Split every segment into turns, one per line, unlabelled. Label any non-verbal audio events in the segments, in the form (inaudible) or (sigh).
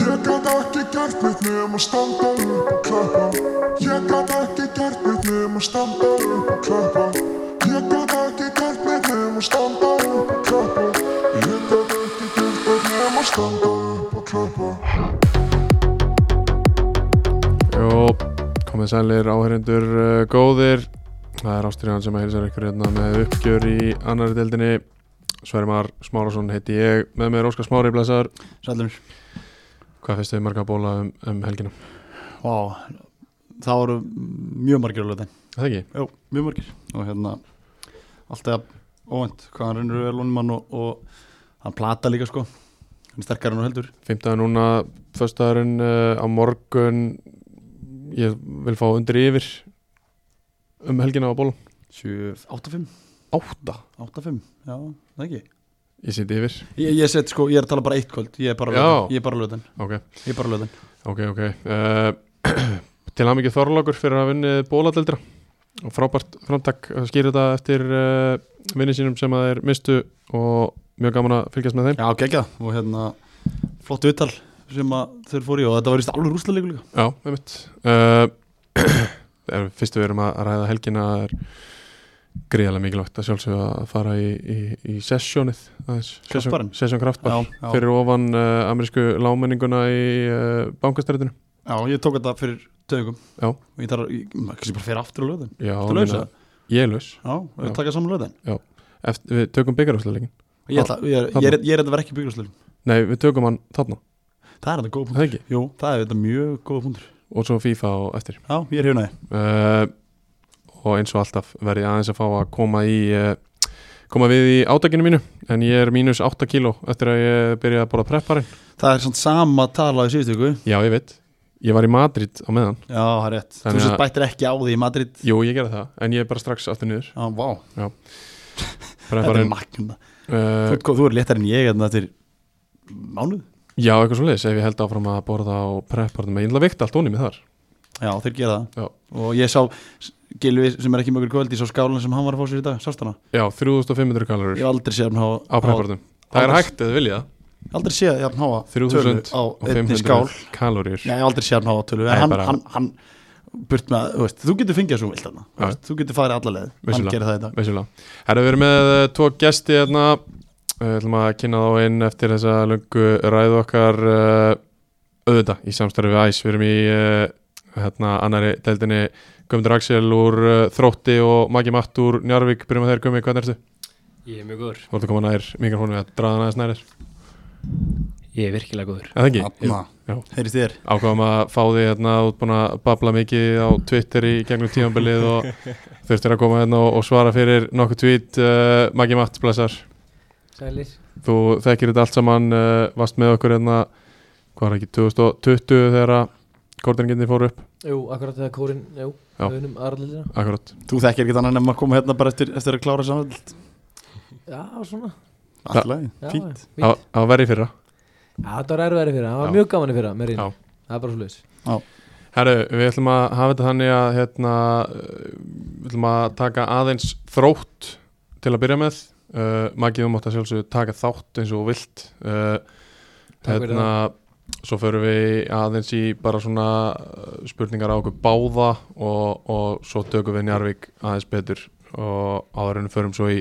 gat ekki gert neitt nema standa upp og klappa Ég gat ekki gert neitt nema standa upp og klappa Ég gat ekki gert neitt nema standa upp og klappa Ég gat ekki gert neitt nema standa upp og klappa
Jó, komið sælir áherindur uh, góðir Það er Ástriðan sem að hilsa ykkur hérna með uppgjör í annari deildinni Sverri Mar Smárasson heiti ég með mér Óskar Smári Blæsar
Sælunir
Hvað finnst þið marga bóla um, um helgina?
Vá, það voru mjög margir á löðin
Er Það ekki?
Jú, mjög margir Og hérna, allt eða óvænt Hvað hann reynir vel honum hann og, og hann plata líka sko Hann er sterkar en hún heldur
Fymtaði núna, föstudagurinn uh, á morgun Ég vil fá undir yfir um helgina á bólum
7, 8-5
Átta?
8-5, já, það ekki
Ég sýndi yfir
Ég, ég set sko, ég er að tala bara eitt kvöld Ég er bara
Já.
löðin, ég er bara löðin
Ok,
Ég er bara löðin
ok, ok uh, (clears throat) Til að mikið Þorlákur fyrir að vinni bóladeldra og frábært framtak að skýra þetta eftir uh, vinni sínum sem að þeir mistu og mjög gaman að fylgjast með þeim
Já, geggja Og hérna, flott uttal sem að þeir fóru í og þetta var í stálu rúslega líka
Já, með mitt (clears throat) uh, er, Fyrst við erum að að ræða helgina er gríðarlega mikilvægt að sjálfsögða að fara í, í, í sessjónið aðeins. Sessjón
Kraftbarinn?
sessjón kraftbar
Já, já.
fyrir ofan uh, amerísku lámenninguna í uh, bankastrætinu
Já, ég tók þetta fyrir tökum
Já.
Og ég þarf að, ég, maður kannski bara fyrir aftur á löðin
Já,
Þú laus
meina, ég er laus
Já, við
Já.
taka saman löðin
Eft, Við tökum byggarásleikin
Ég, ætla, ég, er, ég, er, hérna- ég er þetta verið ekki byggjurslöfum
Nei, við tökum hann þarna,
Það er þetta góð
er
punktur
það ekki
Jú, það er þetta mjög góð punktur
og svo FIFA og eftir
Já, ég er hérna. hefnaði
uh, og eins og alltaf verð ég aðeins að fá að koma í uh, koma við í átakinu mínu en ég er mínus 8 kíló eftir að ég byrja að borða prepparinn
Það er svona sama tala í síðustu ykkur
Já, ég veit, ég var í Madrid á meðan
Já, það er rétt
Þannig
Þú
að-
sett bættir ekki á því í Madrid Já,
Jú, ég gerði það, en ég er bara strax aftur niður
vá, þetta er
prepparinn
magnum það
uh,
Þú, þú er léttar en ég þetta til mánuð
Já, eitthvað svo leis, ef ég held áfram að borða á prepparinn, ég ætla að vikta allt onni með þar
Já, þeir gera það
Já.
Og ég sá Gilvi sem er ekki mjög kvöld Ég sá skálan sem hann var að fá sér í dag Sást hana
Já, 3500 kalorur
Ég hef aldrei séð hann hafa
á prepparinn Það er
annars-
hægt eða vilja
hafa- Aldrei séð hann hafa tölu á einni
3500
skál
kalorur
Nei, ég hef aldrei sé hann á tölu
Nei,
En hann,
bara-
hann, hann burt með, þú veist, þú getur fengið þessu vilt hann
Já.
Þú getur farið alla leið, hann
Vissulega.
gerir það í dag
Vissulega. Herra, við erum með eh, tvo gesti hérna. Við ætlum að kynna þá inn eftir þessa lungu ræðu okkar eh, auðvitað í samstarfi við æs. Við erum í eh, hérna, annari deildinni Guðmundur Axel úr eh, Þrótti og Maggi Matt úr Njarvík. Byrjum að þeir Guðmi, hvernig ertu?
Ég er mjög góður.
Þú ert að koma nær mikrofónu við að draða næðis nærir.
Ég er virkilega góður.
Eða ekki? Já.
Þarna, heyrist þér
Ákvaðum að fá því hérna út búin að babla mikið á Twitter í gegnum tímanbilið og þurftir að koma hérna og, og svara fyrir nokkuð tweet. Uh, Maggi Matt, blessar.
Sælir.
þú þekkir þetta allt saman uh, varst með okkur hérna hvað er ekki, 2020 þegar að kortinginni fór upp,
Jú, akkurat þegar kórin, jú,
Já.
við unum aðralildina
akkurat
Þú þekkir ekki þannig nefnum að koma hérna bara eftir, eftir að klára samveld
Já, svona,
Það-
Alltaf,
já,
fínt
fínt.
það það var verið í fyrra
Já, þetta var erfiðari fyrir, það
Já.
var mjög gaman í fyrra
Já.
með reyni, það er bara svo
Herru, við ætlum að hafa þetta þannig að hérna, uh, við ætlum að taka aðeins þrótt til að byrja með uh, Maggi, þú mátt að sjálfsögðu taka þátt eins og þú vilt uh,
Takk fyrir
hérna, svo förum við aðeins í bara svona uh, spurningar á okkur báða og, og svo tökum við Njarvík aðeins betur og áður en við förum svo í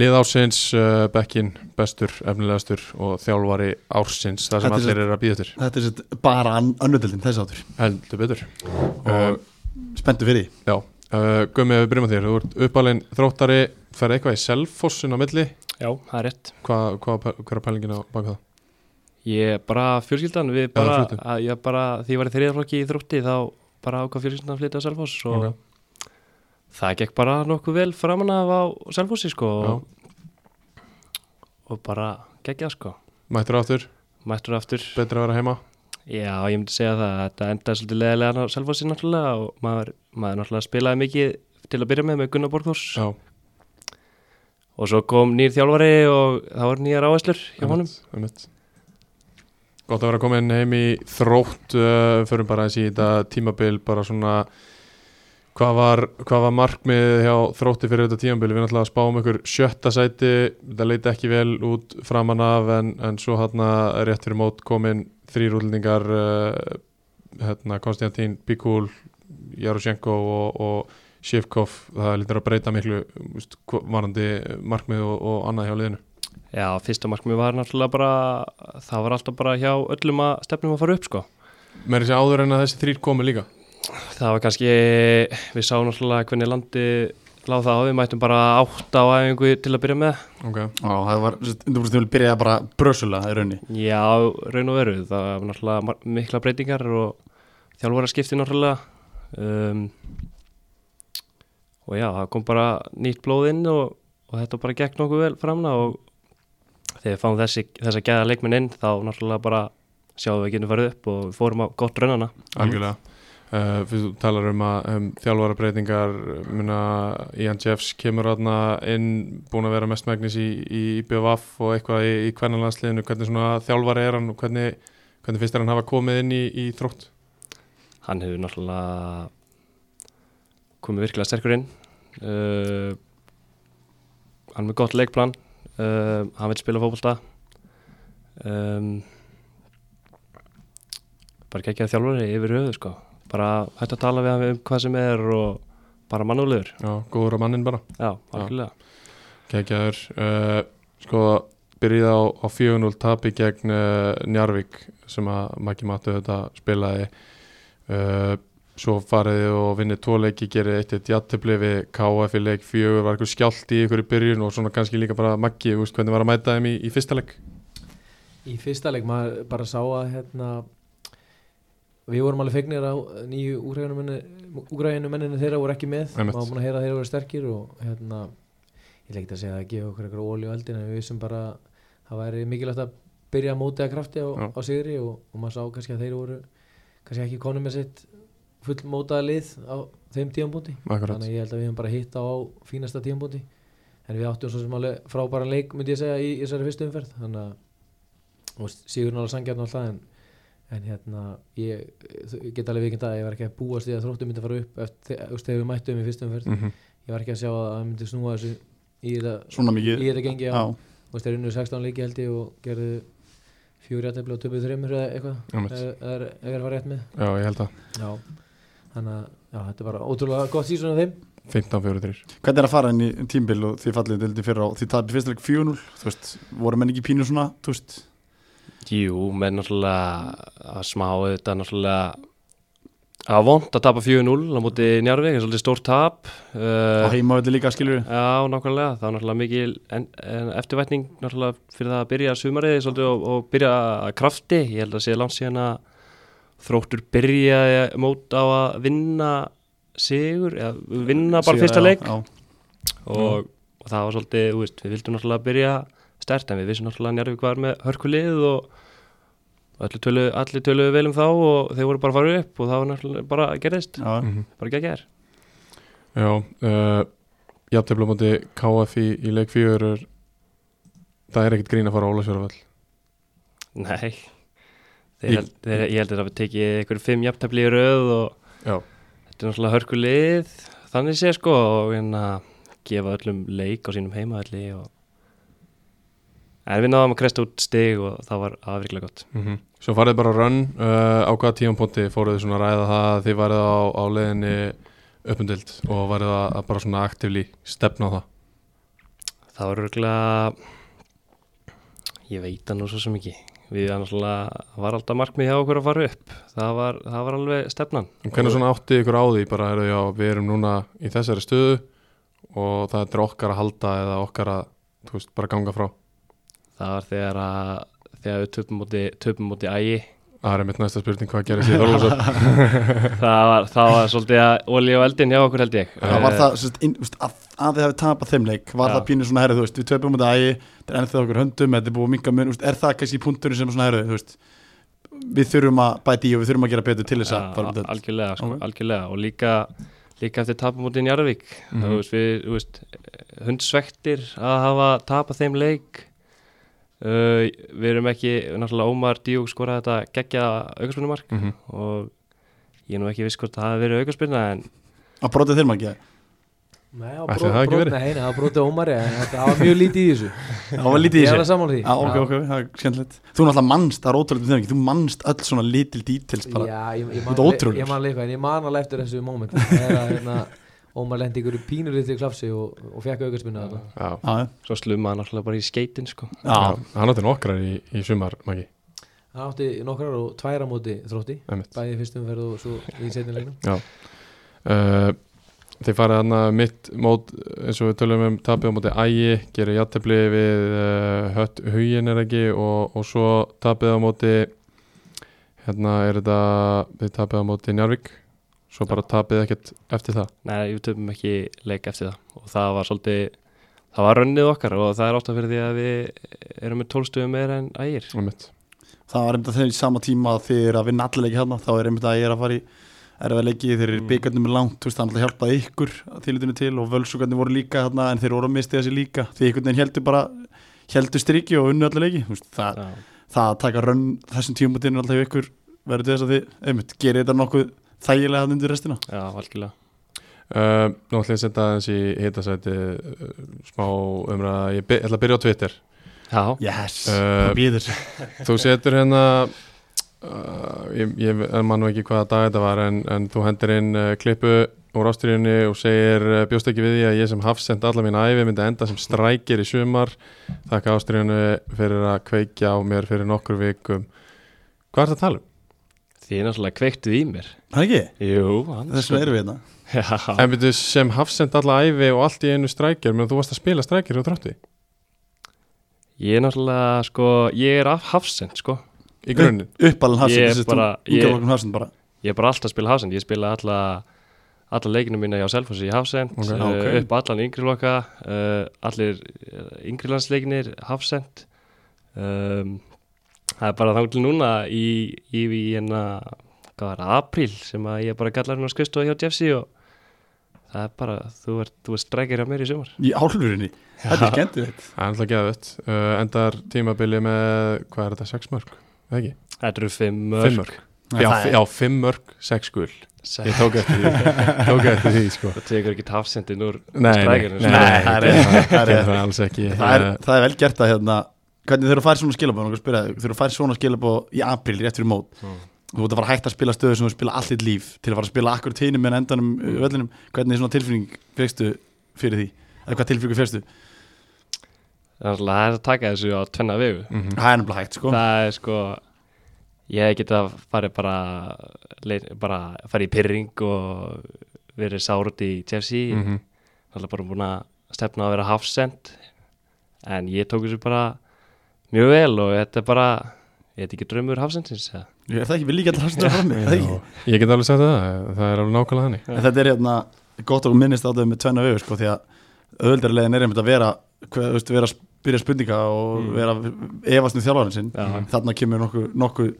lið ársins, uh, bekkin bestur, efnilegastur og þjálfari ársins, það sem
Þetta er
allir eru að býða eftir
Þetta er sett bara önnudildin þess aftur
heldur betur Um,
Og spenntu fyrir því
Já, uh, Gummi, við byrjum að þér Þú ert uppalinn þróttari, ferð eitthvað í selfossin á milli
Já, það er rétt.
Hvað hva, hver er pælingin á baka það?
Ég er bara fjölskyldan, við
það
bara,
er fluttur.
að, ég bara, því ég var í þriðaflokki í þrótti þá bara ákvað fjölskyldan að flytja á Selfoss og
Ok.
það gekk bara nokkuð vel framan af á Selfossi sko og, og bara geggjað sko.
Mættur aftur,
Mættur aftur.
betra að vera heima
Já, ég myndi segja það að þetta endaði svolítið leðilega á Selfossi náttúrulega og maður, maður náttúrulega spilaði mikið til að byrja með með Gunnar Borgþórs
Já,
og svo kom nýr þjálfari og það voru nýjar áherslur hjá honum.
einmitt. Gott að vera komin heim í þrótt uh, Förum bara að í þetta tímabil bara svona Hvað var, hvað var markmiðið hjá þrótti fyrir þetta tímabili? Við náttúrulega spáum ykkur sjötta sæti, þetta leiti ekki vel út framan af en, en svo hérna rétt fyrir mót komin þrýrúldningar uh, hérna, Konstantín Bíkúl, Jarosjenko og, og Shivkov, það lítur að breyta miklu úst, varandi markmið og, og annað hjá liðinu.
Já, fyrsta markmið var náttúrulega bara, það var alltaf bara hjá öllum að stefnum að fara upp sko.
Mér er þessi áður en að þessi þrýr komi líka.
Það var kannski, við sáum náttúrulega hvernig landi láð það á, við mættum bara átta á æfingu til að byrja með.
Okay.
Já, það var, þú veist, ég byrjaði bara brösulega í raunni
Já, raun og veru, það var náttúrulega mar- mikla breytingar og þjálfara skipti náttúrulega. Um, og já, það kom bara nýtt blóð inn og, og þetta bara gekk nokkuð vel framna og þegar við fáum þessi, þessa gæða leikminn inn þá náttúrulega bara sjáum við ekki henni farið upp og við fórum á gott raunana.
Algjörlega Uh, fyrst þú talar um að um, þjálfarabreitingar muna Ian Jeffs kemur aðna inn búin að vera mestmægnis í, í BVF og eitthvað í, í kvennanlandsliðinu hvernig svona þjálfari er hann og hvernig, hvernig finnst þér hann hafa komið inn í, í þrótt
hann hefur náttúrulega komið virkilega sterkur inn uh, hann er með gott leikplan uh, hann vil spila fótbolta um, bara geggjað þjálfari yfir höfuð sko bara hægt að tala við hann um hvað sem er og bara mannúlegur
Já, góður á mannin bara
já, algjörlega
Kækjaður uh, Sko, byrjið á, á 4-0 tapi gegn uh, Njarvík sem að Maggi Matu þetta spilaði uh, Svo fariði og vinnið tvoleiki gerið eitt eitt jattöfli við KF í leik fjögur var eitthvað skjált í ykkur í byrjun og svona kannski líka bara Maggi, þú veist hvernig var að mæta þeim í, í fyrsta leik
Í fyrsta leik maður bara sá að hérna Við vorum alveg fegnir að nýju úgræðinu menninu þeirra voru ekki með
Einmitt.
Maður var búin að heyra að þeirra voru sterkir og hérna Ég leikti að segja að gefa okkur eitthvað óli og eldin en við vissum bara að það væri mikilvægt að byrja að móti að krafti á,
Já.
á sigri og, og maður sá kannski að þeir voru kannski ekki konum með sitt fullmótaða lið á þeim tíðanbúndi
Akkurat,
þannig að ég held að við höfum bara hitt á, á fínasta tíðanbúndi en við áttum svo sem alveg frábæran leik myndi ég segja í, í þessari fyrstu umferð þannig að og Sigurinn alveg sangjarn alltaf en, en hérna ég, ég get alveg vikind að ég var ekki að búast því að þróttum myndi að fara upp eftir, þú veist, þegar við mættum í fyrstu umferð
Mhm.
ég var ekki að sjá að það myndi snúa þessu í þetta,
Svona
í
mikið
þetta gengi á
Já,
þú veist, þeir unnu 16 leiki held ég og gerðu fjóri aðtefli og töpuð þreymur eða eitthvað
Einmitt.
ef ef- ef ég er að fara rétt með
já ég held að
já. þannig að já, þetta er bara ótrúlega gott sísun af þeim
15-4-3
Hvernig er að fara inn í tímbil og því fallið dildi fyrra og því tapir fyrst leik 4-0 Þú veist, voru menn ekki pínu svona, þú veist
jú, með náttúrulega að smá þetta náttúrulega að vond að tapa 4-0 á móti Njarvík, það er svolítið stór tap
Á
uh,
heimavelli líka, skilur
Já, nákvæmlega, það var náttúrulega mikil en, en eftirvætning náttúrulega fyrir það að byrja sumariði svolítið og, og byrja að krafti, ég held að sé langt síðan að þróttur byrjaði mót á að vinna sigur, eða vinna bara fyrsta leik
Já,
og, og það var svolítið, þú veist, við vildum náttúrulega byrja stert en við vissum náttúrulega að Njarvík var með hörkulið og allir töluðu, allir töluðu vel um þá og þeir voru bara farið upp og það var náttúrulega bara gerðist,
já,
mm -hmm.
bara geggjær.
Já, uh, jafntefla á móti KF í, í leik fjögur er- það er ekkit grín að fara á Ólasjörfell
Nei
Í-
þeir held, þeir, Ég held að það hafi tekið einhverjum fimm jafntefli í röð og
Já.
þetta er náttúrulega hörkulið þannig sé sko og hérna gefa öllum leik á sínum heimaðalli og en við náðum að kresta út stig og það var afriklega gott
Mm Svo farið bara á rönn uh, á hvaða tímanponti fóruð þið svona að ræða það að þið værið á, á leiðinni uppundild og værið að, að bara svona aktivli stefna á það
það var örgulega ég veit það nú svo sem ekki við erum náttúrulega var alltaf markmið hjá okkur að fara upp það var, það var alveg stefnan
En hvernig svona áttið ykkur á því bara heyrðu, já, við erum núna í þessari stöðu og það er okkar að halda eða okkar að þú veist, bara ganga frá
það var þegar að þegar við töpum móti, töpum móti ægi
Það er mitt næsta spurning hvað gerir sér Þorlúsöf
það var, það var svolítið að olí og eldin hjá okkur held ég Eh,
Það var það, sérst, inn, úst, að, að þið hafi tapað þeim leik var
Já.
það pínu svona herrið, þú veist, við töpum út að ægi þetta er ennþá okkur höndum, þetta er búið að minga mun úst, er það kannski punkturinn sem svona herrið, þú veist við þurfum að bæta í og við þurfum að gera betur til þess að fara
Eh,
upp deild.
algjörlega, sko,
Ok.
algjörlega og líka, líka eftir tapum út í Njarðvík mm
Mhm.
-hmm. við, þú veist, hundsvektir að hafa tapað þeim leik uh, við erum ekki náttúrulega Ómar Díók skoraði þetta geggja aukarspunumark
Mhm.
og ég er nú ekki viss hvort það hafi verið aukarspunna en
að brotið þeirma ekki
Nei, það var
Ætli
brot-
það hafi ekki
brot-
verið?
nei, nei, það var brotið ómari en þetta var mjög lítið
(laughs)
í þessu
það var lítið í
Ég er
þessu
alveg sammála því
Já, ok, ok, það er skemmtilegt Þú náttúrulega mannst, það er ótrúlega með þeim ekki Þú mannst öll svona lítil details bara
Já, ég, ég,
Þú
man,
ert ótrúlegur.
ég man líka en ég man alveg eftir þessu moment Það er að hérna, Ómar lendi ykkur í pínurlítið klapsi og, og fekk aukarspinna þarna
Já,
Já,
Svo slummaði náttúrulega bara í skeitin sko
já,
hann átti nokkrar í, í sumar, Maggi
Hann átti nokkrar og tværa móti þrótti
einmitt.
bæði í fyrstum ferð og svo í setnilegnum
uh, Þið farið hann mitt mót eins og við tölum um tapið á móti ægi gerir játtabli við uh, hött hugin er ekki og, og svo tapið á móti hérna er þetta við tapið á móti Njarvík svo bara tapið ekkert eftir það
Nei, við töfum ekki leik eftir það og það var svolítið það var rönnið okkar og það er ástæð fyrir því að við erum með tólstuðum meira en ægir
einmitt.
það var einmitt að þeim í sama tíma að þeir eru að vinna allir leiki hérna þá er einmitt að ég er að fara í erfa leiki þeir eru
Mm.
mm. byggarnir með langt, þú veist, það er alltaf hjálpaði ykkur að þýlutinu til og völsugarnir voru líka hérna en þeir voru að misti þessi líka því ykkur neginn heldur bara heldur striki og unnu allir leiki Þú veist, það,
Já.
það að taka rönn þessum tímutinu alltaf hjá ykkur verður til þess að þið, einmitt, gerir þetta nokkuð þægilega hann undir restina
Já, algjörlega
Uh, nú ætlum ég að setja aðeins í hitasæti uh, smá umræða, ég by- ætla að byrja á Twitter
Já,
yes,
Uh,
það býður
Þú setur hérna uh, ég, ég mann ekki hvaða dag þetta var en, en þú hendir inn uh, klippu úr ástyrjunni og segir uh, bjóst ekki við því að ég sem hafsend alla mín æfi myndi enda sem strækir í sumar þakka ástyrjunni fyrir að kveikja á mér fyrir nokkur vikum Hvað er það að tala um?
þið er náttúrulega kveiktuð í mér
það ekki,
Jú, hann
þess vegna erum við hérna
Já,
En byrju sem hafsend alla æfi og allt í einu strækir menn þú varst að spila strækir og þrótti
ég er náttúrulega sko, ég er af hafsend sko
í grunninn
uppalinn
Ég er
hafsend, þessi
bara-
þú
ég-
yngjaflokkun hafsend bara
Ég er bara alltaf að spila hafsend, ég spila alla alla leikinu mína hjá Selfossi í hafsend
Ok,
okay,
ok.
upp allan yngri loka uh, allir eh, yngri landsleikinir hafsend um, það er bara þangtil núna í, í, í hérna hvað var það, apríl sem að ég bara gallar hérna skristu hjá Jeffsy og það er bara, þú ert, þú ert streikir hjá mér í sumar
í álfurinni, þetta er skemmtilegt
Það er alltaf geðvett uh, endar tímabili með hvað er þetta, sex mörg? Eða Ekki?
Þetta eru fimm
Fimm
mörg
mörg Já,
Það er-
já, fimm mörg, sex gul Ég
Sæ-
tók eftir því, tók eftir því sko.
það tekur ekki hafsendin úr
Nei, nei,
Strækirinn,
nei,
sko.
Nei, það er rétt,
gerir
það er
gerir
rétt.
það alls ekki Eh,
það er, það er vel gert að hérna hvernig þeir eru að færa svona skilabóð nokkuð að spyrja þig, þeir eru að færa svona skilabóð í apríl rétt fyrir mót
Mm.
þú ert að fara að hætta að spila stöðu sem þú spila allt þitt líf til að fara að spila akkur tínum en endanum mm. völlinum hvernig svona tilfinning fegstu fyrir því eða hvað tilfinningu fegstu
Þannig að það er að taka þessu á tvenna vegu
Mhm.
það er nefnilega hægt sko
það er sko ég geta farið bara leit- bara farið í pyrring og verið sárat í Jeffsy mm -hmm.
Mhm.
bara búin að stefna að vera hafsend en ég tók þessu bara mjög vel og þetta er bara ég veit ekki draumur hafsendins eða?
er það ekki, við líka alltaf hafstur að fara með
Já, Ég get alveg sagt það, það er alveg nákvæmlega þannig
en þetta er hérna gott að þú minnist á þetta með tvenna vegu sko því að öðuldarlegin er einmitt að vera hver, þú veist, vera að spyrja spurninga og vera að efast um þjálfarinn sinn
Mm. Já.
þarna kemur nokkuð nokku,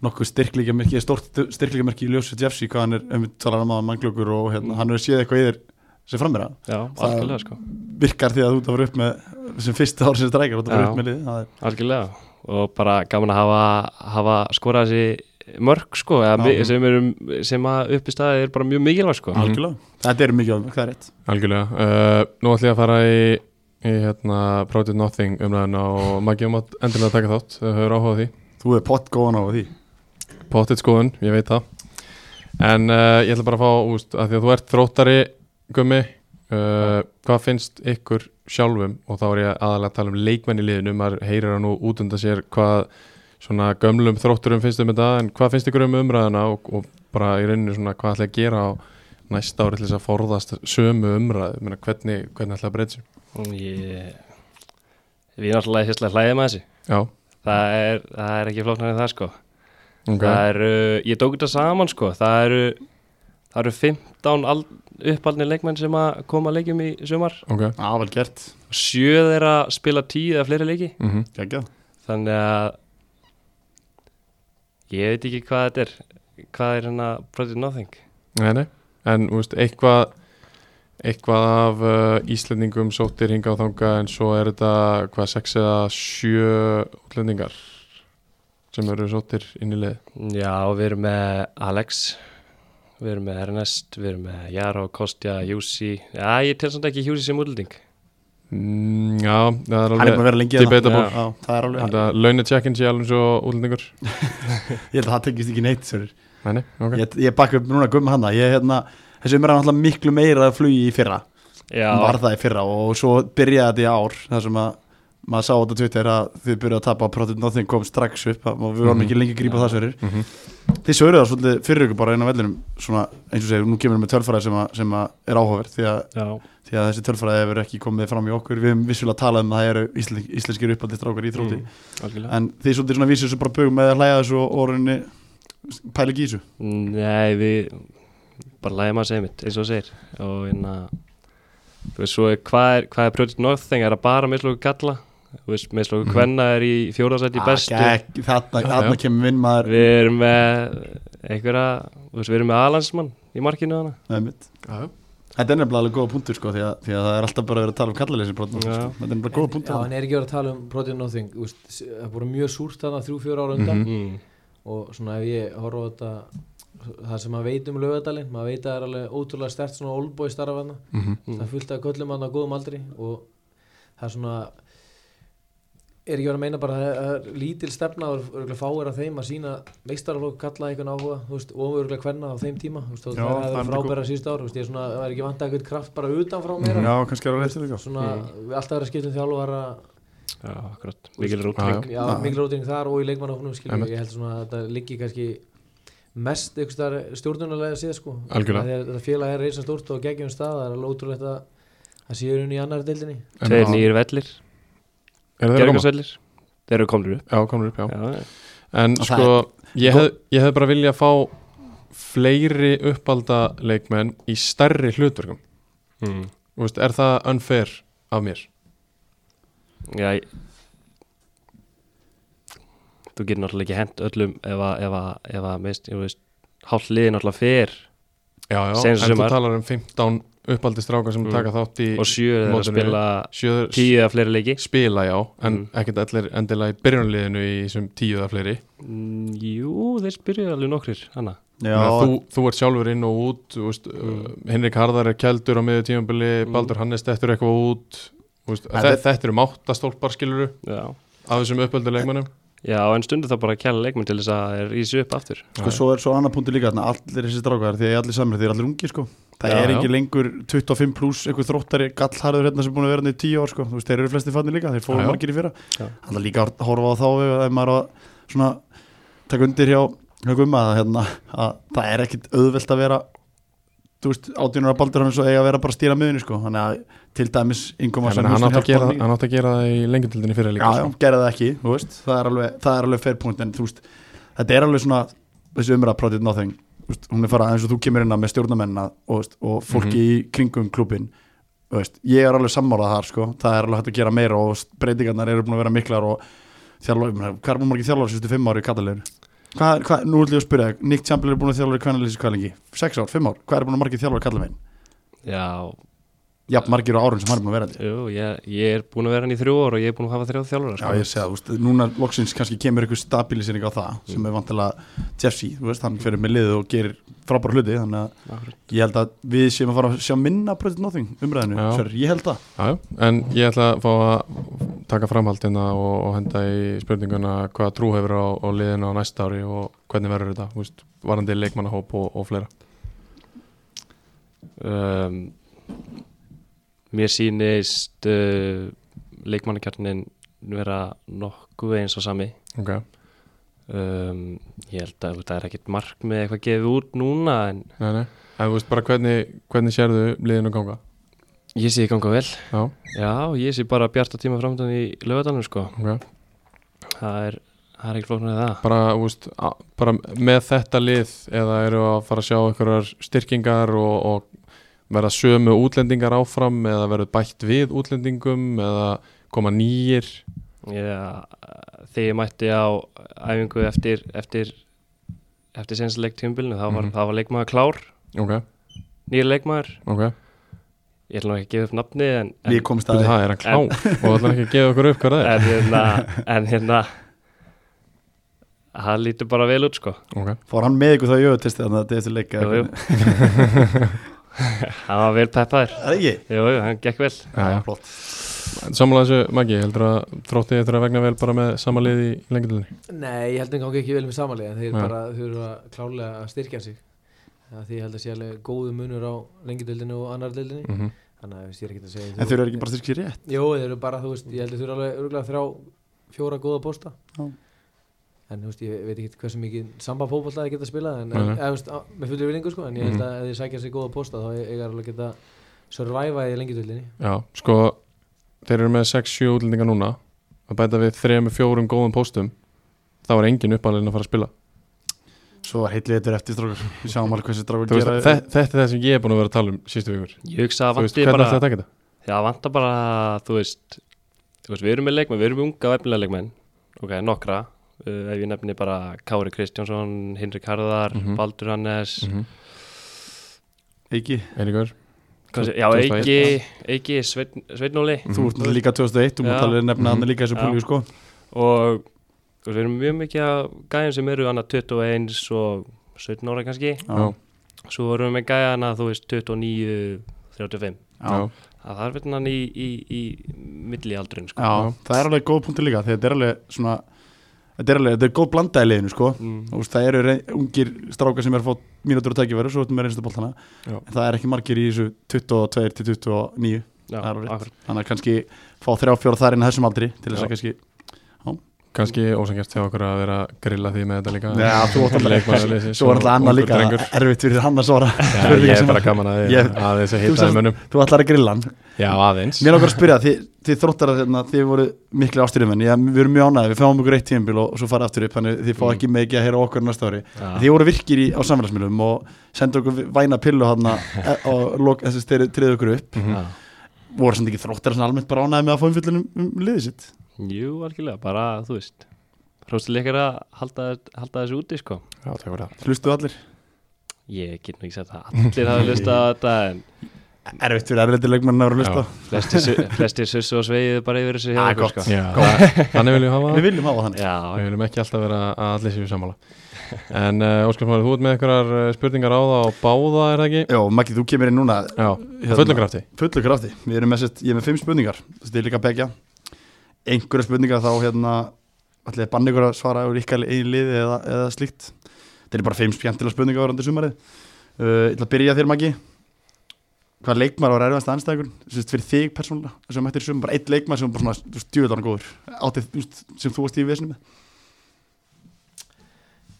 nokku styrklíkjamerki stórt styrklíkjamerki í ljósu Jeffsy hvað hann er um talar um að mannglökur og
Mm.
hérna, hann hefur séð eitthvað í þér sem framir að
já,
Það-
algjörlega sko
virkar því að þú ert að fara upp með sem fyrsta ár sem strækjar þú ert að
Já.
fara upp með liði það er-
algjörlega og bara gaman að hafa, hafa skorað þessi mörg sko eða,
Já.
mi- sem, er, sem að uppi staðið er bara mjög mikilvæg sko
algjörlega þetta er mikið áður, það er rétt
Algjörlega, uh, nú ætlum ég að fara í, í hérna, Project Nothing umræðina og Maggi um að endilega taka þátt þau höfur áhuga á því
þú er pott góðan á því
Pottet skoðun, ég veit það En uh, ég ætla bara að fá úst, að Því að þú ert þróttari gummi uh, Hvað finnst ykkur sjálfum Og þá er ég aðalega að tala um leikmenn í liðinu Maður heyrir það nú út undan sér Hvað svona gömlum þrótturum finnst um þetta En hvað finnst ykkur um umræðina Og, og bara í rauninu svona hvað ætla ég að gera á Næsta ári til þess að forðast sömu umræð Menna, hvernig, hvernig ætla að breyta sér
ég við náttúrulega hérstlega hlæðið með þessu
Já,
það er, það er ekki flóknar en það sko
ok
það eru, ég tók þetta saman sko það eru, það eru 15 ald, uppalni leikmenn sem að koma að leikjum í sumar
Ok,
á vel gert
sjö þeirra spila tíu eða fleiri leiki
mhm
geggjað
þannig að ég veit ekki hvað þetta er hvað er hérna Project Nothing
Nei, nei, en þú veist, eitthvað eitthvað af uh, Íslendingum sóttir hinga á þanga en svo er þetta, hvað, sex eða sjö útlendingar sem eru sóttir inn í lið
já, við erum með Alex Við erum með Ernest, við erum með Jaro, Kostja, Júsi Já, ég tel samt ekki Júsi sem útlending
Mm, já, það er
Hann er búin að
alveg
vera lengi hérna.
debatable.
Já, já, það er alveg
Launatjekkin sé alveg svo útlendingur
Ég held að það tengist ekki neitt sér
Nei, nei, ok
Ég, ég bakka upp núna gumma hana ég, hérna, Þessi umræðan alltaf miklu meira að flugi í fyrra
Já,
Hún var það í fyrra og svo byrjaði þetta í ár þar sem að maður sá þetta Twitter að þið byrjuðu að tapa að Protein Nothing kom strax upp og við vorum
Mhm.
ekki lengi að grípa
Já.
það sverir
Mhm.
Þið sögurðu það svolítið fyrir ykkur bara inn á vellinum svona, eins og segir, nú kemur við með tölfræði sem, að, sem að er áhugavert því að,
já,
því að þessi tölfræði hefur ekki komið fram í okkur við hefum vissulega talað um að það eru íslen, íslenskir uppaldist rákar í þrótti
Mhm.
Mm, algjörlega
en þið svolítið svona vísið sem bara bugum með að hlæja þessu og orðinni pæla ekki í þessu
Nei, við bara lægum að segja mitt, eins og það segir og hérna þú veist svo, er- hvað er, hvað er Project Northing er að bara meðslóku kalla þú veist, meðslóku
Mhm. Ah,
kvenna er í fjóðarsætt í bestu
Ah, gegg, þarna,
Já,
þarna kemur minn maður
Við erum með einhverja, þú veist, við erum með Alansmann í markinu hana
Nei, mitt.
Já,
þetta er nefnilega alveg góða punktur sko, því, að, því að það er alltaf bara verið að tala um kallaleysi brotna,
Já.
sko. þetta er nefnilega góða
Já,
punktur
hann er ekki verið að tala um Protein Nothing úst, það voru mjög súrt þarna þrjú, fjóra ára undan
Mhm.
mm.
og svona ef ég horfa á þetta það sem maður veit um lögadalinn maður veit að það er alveg ótrúlega stert svona oldboy starf hana
mhm,
það er fullt af köllum hann á góðum aldri og það er svona er ekki verið að meina bara að það er lítil stefna og örugglega fáir af þeim að sína meistaralók kalla einhvern áhuga þú veist, og örugglega hverna á þeim tíma þú veist, og
Já,
það
það er
er
mjög
frábæra síðust ár þú veist, ég er svona, það er ekki vant að eitthvað kraft bara utan frá meira
já, kannski er það réttið líka
svona, við alltaf verið að skipta um þjálfara
Já, akkurat, mikil rútring
já,
Já.
mikil róting þar og í leikmannafunum skilur,
Einmitt.
ég held svona að þetta liggi kannski mest einhvers staðar stjórnulega séð sko
Algjörlega.
Af því að þetta félag er reysa stórt og geggjum stað það er alveg ótrúlegt að það séu hún í annar deildinni
En-
Tveir nýjir vellir,
Eru þeir að koma?
gerðingarsvellir Þeir eru komnir upp
Já, komnir upp, já
Já,
En
Og það
sko, ég hef, ég hef bara viljað fá fleiri uppalda leikmenn í stærri hlutverkum Mhm.
mm.
Þú veist, Er það unfair af mér?
já ég... Þú getur náttúrulega ekki hent öllum ef að, ef að, ef að meist, ég veist Hálf liðin náttúrulega fer
Já, já,
Seinustu
en þú
sumar.
talar um 15 uppaldi stráka sem
Mm.
taka þátt í
og sjö þeir eru að
mótinu.
spila
sjöður
tíu eða fleiri leiki
spila, já En
Mm.
ekkert allir endilega í byrjunliðinu í þessum tíu eða fleiri
mm, Jú, þeir spyrja alveg nokkrir hana
já,
Meina, þú, þú ert sjálfur inn og út þú veist,
Mm.
uh, Henrik Harðar er keldur á miður tímabili
Mm.
Baldur Hannes dettur eitthvað út þú veist,
En
þe
þeir-
Þetta eru um máttastólpar skiluru
Já,
af þessum uppöldu leikmannum
já en stundu þá bara að kæla leikmenn til þess að þeir rísi upp aftur
sko, svo er svo annar punktur líka þarna, allir þessi strákar, því að allir samir, þeir eru allir ungi sko. það
Já,
er
já.
ekki lengur 25 pluss einhver þróttari gallharður hérna sem búin að vera hérna í 10 ár sko. Þú veist, þeir eru flesti fannir líka, þeir
Já,
fóru
já.
margir í fyrra
Já.
alltaf líka að horfa á þá ef ef maður er að svona, taka undir hjá hjá Gumma að, hérna, að það er ekkit auðvelt að vera þú veist, átjónur að baldur hann svo eiga að vera bara að stýra miðunni sko. þannig að til dæmis
Já,
yngoma
menn, hann átti að, gera- hann átti að gera það í lengjutildinni fyrir líka
já, já,
sko.
gera það ekki, þú veist það er alveg, það er alveg fair point en þú veist, þetta er alveg svona þessi umræða project nothing, þú veist, hún er fara eins og þú kemur inn að með stjórnamennina og, veist, og
Mhm.
fólki í kringum klubin veist, ég er alveg sammálað þar, sko það er alveg hægt að gera meira og veist, breytingarnar eru búin að vera miklar og þjálfur, hvað er búin margir þjálfur sérstu fimm ári í katalegur hvað, er- hvað, nú ætlum ég að spyrja, þig, Nick Chamberlain er búin að þjálfur í kvennalýsi hvað lengi, sex ár, fimm ár, hvað er búin margir þjálfur í katalegur
Já,
jafn margir á árun sem hann er búin að vera held ég.
jú, ég, ég er búin að vera hann í þrjú ár og ég er búin að hafa þrjá sko. þjálfara
Já, Sko, ég segja, þú veist, núna loksins kannski kemur einhver stabilisering á það sem er vantilega Jeffsy, þú veist,
Mm.
hann fyrir með liðu og gerir frábæra hluti, þannig að
Akkurat.
ég held að við séum að fara að sjá minna Project Nothing umræðinu,
Já.
Sverrir, ég held það
Já, já. En ég ætla að fá að taka framhaldina og, og henda í spurninguna hvaða trú hefur á, á liðinu á næsta ári og hvernig verður þetta þú veist, varandi leikmannahóp og, og fleira
um, Mér sýnist uh, leikmannakjarnin vera nokkuð eins og sami
okay.
um, Ég held að það er ekkit mark með eitthvað gefið út núna en
nei, nei. En þú veist bara hvernig, hvernig sérðu liðinu ganga
ég sé í ganga vel
Já,
Já, ég sé bara bjarta tíma framöndan í lögadalunum sko
ok
Það er, það er ekkit flóknar en það
bara, þú veist, á- bara með þetta lið eða eru að fara að sjá einhverjar styrkingar og, og verða sömu útlendingar áfram eða verður bætt við útlendingum eða koma nýjir
Já, þegar ég mætti á æfingu eftir eftir, eftir senstileg tímbilinu þá var,
Mhm.
þá var leikmaður klár,
ok,
nýr leikmaður
ok,
ég ætla nú ekki að gefa upp nafni en, en,
Ég komst
Byrju,
að því,
það er hann klá
hérna,
og ætlar ekki að gefa okkur upp hvað það er
en hérna en hérna það lítur bara vel út sko
ok
Fór hann með ykkur þá jöðu til þannig að þetta er til leika
Jú, jú. (laughs) hann var vel peppaður
Það er ekki
jú, jú, hann gekk vel
Já, já.
Flott.
Sammála þessu, Maggi, heldur að þrótti þetta að vegna vel bara með sama lið í lengjadölinni?
Nei, ég held að það gangi ekki vel með samanlega en þeir
Nei.
bara þurfa klárlega að styrkja sig Það því ég held að sé alveg góðu munur á lengjadeildinu og annar deildinu
Mm
þannig að þú veist, ég er ekki að segja
En þau eru ekki bara styrkir rétt
Jó, þeir eru bara, þú veist, ég held að þau eru alveg örgulega þrjá, fjóra góða bósta
Já.
en þú veist, ég veit ekki hversu mikið samba fótbolla þeir geta
Mhm.
spilað en,
Nei,
en
nei.
eða, þú veist, á- með fullir vinningu sko en ég held að ef þeir sækja sér góða bósta þá eiga þeir alveg að geta surviva í lengjadöldinni
Já, sko, þeir eru með 6-7 útlendingar núna að bæta við 3-4 góðum póstum þá er engin uppalinn að fara að spila
Svo heitlið þetta er eftir strákar Við sjáum alveg hversu
Þú
strákar
veist,
gera
þe þetta er það sem ég er búin að vera að tala um sístu vikur
ég hugsa að
Þú veist,
vanti
hvernig
bara
ætti að taka þetta?
Já, vantar bara, þú veist, þú veist, við erum með leikmenn, við erum með unga og efnilega leikmenn, ok, nokkra, uh, ef ég nefni bara Kári Kristjánsson, Hinrik Harðar,
Mhm.
Baldur Hannes,
Mm -hmm.
Eiki
Eiríkur,
kannski, já,
2001,
Eiki, Eiki Sveinn- Sveinn Óli
Þú ert náttúrulega líka 2001 Þú
Já.
mútt alveg nefna
Mhm.
hann líka í þessu
Já.
púlíu sko
og þú veist, við erum mjög mikið af gæðum sem eru annað 21 og 17 ára kannski,
já,
svo erum við með gæðana, þú veist, 29, 35,
já,
Já.
það þarf einhvern veginn í, í, í millialdrin, sko.
Já. Það er alveg góð punktur líka Þegar þetta er alveg svona Þetta er alveg, þetta er góð blanda í liðinu sko
Mm.
Þú veist, Það eru rey- ungir strákar sem er að fá mínútur og tækifæri Svo ertum við reynstu bóltana
Já.
En það er ekki margir í þessu 22 til 29
Já,
það er alveg rétt.
akkurat.
Þannig að kannski fá þrjá fjóra þar inn að þessum aldri Til þess
Já.
að kannski
kannski ósangjast hjá okkur að vera að grilla því með þetta líka
Já, þú átt alveg
Leikmaðurleysið,
Svo var alltaf annað
ungur
líka
drengur.
erfitt fyrir hann að svara
Já,
spurningar
ég er
sem-
bara gaman að,
Ég-
ég, að þess að
Þú
hitta
sagðist-
í mönnum
Þú ætlar að grilla hann
Já, aðeins
Mér langar að spyrja, þið, þið þróttar að hérna, þið voru miklu ástyrjumenn, ég, við erum mjög ánægði, við fáum okkur eitt tímabil og svo farið aftur upp, þannig þið fá
Mm.
ekki mikið að heyra okkur næsta ári.
Já.
Þið voru virkir í, á samfélagsmiðlum og sendu okkur væna pillu hann og lok, þessi styrir triðu okkur upp.
Já.
Voru samt ekki þróttar svona almennt bara ánægði með að fá umfyllunum um liðið sitt.
Jú, algjörlega, bara þú veist Hróstileikar að halda, halda þessu úti sko
Já, takk fyrir það
Hlustuðu allir?
Ég get nú ekki sagt að allir hafa hlusta á þetta en
Erfitt fyrir erfitt leikmenn að vera að hlusta.
flestir, su- flestir sussu og sveiðu bara yfir þessu
Ah,
okkur,
gott.
sko.
Já, (laughs) það- þannig viljum við hafa það
Við viljum hafa þannig.
Já,
Við viljum ekki alltaf vera að allir séu (laughs) sammála En uh, Óskar Smári, þú ert með einhverjar eh, spurningar á það og báða er það ekki?
Jó, Maggi, þú kemur inn núna
Já,
Hérna.
hérna. fullum krafti
fullu krafti Við erum með sett, ég er með fimm spurningar Þetta er líka að begja Einhverja spurningar þá hérna Ætli að banna ykkur að svara úr ykkar einu liði eða, eða slíkt Þetta er bara fimm spjöntilega spurningar varandi sumarið uh, Ég ætla að byrja þér Maggi Hvað leikmar var erfast anstæðingur Sist fyrir þig persónulega sem mættir í sumar Bara eitt leikmar sem var bara svona stjúðan góður Áttið þú veist, sem þú varst í vesinu með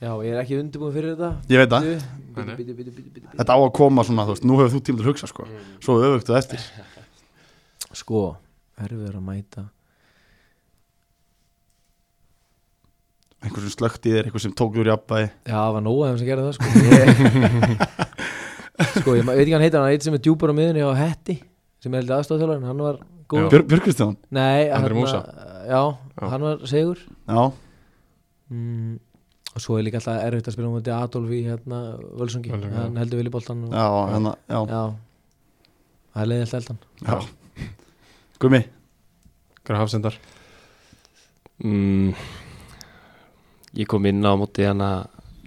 Já, ég er ekki undirbúin fyrir þetta
Ég veit það,
Nei, nei.
Bíddu, bíddu, bíddu, bíddu, bíddu, bíddu.
þetta á að koma svona þú veist, Nú hefur þú tíma til að hugsa sko Svo öfugt og eftir
Sko, erfiður að mæta
Einhver sem slökkt í þér, einhver sem tók úr jafnvægi
Já, það var nóa þeim sem gerði (laughs) það sko Ég, Sko, ég ma- veit ekki hvað hann heitir hann er eitt sem er djúpar á miðunni á Hetti sem er heldur aðstofþjólarinn, hann var góð
Björg Björg Kristján,
Nei,
Andri
hérna-
Músa.
Já,
Já.
hann var segur
já
mm, Og svo er líka alltaf erfitt að spila um þetta Adolf í hérna Völsungi
Völsungi, já.
Hann heldur vilja boltan og,
Já, hérna, já,
Já Það er leiðið alltaf eldan
já. Gumi,
Grafsendar
mm, Ég kom inn á móti hana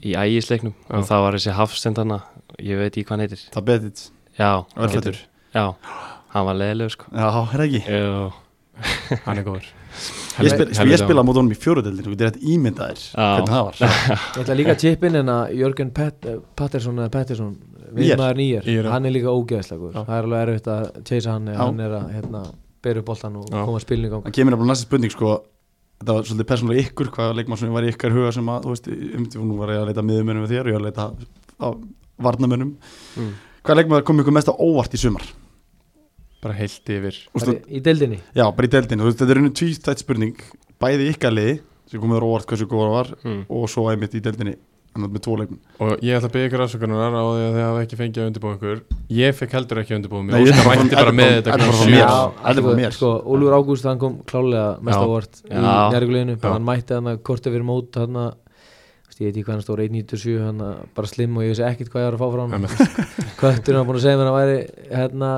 í ægisleiknum
Já.
og það var þessi hafsend hana ég veit ekki hvað hann heitir
það betið
Já,
Örfættur
já, hann var leiðileg sko
Já, er ekki
Jú,
Hann (laughs) er góður
Ég, spil, sko, ég spilaði mót honum í fjóruðeldinu Þú getur þetta ímyndaðir Hvernig það var
Ég ætla líka að chipin en að Jörgen Pat, Patterson eða Patterson
Nýjar.
viðmaður nýjar,
Nýjar, já.
hann er líka ógeðslega góður.
Já.
það er alveg erfitt að chase hann ef
Já.
hann er að hérna, beru boltan og
Já.
koma spilinu í gang
Það kemur nefnilega næsta spurning sko Þetta var svolítið persónulega ykkur Hvað leikmann sem var í ykkar huga sem að Þú veist, um til nú var ég að leita miðumönum með þér Og ég var að leita að varnamönum
Mm.
Hvað leikmann kom ykkur mest á óvart í sumar?
Bara heilt yfir
Ústu,
Bara í deildinni
já, bara í deldinu Þú veist, Þetta er einu tvístætt spurning Bæði í ykkar liði Sem komið á óvart hversu góður var
mm.
Og svo einmitt í deldinu Þannig með tvo leikmann
Og ég ætla að byggja ykkur afsökunar á því að þið hafa ekki fengið að undirbúa ykkur Ég fekk heldur ekki að undirbúa mig
Nei, ég-
Óskar mætti
þetta
bara
er
með
bara-
þetta
þetta er bara
klukkan
frá
sjö.
mér.
Já,
þetta er bara
alveg,
mér.
sko, Úlfur Ágúst hann kom klálega mest
Já.
ávart í
Já.
nærguleginu,
Já.
hann mætti hann að korta fyrir mót hann að ég veit ekki hvað hann stór 1.97 hann að bara (laughs) slim og ég vissi ekkert hvað ég var að fá frá hann
Einmitt.
Kötturinn var búin að segja mér að hann væri hérna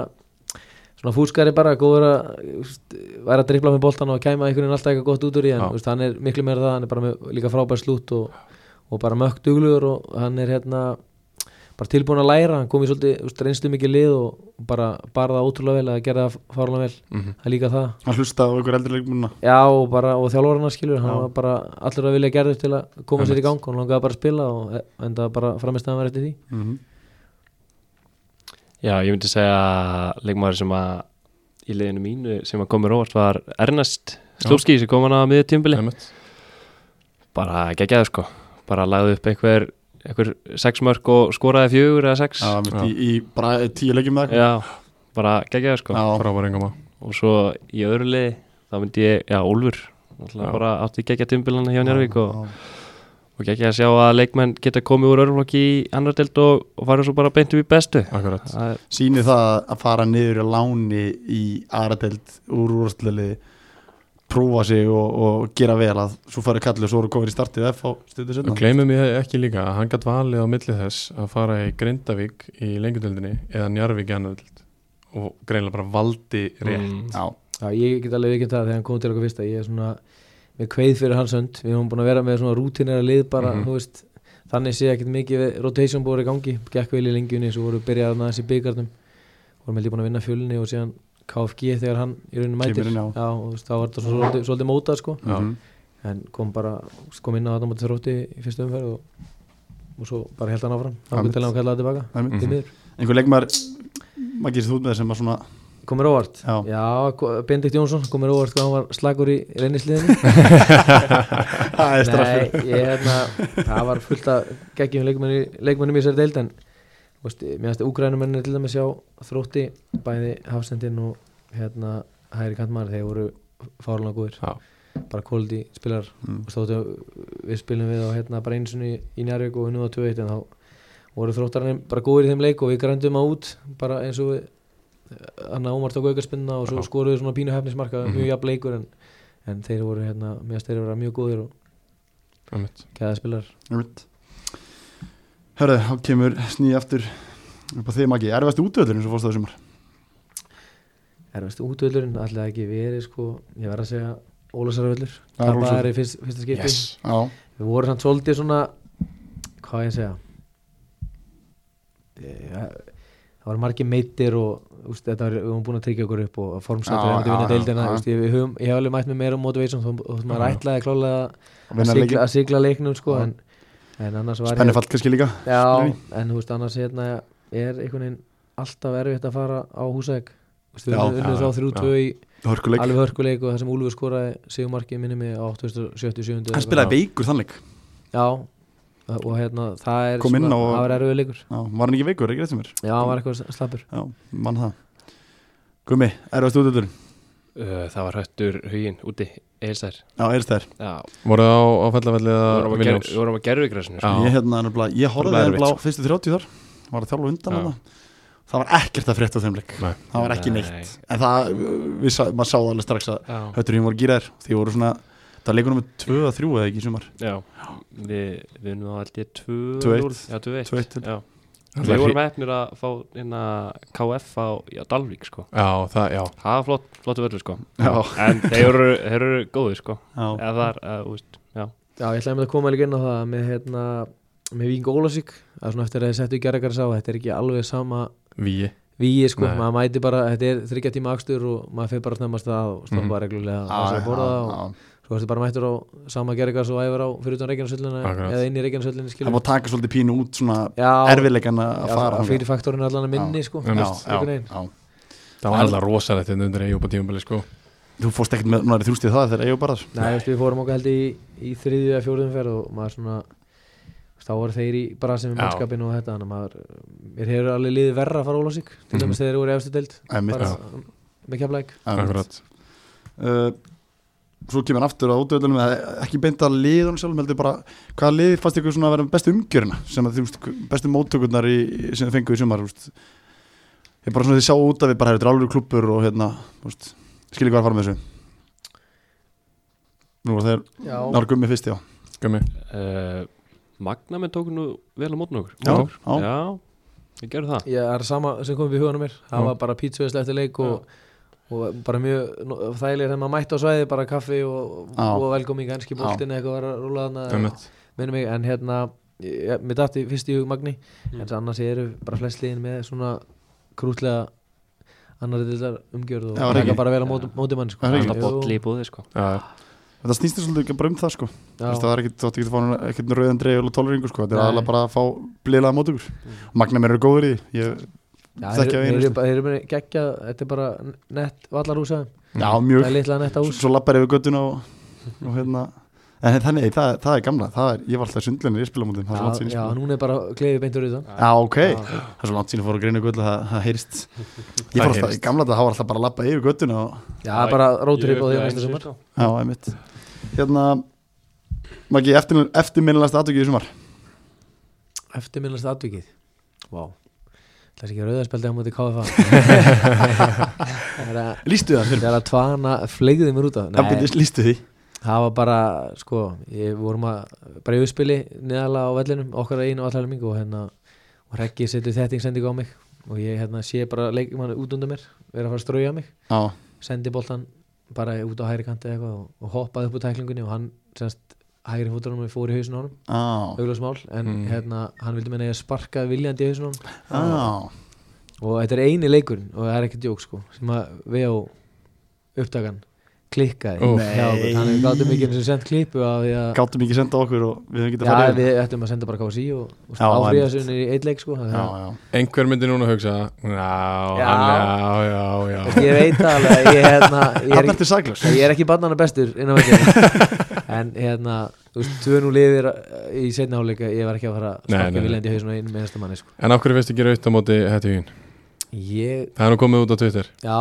svona fúskari bara góður að þú veist, væri að dribla með boltan og kæma einhvern veginn alltaf eitthvað gott út úr í en
Já.
þú veist, hann er miklu meira það, hann er bara með líka frábær slútt og, og bara mökk duglugur og hann er hérna bara tilbúin að læra, hann kom í svolítið þú veist, reynslu mikið lið og bara bara það ótrúlega vel að gera það fárlega vel
mm -hmm.
það er líka það
hann hlustaði á ykkur eldri leikmuna
Já, og, bara, og þjálfarna skilur, hann
Já.
var bara allur að vilja gerður til að koma sér í
Einmitt.
gang og hann langaði bara að spila og eh, enda bara framistæðan var eftir því
mm -hmm.
Já, ég myndi segja leikmaður sem að í leiðinu mínu sem að komur óvart var Ernest Slúpski sem kom hann að miðið tímbili bara geggjaður sko bara lagði upp einhver, einhver sex mörg og skoraði fjögur eða sex
já, mitt í, í bara tíu leikjum með eitthvað
Já, bara geggjaður sko
já,
frábæri engama
og svo í öðru leiði þá myndi ég, já, Úlfur
Já.
náttúrulega bara átti geggja tímbilana hjá Njárvík og,
já.
og geggja að sjá að leikmenn geta komið úr örflokki í annar delt og, og farið svo bara beint upp í bestu
akkurat
Það er,
síni það að fara niður í láni í aðradelt úr úrstleili prófa sig og, og gera vel að svo farið kallið og svo eru komið í startið F á stundu
og
setna
gleymum ég ekki líka að hann gætt valið á milli þess að fara í Grindavík í lengjadöldinni eða Njarvík í annaðöld og greinlega bara valdi rétt
mm,
já,
Já, ég get alveg ekki það þegar hann kom til okkur fyrsta ég er svona með kveið fyrir hans hönd við höfum búin að vera með svona rútinera lið bara
Mhm.
þú veist, þannig sé ekkert mikið við rotation búið í gangi, gekk vel í lengjunni svo voru við byrjað með þessi byggarnum vorum heldur búin að vinna fjölunni og síðan KFG þegar hann í rauninu mætir
Kemur inn á.
Já, og þú veist, þá var þetta svona svolítið, svolítið mótað sko.
Já.
Mhm.
en kom bara kom inn á þetta mútið þrótti í fyrstu umferð og, og svo bara held hann áfram þá
Einmitt.
getur hann kallaði tilbaka
Það er mitt.
til
Mhm.
miður
einhver leikmar maður gerist út með sem að svona
komur óvart
Já.
já ko- Benedikt Jónsson komur óvart hvað hann var slagur í reynisliðinu
(laughs) (laughs) það er straffur
Nei, ég hérna, það var fullt að geggjum leikmennum leikmenn í sér deild en þú veist, mér finnst að úgrænumennir til dæmis sjá þrótti bæði hafsendinn og hérna hægri kantmaður þeir voru fárlega góðir
Já.
bara kvóldi spilar
Mm.
og stóttu við spilum við á hérna bara eins og í Njárvík og unnum á 2-1 en þá voru þróttarinn bara góðir í þeim leik og við grændum á út bara eins og við hann að Ómar tók aukarspinna og svo
Já.
skoruðu svona pínu hefnismarka
Mhm.
mjög jafn leikur en, en þeir voru hérna, mér finnst þeir vera mjög góðir og
Einmitt.
Gæða spilar
Einmitt. hörðu, hann kemur snýði aftur upp á þeim ekki erfast útvöldurinn sem fórst það sumar
Erfist útvöldurinn, alltaf ekki verið sko Ég verð að segja Ólásarvöldur
Það er
Það er
Ólafsvöllur.
í fyrst, fyrsta skipi
yes
já,
Við vorum samt svolítið svona Hvað á ég að segja Eh, Það voru margir meittir og úst, þetta var, við höfum búin að tryggja okkur upp og formstættur
Já,
við myndum vinna
já,
deildina
já.
úst, ég, við höfum, ég hef alveg mætt með meira um motivation þó þó maður
Já.
ætlaði klálega að
vinna
sigla,
leikjum
að sigla leiknum sko,
Já.
en, en annars var
spennifall kannski líka
Já,
Skilurðu?
en þú veist, annars hérna er einhvern veginn alltaf erfitt að fara á húsæk Þú veist, við
Já,
unnum- unnum
já,
þá þrjú
já.
tvö í
hörkuleik
alveg hörkuleik og það sem Úlfur skoraði sigumarkið minni mig á 877.
hann spilaði veikur þannleik
Já, og hérna, það er
Kom inn á-
það var erfið leikur.
já, var hann ekki veikur, ekki rétt sem er
Já, það var eitthvað slappur.
já, mann það Gumi, erfast útvöldurinn
uh, það var höttur huginn úti eilsær
já, erist þær
Já,
voru það á, á fellafelli
við
eða
vorum að ger-
Viljáms
við vorum sko. að gerðu græsinu
Já.
ég, hérna, nefnilega, ég horfði
Nefnilega
nefnilega á
erfitt,
fyrstu 30 þar var að þjálfa undan
Já.
hana það var ekkert að frétta á þeim leik
Nei.
það var ekki
Nei.
neitt en það, við, sá- maður sáði alveg strax að
Já,
hötturinn voru gýræðir því voru svona það leikur nummer 2 að 3 eða ekki í sumar
já. Við, við erum á held ég 2-0
2-1.
Já, 2-1
2-1.
Já.
Það
Við
er
vorum
hri-
efnir að fá hérna KF á já, Dalvík sko
já það já
Það var flott, flottu völdur sko
Já.
En þeir eru, þeir eru góðir sko
já,
Eða það er, uh, úst, já
Já, ég ætlaði með að koma líka inn á það með, hérna, með Víking Ólásík, að svona eftir að þið settu í gerðakar sá, þetta er ekki alveg sama
víi
víi, sko,
Nei.
maður mæti bara, þetta er þryggja tíma akstur og maður fyrir bara snemmast að og stoppa reglulega á sér að borða
Mhm. Já,
og
já.
Svo ertu bara mættur á sama gerðigas og æfur á fyrir utan Reykjanesöllina
Akkurat.
eða inn í
það
Reykjanesöllinni skilur
má taka svolítið pínu út svona
Já,
erfiðleikan að
já,
fara
fyrir faktorinn allan að minni sko
Já,
einhvern veginn.
já.
það var alltaf rosalegt hérna undir Eyjúpa tíumbeli sko
þú fórst ekkert með nári þrjústið það þegar ég var bara þar
Nei, veistu, við fórum okkar held í, í þriðju eða fjóruðum ferð og maður svona þú veist, þá voru þeir í brasið með
Já.
mannskapinu og þetta þannig að maður, mér hefur alveg liðið verra að fara ólásík
Mhm.
til dæmis þegar þeir voru í efstu deild
Einmitt.
bara með keflæk
Já,
akkurat
uh, svo kemur hann aftur á útöðlunum ekki beint að liðunum sjálf heldur bara hvaða liði fannst ykkur svona að vera með bestu umgjörina sem að þú veist, bestu móttökurnar í, sem þið fengu í sumar þú veist. ég bara svona því sjá út að við bara hefur alveg klubur og hérna þú veist, skilji hvað er að fara með þessu nú var þeir
Já,
nára gummi fyrst já,
gummi
uh, Magna með eh, tóku nú vel á mótn okkur
Já,
Mótn
já.
okkur. já Við gerum það
Já, það er sama sem kom upp í huganum mér
Já.
Það var bara pítsuveisla eftir leik og, og bara mjög no- þægilegir þegar maður mætti á svæði bara kaffi og,
Já.
og velkomi í ganski boltin eða eitthvað var að rúla þarna
Einmitt.
minnum mig, en hérna ég, mér dætti fyrst í hug Magni
Mm.
en svo annars eru bara flest liðin með svona krútlega annar dildar umgjörð og
Já, er
taka
ekki?
bara vel á móti, móti mann sko.
Það er ekki?
Alltaf bolli í búði sko
Já, já.
Þetta snýstir svolítið ekki bara um það sko
Já.
Vistu, Það er ekkit, þú átti ekki að fá hann- ekkit rauðan dreifil og tóleringu sko Þetta er
Nei. Mm.
aðalega bara að fá bliðlega mót ykkur Og Magna mér eru góður í því ég,
Já,
Þekki af
þeir þeir
einu
eru bara- þeir eru bara geggja þetta er bara nett vallarhúsa
Já,
það er
mjög
litla
Svo,
netta hús
svo lappar yfir göttuna og, og hérna En þannig, það, það er gamla það er, Ég var alltaf sundlunir í spilamótin Það er svo langt
já,
sín í
já,
spila
núna er bara gleði beintur utan
Já, ok,
Já.
það er svo langt sín að fóra að greina göllu, það, það heyrist Ég fór alltaf,
heyrist.
í gamla þetta, það var alltaf bara að lappa yfir göttuna og
Já, það er bara róturip á því
Ég-
næsta sumar
sko.
Já, einmitt Hérna, Maggi, eftir, eftirminnilegast aðtökið í sumar
Eftirminnast atvikið Vá Það er ekki rauðarspeldi á móti (laughs) KFA Þegar að-
Lýstu það fyrir
Þegar að tvana fleigði mér út af
Nei,
Nei,
Lýstu því
það var bara sko, ég vorum að bara í uppspili neðalega á vellinum okkar einu allarming og hérna og Rekki setur þetting sendingu á mig og ég hérna sé bara leikmann út undan mér vera að fara að strauja mig
Já,
sendi boltan bara út á hægri kanti eða eitthvað og, og hoppaði upp úr tæklingunni og hann semst hægri fótunum fór í hausin á honum
já,
augljós mál en
Mm.
hérna hann vildi meina að ég sparka viljandi í hausin á honum
já
og þetta er eini leikurinn og það er ekki djók sko sem að við á upptakan klikkaði
Úff.
hjá okkur. þannig við gáttum ekki eins og sendt klipu af því að
Gáttum ekki senda okkur og við höfum getað
já,
farið
við ættum að senda bara kási og, og
Já,
áfríða
einmitt.
sunni í eitt leik sko þannig
Já,
að-
já
Einhver myndi núna að hugsa Já,
Já.
hann, já, já, já
ég veit alveg ég, hérna, ég, er
Þannig
ekki,
ertu saklaus
ég er ekki barnana bestur innan veginn
(laughs)
en hérna þú veist, tvö nú liðir eh, í setna áleika ég var ekki að fara að
Nei, nei,
sparka
nei.
viljandi í hausinu einu með næsta manni sko
En af hverju finnst ekki raut á móti hættu hugin?
ég,
Það er nú komið út á Twitter
já,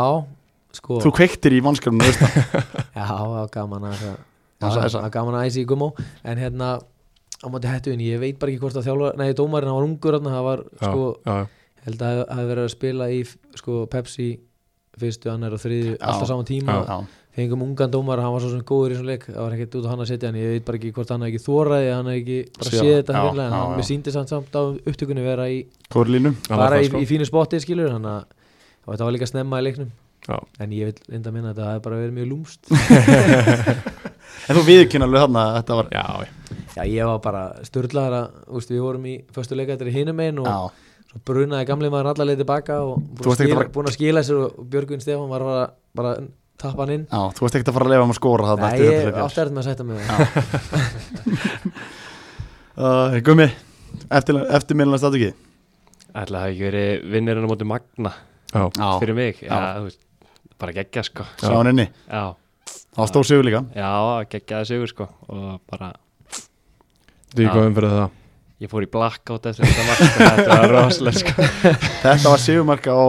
sko
Þú kveiktir í vanskanum veist það
Já, það var gaman að já,
sagði
það
það.
var gaman að æsa í gummó en hérna á móti hættuðin, ég veit bara ekki hvort að þjálfar nei, dómarinn, hann var ungur hann, það var
Já,
sko,
já,
held að það hafi verið að spila í sko Pepsi fyrstu, annar og þriðju, alltaf saman tíma
Já,
fengum ungan dómar, hann var svo sem góður í svona leik það var ekkert út á hann að setja hann, ég veit bara ekki hvort hann hafi ekki þóraði, hann hafi ekki bara
Séð það.
séð þetta
Já,
hreinlega, en
já,
hann
já.
mér síndi samt samt á upptökunni vera í,
Hvor línu
Hann var það,
bara í,
sko.
í fínu spotti skilur, hann að og þetta var líka snemma í leiknum
Já.
en ég vil enda minna að þetta hafi bara verið mjög lúmst
En þú viðurkenna alveg þarna að þetta var
já, já.
Já, ég var bara sturlaðar að, úst, við vorum í föstu leikættir í hinum einn og
Já,
svo brunaði gamli maður alla leið tilbaka og
Þú
búin
varst
að,
ekkert að
skila,
fara-
búin að skila sér og Björgvin Stefán var bara, bara að tappa hann inn
já, þú veist ekkert að fara að lefa um að skora þarna
Nei,
eftir
ég
þetta
átti erfitt með að setja mig við það.
Uh, Gummi, eftir, eftirminnilegast aðtökið
Ætli það hafi ekki verið vinnirinn á móti Magna
já.
fyrir mig
Já.
Já, þú veist, bara geggja sko
Sjá hann inni
Já,
Það stóð sigur líka
já, geggjaði sigur sko og bara,
Þú
Já.
ekki góðum fyrir það
ég fór í blackout eftir þetta mark sko, þetta var rosalega sko
Þetta var sigurmarka á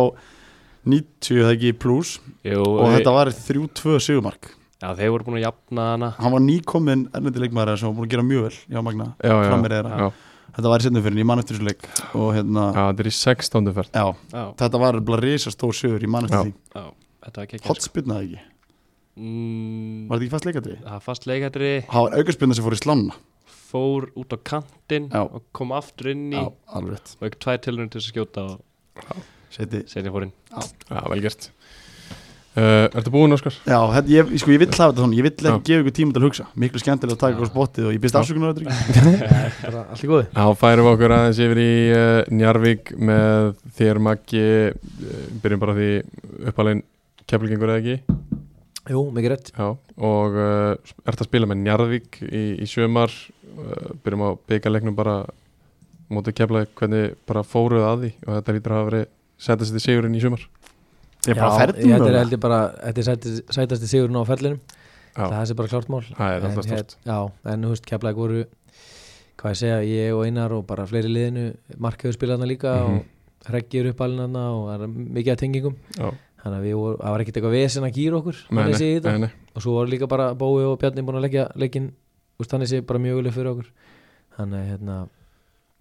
90 það ekki pluss
Jú,
og
við-
þetta var 3-2 sigurmark
Já, þeir voru búin að jafna hana
Hann var nýkominn erlendi leikmaður sem var búin að gera mjög vel Já, Magna,
Já, já,
framir eða
já.
Þetta var í setnum fyrir, ég man eftir þessu leik og hérna,
Já, þetta er í 16. ferð
já,
Já,
þetta var bara risastór sigur, ég man
Já.
eftir því
já, þetta var geggja sko.
Hotspinnaði ekki,
Mm,
var þetta ekki fast leikadri?
Það var fast leikættri
Það var aukarspinna sem fór í slanna
fór út á kantinn
Já.
og kom aftur inn í
Já, alveg rétt
og ekki tvær tilhörnum til þess að skjóta og
Seti.
setja fór inn
Já, vel gert uh, Ertu búinn, Óskar?
Já, þetta, ég, sko, ég vill hafa þetta svona, ég vill
Já.
ekki gefa ykkur tíma til að hugsa Miklu skemmtilega að taka ykkur spottið og ég byrst
Já.
afsökunar á þetta ekki
(laughs) Bara Allt í góði
Þá færum við okkur aðeins yfir í uh, Njarvík með þér Maggi uh, Byrjum bara á því uppalinn keflingengur eða ekki
Jú, mikið rétt
Já, og uh, ert að spila með Njarðvík í, í sjömar uh, byrjum á byggarleiknum bara mótið kefla hvernig bara fóruð að því og þetta lítur að hafa verið setja sér til sigurinn í sjömar
Ég er bara
Já,
ferðin
Þetta er
mögulega.
held ég bara, þetta er sæti- sætasti sigurinn á ferlinum
Já,
Það sé bara klárt mál
það er alltaf
En hérna-
stort
hér- Já, en þú veist, keflaði voru hvað ég segja, ég og Einar og bara fleiri í liðinu, markjöðu spilaðna líka
Mhm.
og reggir upp alinna og það er mikið að tengingum
Já,
þannig að við voru, það var ekkert eitthvað vesen að gýra okkur
nei,
þannig sé
nei,
í þetta
nei, nei.
og svo voru líka bara Bói og Bjarni búin að leggja leikin úst, þannig sé bara mjög uleg fyrir okkur þannig að hérna,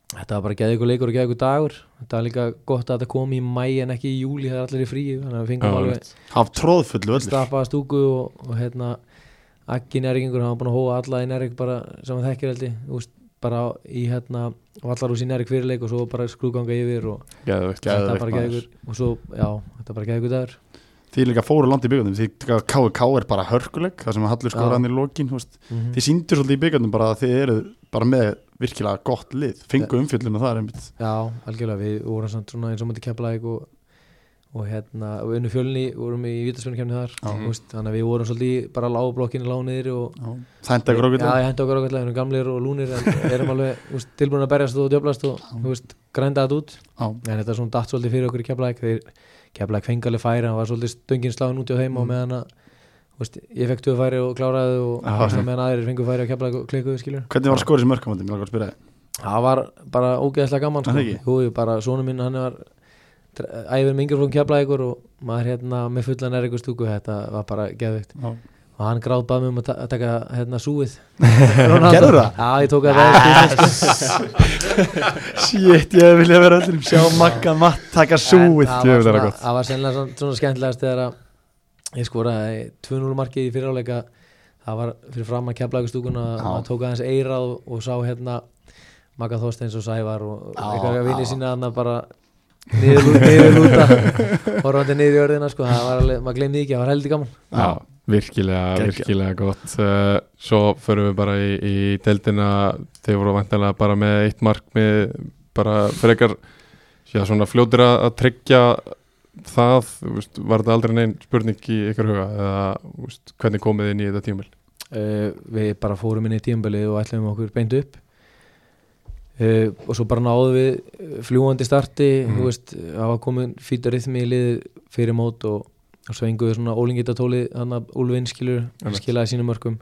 þetta var bara geða ykkur leikur og geða ykkur dagur þetta var líka gott að þetta kom í mæ en ekki í júli það er allir í fríu þannig að við
Já,
fengum alveg
einmitt.
Haf tróðfullu öllur
staffaða stúku og, og hérna Aggi Næringur, hann var búin að hóa alla í Næring bara sem hann þekkir held ég úst, bara í hérna vallarúsi næri hverleik og svo bara skrúganga yfir og
Geðveikt.
þetta
Geðveikt,
bara
maður.
geðugur og svo, já, þetta bara geðugur dagur
Því líka fóru langt í byggandum Því KK er bara hörkuleik Það sem að Hallur
Já.
skorar hann í lokin þú veist. Þið síndur svolítið í byggandum bara að þið eru bara með virkilega gott lið Fengu umfjöldum og það er einmitt
Já, algjörlega, við vorum samt svona eins og mútið keflaðið og, og hérna, og unnu fjölni vorum í vítaspjörnukefni þar
Já.
þú veist, þannig að við vorum svolítið í bara lágblokkinni lániðir og
Já. Það henda ykkur okkur
Já, ég hendi okkur ákveðlega, við erum gamlir og lúnir en erum alveg þú veist, tilbúin að berjast og djöflast og þú veist, grænda þetta út
Já,
en þetta er svona datt svolítið fyrir okkur í Keflæk þeir Keflæk fengaleg færi, hann var svolítið stöngin sláin út á þeim og meðan að þú veist, ég fekk tvö færi og kláraði þau og
Mm. Já.
ah. meðan aðrir fengu færi og Keflæk og klikuðu skilur
Hvernig var að skora þessi mörkamöndum? Mér langar að spyrja þið
það var bara ógeðslega
Er
gaman sko.
það ekki?
Jú, jú, bara sonu minn hann var dr- æfir með yngri frá Keflæk og maður hérna með fullan er eitthvað stúku þetta var bara geðvikt og hann gráð bað mig um að ta- að taka hérna súið
(laughs) Gerðu það? Ah,
Já, ég tók að það
Shit, ég vilja vera öllum sjá Magga Matt taka súið
En
Djöfull
það
er
var,
það
svona, það var sennilega svona, svona skemmtilegast þegar að ég skoraði 2-0 markið í fyriráleika það var fyrir fram að kefla ykkur stúkuna
Já.
maður tók aðeins eirað og, og sá hérna Magga Þorsteins og Sævar og
Já,
einhverja
já.
vinni sína þarna bara niður, niður lúta horfandi niður í örðina sko, það var alveg, maður glemdi ekki, það var heldur gaman
Já, virkilega,
Geggjað.
virkilega gott Eh, Svo förum við bara í, í deildina Þeir voru vantanlega bara með eitt markmið bara frekar já, svona fljótir að að tryggja það, þú veist, var þetta aldrei neinn spurning í ykkar huga eða þú veist, hvernig komið þið inn í þetta tímil
uh, við bara fórum inn í tímabilið og ætlum okkur beint upp uh, og svo bara náðum við eh, fljúgandi starti
Mhm.
þú veist, það var komin fýta rithmi í liðið fyrir mót og, og svenguðu svona ólingitatólið hann að Úlfinn skilur
Einmitt.
skilaði sínum mörkum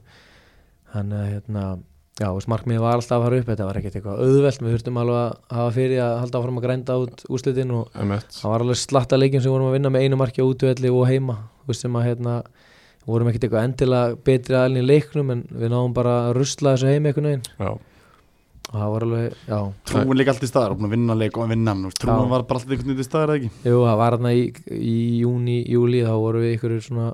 hann að hérna Já, þú veist, markmiðið var alltaf að fara upp, þetta var ekkert eitthvað auðvelt, við þurftum alveg að hafa fyrir að halda áfram að grænda út úrslitin og
M1
það var alveg slatta leikjum sem við vorum að vinna með einu marki á útvelli og heima þú veist, sem að hérna við vorum ekkert eitthvað endilega betri aðalinn í leiknum en við náðum bara að rusla þessu heim einhvern veginn
Já,
og það var alveg, já,
Trúin líka allt í staðar, og búin að vinna leik og að vinna hann þú veist, Trúin
Já.
var bara alltaf einhvern veginn í staðar eða ekki
jú, það var hérna í, í júni, júli, þá vorum við ykkur svona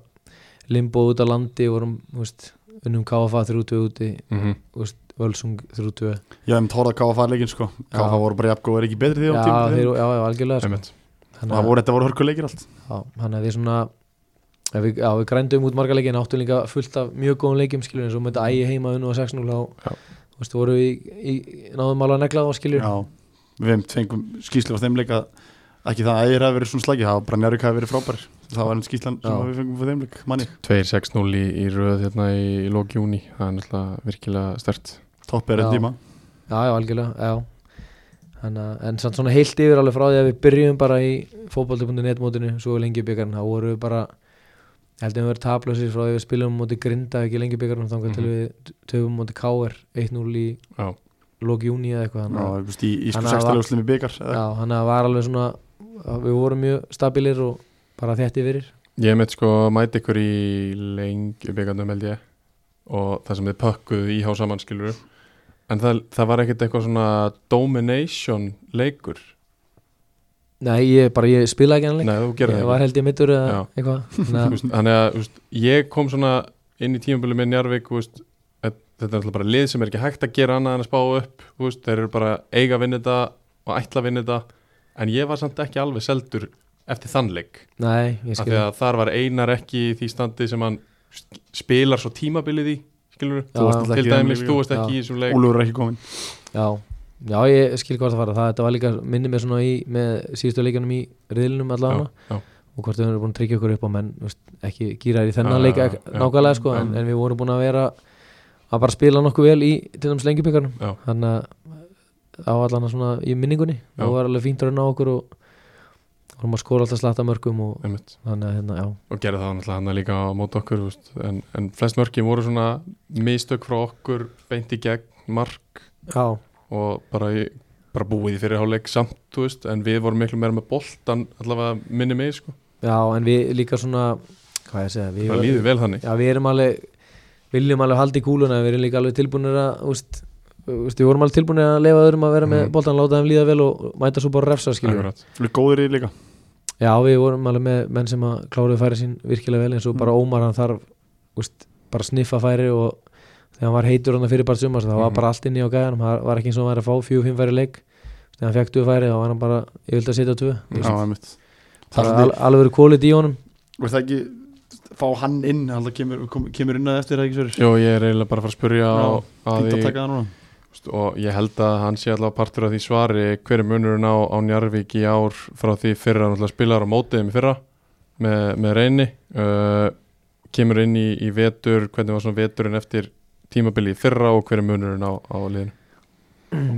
limbo út á landi vorum, þú veist, unnum KFA 32 úti,
mhm
þú veist, Völsung 32
Já, þeim tóra KFA leikinn sko KFA voru bara jafngóður ekki betri því
já,
á tímabilinu.
þeir, já, já, algjörlega sko.
Einmitt.
Og það
þannig að,
voru, þetta voru hörkuleikir allt
já, þannig að við svona Já, við, já, við grændum út marga leikin, áttum líka fullt af mjög góðum leikjum, skilur, eins og með þetta ægi heima unnu og 6-0 á,
Já.
þú veist, voru við í, í, náðum alveg að negla þá, skilur,
Já, við fengum skýslu á þeim leika Ekki það að ægir hafi verið svona slagi Það var bara njárvík hafi verið frábær Það var enn skýslan sem
Já.
við fengum frá þeim leik Manni,
2-6-0 í, í röð hérna í, í lók júni, það er náttúrulega virkilega stert
topp er enn
Já.
tíma
já, já, algjörlega, já, Þannig, að- en samt svona heilt yfir alveg frá því að við byrjum bara í fótbolti.net mótinu, svo í lengjubikarinn, þá voru við bara, ég held að við verið taplausir frá því að við spilum móti grinda ekki lengjubikarinn, þannig að til við töfum móti KR 1-0 í
Mhm. Já,
lók júni eða eitthvað,
Já,
þannig að
þú veist, í, í sko
Þannig að það-
sextalega úslim í byggar
Já, þannig að það var alveg svona að við vorum mjög stabilir og bara þétti fyrir
Ég mitt sko mæti ykkur í lengju byggandum held ég og það sem þið pökkuðu í há saman skilur en það, það var ekkert eitthvað svona domination leikur
Nei, ég bara, ég spilaði ekki hann leik
Nei, þú gerði
Ég
það
var hérna.
ekki.
held ég mittur eða
Já.
eitthvað
Þú (laughs)
Þannig að-
veist, Þannig að þú veist, ég kom svona inn í tímabölu með Njarvík þú veist, að- þetta er alltaf bara lið sem er ekki hægt að gera annað en að spá upp þú veist, þeir eru bara eiga að vinna þetta og ætla að vinna þetta en ég var samt ekki alveg seldur eftir þann leik
Nei, ég
af
skil
því að þar var Einar ekki í því standi sem hann spilar svo tímabilið í skilur
Já, varst
til
náttúrulega ekki í þeim
dæmis,
leik
þú
líka.
varst ekki í þessum leik
Úlfur er ekki komin
Já, já, ég skil hvort það fara Það þetta var líka, minni mér svona í með síðustu leikunum í riðlunum allavega
já, já.
og hvort við erum búin að tryggja okkur upp á menn veist, ekki gýraðir í þennan
Já,
leik
já,
ek-
já.
nákvæmlega sko, en, en við vorum búin að vera að bara spila nokkuð vel í til dæmis lengjubíkarnum
Já.
þannig að á allan að svona í minningunni
Já.
og var alveg fínt raun á okkur og vorum að skora alltaf slatta mörgum og
Einmitt.
þannig að hérna, já,
og gerði það náttúrulega hann líka á mót okkur þú veist. en, en flest mörkin voru svona mistök frá okkur beint í gegn mark
já,
og bara, í, bara búið í fyrirháleik samt þú veist, en við vorum miklu meira með boltan allavega minni mig sko.
já, en við líka svona hvað ég að segja, við,
það líður vel þannig
já, við erum alveg viljum alveg halda í kúluna, en við erum líka alveg tilbúinir að, úst, úst, við vorum alveg tilbúinir að leifa öðrum að vera með
Mhm.
boltan, láta þeim líða vel og og mæta svo bara að refsa skiljum
Akkurat.
Fyrir góður í því líka
Já, við vorum alveg með menn sem
Mhm.
að kláruðu færi sín virkilega vel eins og bara Ómar hann þarf úst, bara sniffa færi og þegar hann var heitur hann fyrir bara sumars það var
Mhm.
bara allt inni á gæðanum, það var ekki eins og hann væri að fá fjú, fimm færi í leik þegar hann fekk tvö færi þá var hann bara, ég vildi að setja tvö
Já, einmitt.
það
Talandi-
var al, alveg verið kólit í honum
og er það ekki fá hann inn alltaf kemur, kom, kemur inn að eftir það ekki sverjur
Jó, ég er eiginlega bara að fara að spurja á,
Já,
að
fínt að
því
taka það núna
veist, og ég held að hann sé allavega partur af því svari hver er munurinn á, á Njarvík í ár frá því fyrra hann alltaf spilar á mótiðum í fyrra með, með reyni uh, kemur inn í, í vetur hvernig var svona veturinn eftir tímabili í fyrra og hver er munurinn á, á liðinu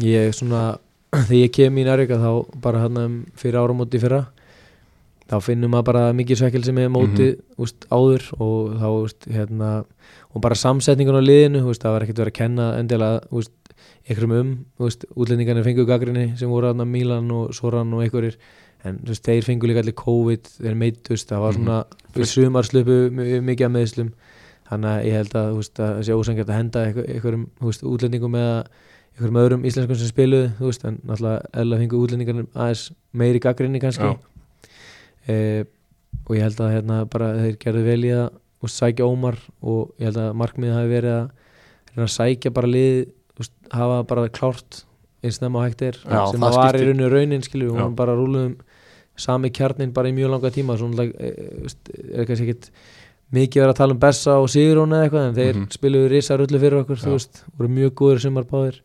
ég svona, (clears throat) þegar ég kem í Nærvika þá bara hann um fyrir áramóti í fyrra þá finnum maður bara mikið svekkelsi með móti úst, áður og þá úst, hérna, og bara samsetningun á liðinu úst, það var ekkert verið að kenna endilega úst, einhverjum um, úst, útlendingarnir fengu gaggrinni sem voru hann Milan og Soran og einhverjir en þú veist, þeir fengu líka allir COVID þeir meittust, það var
Mhm.
svona við sumar slupu mikið að meðslum þannig að ég held að, þú veist, að það sé ósangjöld að henda einhver- einhverjum þú veist, útlendingum eða einhverjum öðrum íslenskum sem spiluðu þú veist, en náttúrulega eðla fengu útlendingarnir aðeins meiri gaggrinni kannski
Já.
e, og ég held að hérna, bara, þeir gerðu vel í að þú veist, sækja Ómar og ég held að markmiðið hafi verið að reyna að sækja bara lið þú veist, hafa bara klárt eins nema og hægt er
Já,
sem
það
það var í
skiptir.
rauninu raunin skilur við,
Já.
og hún bara rúluðum sami kjarnin bara í mjög langa tíma svona, e, er kannski ekkit mikið verið að tala um Bessa og Sigurón eða eitthvað en þeir
Mhm.
spiluðu risa rullu fyrir okkur þú
Já.
veist, voru mjög góður sumar báðir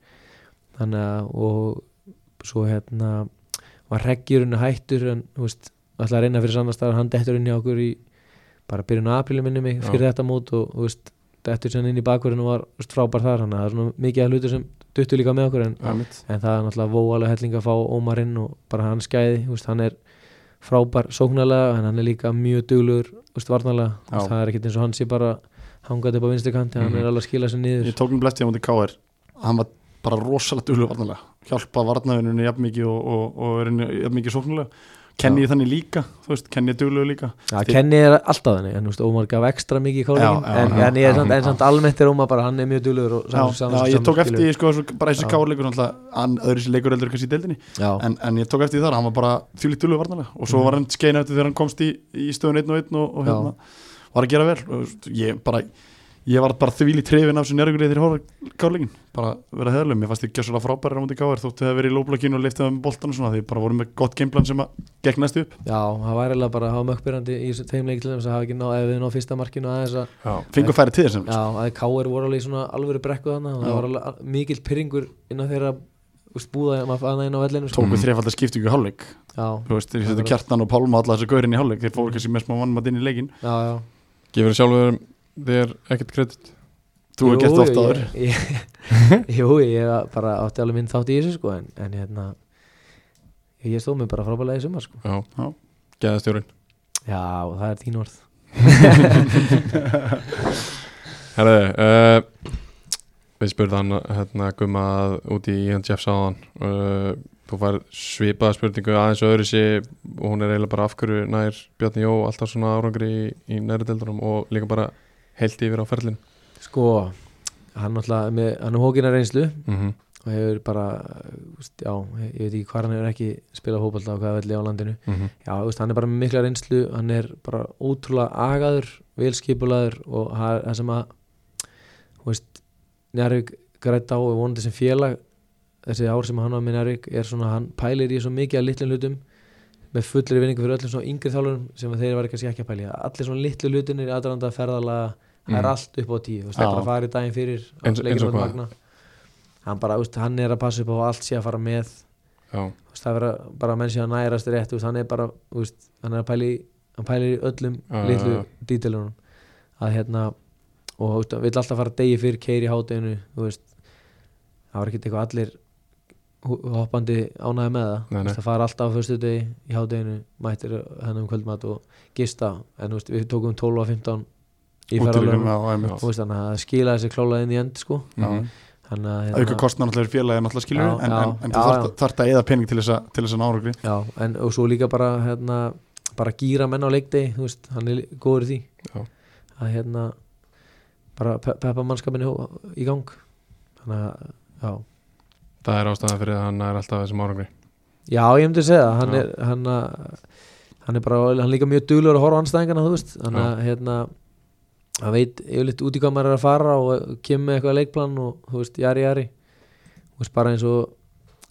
þannig að og svo hérna var reggjurinn hættur en þú veist, alltaf að reyna fyrir sannastar hann dettur inn í okkur í bara byrjun á apríli minni mig
Já.
fyrir þetta mót og þú veist, dettur sem inn í bakverðinu var þú veist, frábær þar þannig að það er svona mikið af hlutur sem duttur líka með okkur en,
Einmitt.
en það er náttúrulega vóalega helling að fá Ómar inn og bara hann skæði þú veist, hann er frábær sóknarlega en hann er líka mjög duglugur þú veist, varnarlega Þú veist,
Já.
það er ekkert eins og hann sé bara hangað upp á vinstri kanti, hann
Mhm.
er alveg að skila sér niður
ég tók mér bleft hjá mútið K.R. hann var bara rosalega duglu varnalega hjálpa varnavinnunni jafn mikið og, og, og er henni jafn mikið sóknulega kenni ég þannig líka, þú veist, kenni ég duglu líka
Já,
Þi-
Kenny er alltaf þannig, en þú veist, Ómar gaf ekstra mikið í
Já,
káleikin,
já,
en,
já,
en ég er
já,
samt,
já.
en samt almennt er Ómar bara, hann er mjög dulur og
já, já, ég tók eftir, því, sko, svo- bara þessi
Já.
K.R. leikur náttúrulega, hann öðru sér leikur heldur kannski í deildinni
já, Mhm.
en, en ég tók eftir því þar, hann var bara þjúlið dullu varnarlega og svo var hann skein eftir þegar hann komst í, í stöðun 1 og 1 og, og
Já.
hérna, var að gera vel og ég bara ég var bara þvíli trefin af þessu njörgurlið þegar hóra kárleikin, bara vera heðalum ég fannst ekki gjössalega frábæri á múti káir þóttu það verið í lóblokkinu og liftið með boltan og svona því bara vorum með gott geimplan sem að gegn næstu upp
já, það var eiginlega bara að hafa mökkbyrjandi í þessu- þeim leik til þess að hafa ekki ná, ef við ná fyrsta markinu aðeins að,
Já,
fengu færi til þessum
já, að K.R. voru alveg í svona alvöru brekku þannig og
Já.
það var alveg al- mikill pyrringur innan þeirra, þú veist, búða að maður inn á vellinu, sko.
Mhm.
tóku mm. þrefaldar skiptingu í hálfleik
já,
þú veist, þeir
Akkurat.
settu kjartan og pálma alla þessu gaurin í hálfleik þeir fóru kannski með smá vannmatt inn í leikin
já, já,
gefur sjálfur þér ekkert kredit
þú hefur
Jú,
gert það oft
jú,
áður
ég- (laughs) ég- Jú, ég bara átti alveg minn þátt í þessu, sko, en, en hérna, ég stóð mig bara frábælega í sumar, sko.
Já,
Já.
geðastjórinn
Já, og það er þín orð.
(laughs) Herði, uh, við spurðum hann hérna gumma út í Ian Jeffs áðan uh, þú var svipaða spurningu aðeins öðru sér og hún er eiginlega bara af hverju nær Bjarni Jó alltaf svona árangri í, í næri deildunum og líka bara heilt yfir á ferlin
Sko, hann náttúrulega með, hann er hókina reynslu
mm -hmm.
og hefur bara, uh, úst, já, ég veit ekki hvað hann hefur ekki spilað fótbolta og hvað velli á landinu. Já, úst, hann er bara með mikla reynslu, hann er bara ótrúlega agaður, velskipulaður og það það sem að, þú veist, Njárvík grætt á og vonandi sem félag þessi ár sem hann var með Njárvík er svona, hann pælir í svo mikið að litlum hlutum með fullri vinningu fyrir öllum svona yngri þálurum sem að þeir var kannski ekki að pæli allir svona litlu hlutinir aðranda ferðalega það er
Mhm.
allt upp á tíu, þú veist, það er
Já.
bara að fara í daginn fyrir á
Eins-
leikinn
eins og
móti
hvað?
Magna. hann bara, þú veist, hann er að passa upp á að allt sé að fara með
Já,
þú veist, það vera bara að menn sé að nærast rétt þú veist, hann er bara, þú veist, hann er að pæli hann pælir í öllum
Já,
litlu
já, já.
dítilunum að hérna og þú veist, hann vill alltaf fara degi fyrir keiri hátinu þú veist, það var ekkert eitthvað allir hú- hoppandi ánæði með það
Nei,
Þú veist, það fara alltaf á fyrstu degi í hátinu mættir hann um kvöldmat og gista en þú veist, við tókum 12 og 15 í ferðalöfum
Útileikum, já, einmitt. Mhm.
þú veist, þannig að það skila þessi klála inn í end sko
Já.
þannig að
auka kostnar náttúrulega félagi náttúrulega skilur
Hérna. Já,
en,
já,
en, en
já,
þú
já.
þarft- þarft að eða pening til þess að, til þess að nárugri
Já, en og svo líka bara hérna, bara gýra menn á leikdegi þú veist, hann er lí- góður í því
Já.
að hérna bara pe peppa mannskapinu hó- í gang þannig að, já
það er ástæðan fyrir að hann nær alltaf þessum árangri
Já, ég myndi að segja það, hann
Já.
er hann, að- hann er bara, hann er líka mjög duglur að horfa á anstæðingana, þú veist þannig að, hérna hann veit yfirleitt út í hvað maður er að fara og kemur með eitthvað leikplan og þú veist, jari, jari þú veist, bara eins og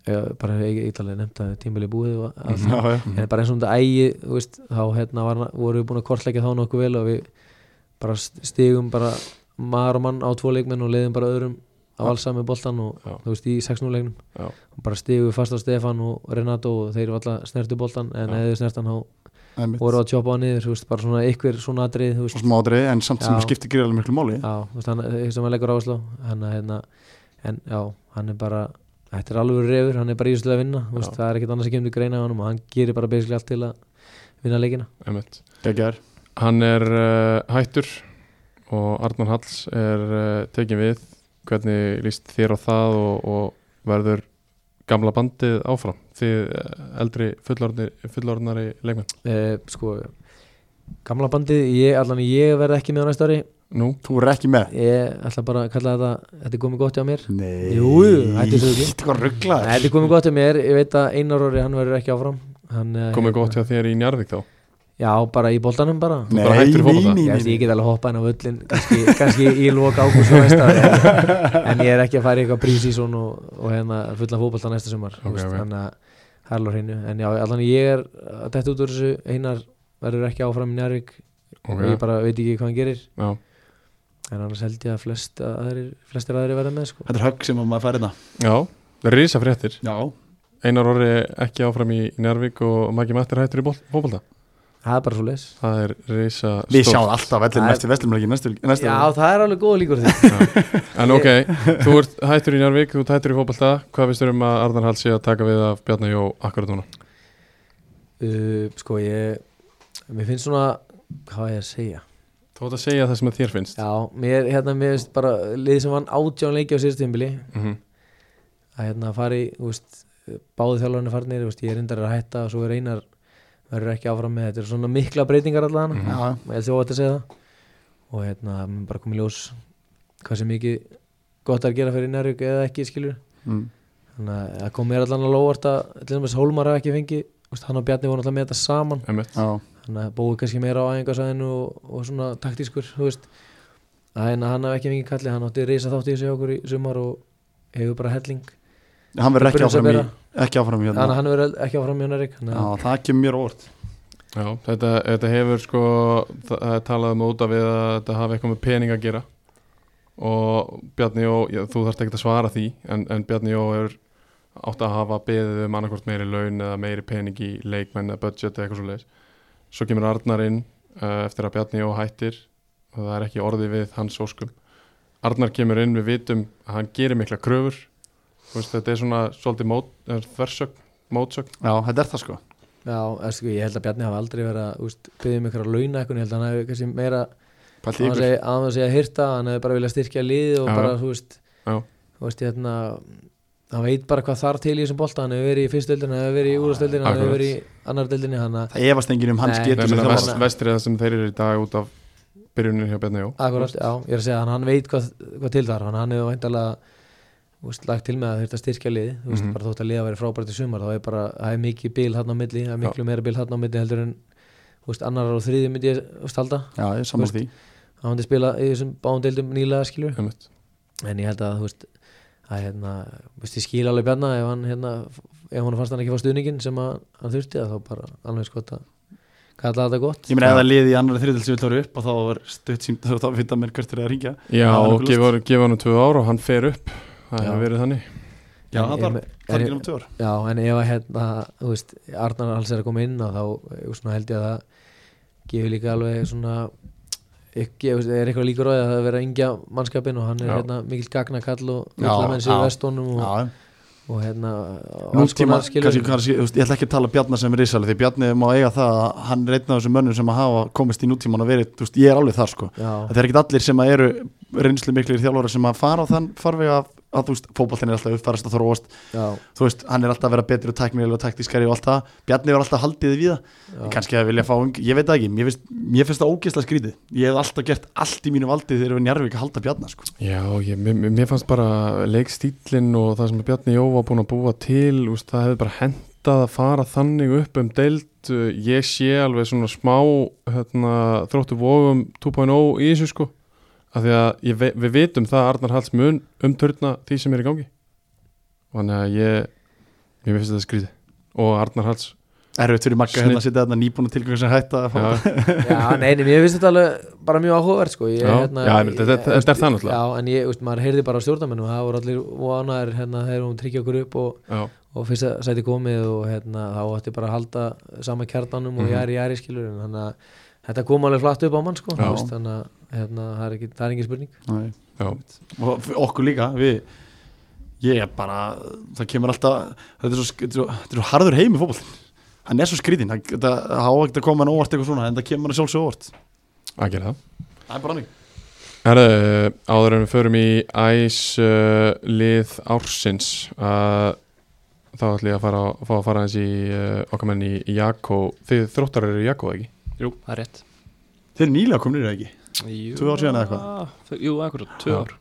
ja, bara ekki eitthvað nefnt að tímili búið og allt
já, já.
Mhm.
en bara eins og um þetta ægi þú veist, þá hérna var, voru við búin að kortleggja þá nokkuð vel og við bara stigum bara maður og mann á tvo leikmenn og leiðum bara öðrum á
Já.
allsami boltan og
Já.
þú veist í 6-0 leiknum
Já.
og bara stigum við fast á Stefan og Renato og þeir var alltaf snertu boltan en
Já.
eða þau snertan þá
einmitt.
voru að tjópa á niður þú veist, bara svona ykkur svona atrið þú veist,
Svo smá atriði, en samt sem
Já.
skiptir greiðlega miklu máli
já, þú veist, hann, ég sem hann leggur áherslu á, hann að hérna, en já, hann er bara þetta er alveg reyfur, hann er bara í þessu til að vinna þú veist,
Já.
það er ekkert annars að kemur til greina á hann og hann gerir bara basically allt til að vinna leikina
einmitt.
Geggjar,
Hann er uh, hættur og Arnar Halls er uh, tekin við hvernig líst þér á það og, og verður gamla bandið áfram því eldri fullorðnir, fullorðnari leikmenn
uh, sko gamla bandið, ég, allan ég verð ekki með á næsta ári
Nú,
þú er ekki með
ég ætla bara að kalla þetta þetta er komið gott hjá mér
Nei
Jú, jú, hættu þessu rugli.
Þetta var
Nei,
rugglaður
þetta er komið gott hjá mér, ég veit að Einar Orri hann verður ekki áfram hann, eh,
komið gott hjá þér í Njarðvík þá
já, bara í boltanum bara
Nei,
bara hættur í fótbolta.
nei,
ég,
nei,
veist, ég
nei.
get alveg hoppað inn á völlin kannski, kannski í lóka ákvist næsta ári
(laughs)
en- en ég er ekki að fara í eitthvað prísísón og, og hérna fulla fótbolta næsta sumar
Ok, ok.
þannig að það er alveg á hreinu en já, allan ég er að detta út úr þessu Einar verður ekki áfram í Njarvík og
okay.
ég bara veit ekki hvað hann gerir
Já,
en annars held ég að flest aðrir, flestir aðrir verða með sko.
Þetta er högg sem að maður fær hérna. þetta
Já. það er risa fréttir
Já,
Einar orði ekki áfram í Njarðvík og Maggi Mættir hættur í ból- fótbolta
það er bara svo leis
það er risa
við sjáum alltaf vellir
Það er-
næstu vestlumleiki næstu, næstu
já það er alveg góð líkur á því (laughs)
En ok, þú ert hættur í Njarvík, þú ert hættur í fótballta Hvað finnst þér um að Arnar Hall sé að taka við af Bjarni Jó akkurat núna?
uh, sko ég mér finnst svona hvað á ég að segja
Þú átt að segja það sem að þér finnst
já mér hérna mér finnst bara liðið sem vann átján leiki á síðustu tímbili
mm -hmm.
að hérna fari úst, báði þjálfarnir farnir úst, ég er reyndar að hætta og svo er einar verður ekki áfram með þetta eru svona mikla breytingar allan mm
Mhm.
-hmm.
Já,
ég held ég óvægt að segja það og hérna mun bara komið ljós hvað sem mikið gott er að gera fyrir Nærvík eða ekki skilur
mm.
þannig að það kom mér allan að lóvart að til dæmis Hólmar hafi ekki fengið þú veist, hann og Bjarni voru alltaf með þetta saman
Emmett,
já,
þannig að búið kannski meira á æfingasæðinu og, og svona taktískur þú veist en að hann hafi ekki fengið kalli, hann átti reysa þátt í þessu hjá okkur í sumar og hefur bara helling
hann verður ekki
Brunar sem
áfram í
bera.
ekki áfram í
þannig að
hérna
hann verður ekki áfram hjá Nærvík þannig
Já,
að-
það kemur mér á óvart
já, þetta, þetta hefur sko það það er talað um út af við að þetta hafi eitthvað með pening að gera og Bjarni Jó, já, þú þarft ekkert að svara því en, en Bjarni Jó er átt að hafa beðið um annarkvort meiri laun eða meiri pening í leikmenn eða budget eða eitthvað svo leiðis Svo kemur Arnar inn uh, eftir að Bjarni Jó hættir og það er ekki orðið við hans óskum Arnar kemur inn, við vitum að hann gerir mikla kröfur Þú veist, þetta er svona svolítið mót, eh, þversögn, mótsögn
Já, þetta er það sko
Já, eða sko, ég held að Bjarni hafi aldrei verið að úst, byggja um ykkur að launa eitthvað, ég held að hann hafi kannski meira
Pælt í
að
ykkur
hann segja að hýrta, hann hafi bara viljað styrkja liðið og
Já,
bara,
já.
þú veist,
Já.
þú veist, hérna, hann veit bara hvað þarf til í þessum bolta, hann hefur verið í fyrstu deildinni, hann hefur verið í úrastöldinni, hann hefur
Akkurat.
verið í annar deildinni, hann að,
Það efast enginn um hans
Nei.
Nei,
getur
ég
sem
meina, vest,
þjálfara
þjálfara.
Vestrið það sem þeir eru í dag út af byrjunin hjá Bjarni Jó
akkurat, já, ég er að segja, hann, hann veit hvað, hvað til þarf, hann, hann hefur væntalega, þú veist, lagt til með að þurft að styrkja liðið, þú veist,
Mhm.
bara þótt að liða verið frábært í sumar, þá er bara, það er mikið bil hann á milli, það er miklu meira bil hann á milli heldur en, þú veist, annar og þriði myndi ég, þú veist, halda,
Já, ég sammála því
hann myndi spila í þessum bándeildum nýlega skilur
Einmitt.
en ég held að þú veist að hérna, þú veist, ég skil alveg bjarna ef hann hérna, ef hann fannst hann ekki fá stuðningin sem að, hann þurfti að þá bara alveg eins gott að kalla þetta gott
Ég meina, ef það liði í annari þriðil sem við tóru upp og þá var stutt símt og þá vita mér hvert er að ringja
Já,
Það er
og
nokkuð
gefa gefa honum tvö ár og hann fer upp Það
Já.
hefur verið þannig
Já,
En
það
ég
var
me- en
farginn
ég-
um tvör
Já, en ef að hérna, þú veist, Arnar alls er að koma inn á þá eh, svona, held ég að það gefur líka alveg svona ekki, þú veist, er eitthvað líkur á því að það vera yngja mannskapin og hann er
Já.
hérna mikill gagnakall og
Já,
mikla menn sér
já.
vestónum og,
Já,
og hérna alls
nútíma,
konar skilur.
kannski, kannski, þú veist, ég ætla ekki að tala Bjarnar sem er risali, því Bjarni má eiga það að hann er einn af þessum mönnum sem að hafa komist í nútíman og verið, þú veist, ég er alveg þar sko
Já.
það er ekkit allir sem að eru reynslu miklir þjálfara sem að fara á þann farveg að, að þú veist, fótballtinn er alltaf uppfærast og þróast
Já,
þú veist, hann er alltaf að vera betri og tæknilega og taktískari og allt það, Bjarni var alltaf haldið við það,
já,
kannski að vilja fá ung, ég veit það ekki, mér finnst, mér finnst það ógeðslega skrítið ég hef alltaf gert allt í mínu valdi þegar við njárvík að halda Bjarni sko.
Já, ég, mér, mér- mér fannst bara leikstílinn og það sem Bjarni Jó var búin að búa til úst, það hefði bara hendað að fara þannig upp um deild Uh, ég sé alveg svona smá hérna, þróttu vofum 2.0 í þessu sko af því að ég, ve- við vitum það að Arnar Halls mun umturna því sem er í gangi og þannig að ég mér finnst þetta skrítið og Arnar Halls
Erfitt fyrir Magga hérna
Snill.
að sitja þarna nýbúna tilgjöng sem hætta að fá
já,
Já, nei, nei, ég finnst þetta alveg bara mjög áhugavert sko. ég,
Já, já, ég meina, þetta- þetta- þetta er það náttúrulega.
Já, en ég, veist, maður heyrði bara á stjórnarmennum það voru allir vonaðir hérna, þegar hún tryggja okkur upp og,
já,
og fyrst að sæti komið og hérna, þá ætti bara að halda sama kjartanum
Mhm.
og jæri, jæri skilur en þannig að þetta kom alveg flatt upp á mann sko,
Já.
þú veist, þannig að hérna, það, er ekki, það er engin spurning
Nei.
já,
og f- okkur líka við, ég er bara það kemur alltaf þetta er svo, sk- þetta er svo, þetta er svo harður heim í fótboll hann er svo skrýtin, það það- það á ekkert að koma hann óvart eitthvað svona, en það kemur hann sjálfsög óvart
að gera það
það er bara hann
Herðu, áður en við förum í æs uh, lið ársins uh, þá ætlum ég að fara, fá að fara eins í uh, okkar menn í Jakko þið þróttar eru í Jakko ekki?
Jú, það er rétt
þeir eru nýlega komin yfir ekki Tvö ár síðan eða
eitthvað Jú, akkurat, tvö
Já.
ár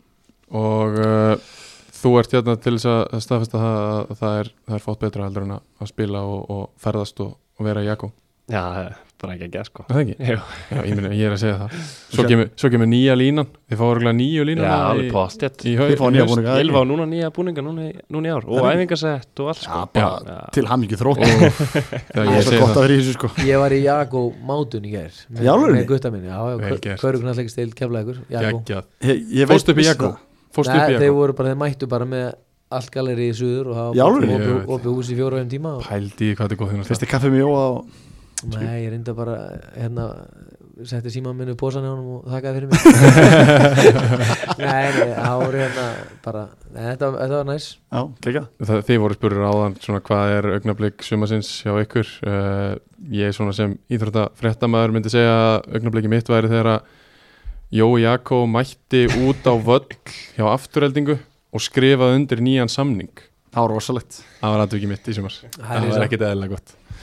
og uh, þú ert hérna til þess að staðfesta það að það er, það er fótt betra heldur en að- að spila og, og ferðast og, og vera í Jakko
Já, það er bara ekki að gera sko
Er það ekki?
(laughs) Jú,
Já, ég, meni, ég er að segja
(laughs)
það
Þú
Svo
sér-
kemur, svo kemur nýja línan, þið fá örgulega nýju
já,
línan
alveg postið
í haug
Þið fá nýja búninga, eða
Ylva á núna nýja búninga núna, í- núna í ár og
Það er-
æfingasett og allt sko
Já, bara
Já.
til hamingju þrótt
Þegar
það
ég
er svo
segi
gott
það
að vera í þessu sko
Ég var í Jago Mátun í gær með,
Í alvörunni?
með gutta minni, já, já,
Vel gert.
körugnaðleik stil keflaðikur, Jago
Geggjað.
ég, ég
Fórstu upp í
vissi
Jakko?
það.
Fórstu upp í
Nei, þeir
Jakko?
voru bara, þeir mættu bara með allt galeri í suður og
Í
það var
alvöru?
opið-
Ég veit.
opið hús í fjóra um tíma og
Pældi í hvað þetta er hérna góð þjónusta.
fyrst er kaffið mjög og
Nei, ég reyndi að bara hérna, setti síma minni í posan í honum og þakkaði fyrir mig
(laughs)
Nei, nei, það voru hérna bara, nei, þetta, þetta var næs
já, kekja
Það, þið voru spurður áðan svona hvað er augnablík sumasins hjá ykkur uh, ég svona sem íþrótta fréttamaður myndi segja að augnablíki mitt væri þegar að Jói Jakó mætti út á völl hjá afturheldingu og skrifaði undir nýjan samning
það var rosalegt
það var aðtöki mitt í sumar
Það
það
er
var
risa.
ekkit eðlilega gott
það er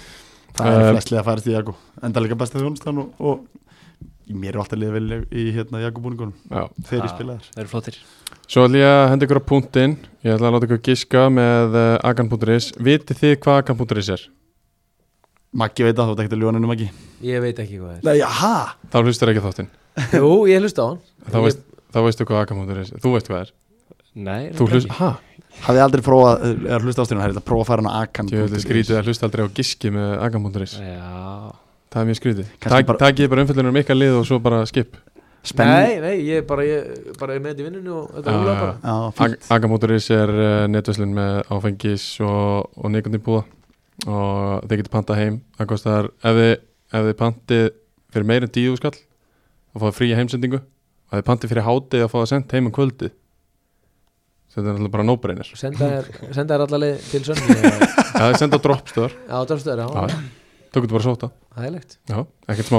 Um,
flestlega að færast í Jakko enda líka besta þjónustan og, og mér er alltaf liðið vel í hérna Jakko búningunum
Já.
þegar ég
Já,
spilaðar
Það eru flottir
svo ætlum ég að henda ykkur á punktinn ég ætla að láta ykkur giska með uh, agan.is vitið þið hvað agan.is er?
Maggi veit að þú ert ekkert að ljóna henni Maggi
Ég veit ekki hvað það
nei, aha
þá hlustar ekki á þáttinn (laughs)
er Jú, ég hlusta á hann
þá,
Ég-
veist, þá veistu hvað agan.is er þú veist hvað er
Nei,
þú
reyndar
hlust,
ekki.
hæ?
Hafði aldrei prófað, eh, eða hlusta ástina, það er að prófa að fara hann að Akan
Ég vil skrítið að hlusta aldrei á giski með agan.is
Já,
Það er mjög skrítið
Kannski
Tak,
bara-
Takið bara umfyllunum um ykkar lið og svo bara skip
Spenni
Nei, nei, ég bara, ég, bara er með þetta í vinnunni og þetta
Já,
húla
já,
bara
Já, fínt
Agamóturis er uh, netvæslinn með áfengis og, og neikundinbúða og þið getur pantað heim það kostar, ef þið, ef þið pantið fyrir meir en tíu skall þá fáið frí heimsendingu og ef þið pantið fyrir hátið þá fáið sendt heim um kvöldi þetta er náttúrulega bara nóbreynir
Senda þér- Senda þér allalegi til sönni
Það er senda á droppstöðar
á
Já,
dörfstöður, já,
já. Tókuðu bara sóta
það er legt
Já, ekkert smá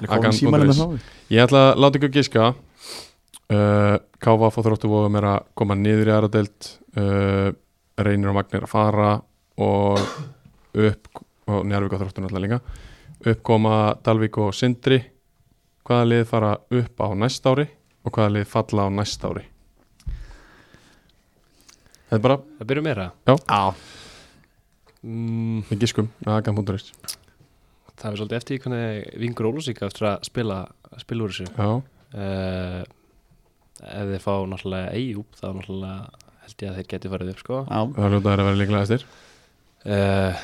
Ég kom í símanum með þá.
Ég ætla að láta ykkur giska uh, KVF og Þróttu Vóðum er að koma niður í aðra deild uh, reynir og magnir að fara og upp og njárvík og Þróttu náttúrulega líka upp koma Dalvík og Sindri hvaða lið fara upp á næst ári og hvaða lið falla á næst ári Þetta er bara,
það byrjum meira
Já,
mm,
við giskum agan.is
Það er svolítið eftir því hvernig vingur Ólusík eftir að spila, spila úr þessu
Já,
uh, Ef þeir fá náttúrulega eigi upp þá náttúrulega held ég að þeir geti farið upp sko
já
það er að vera líklega eftir
uh,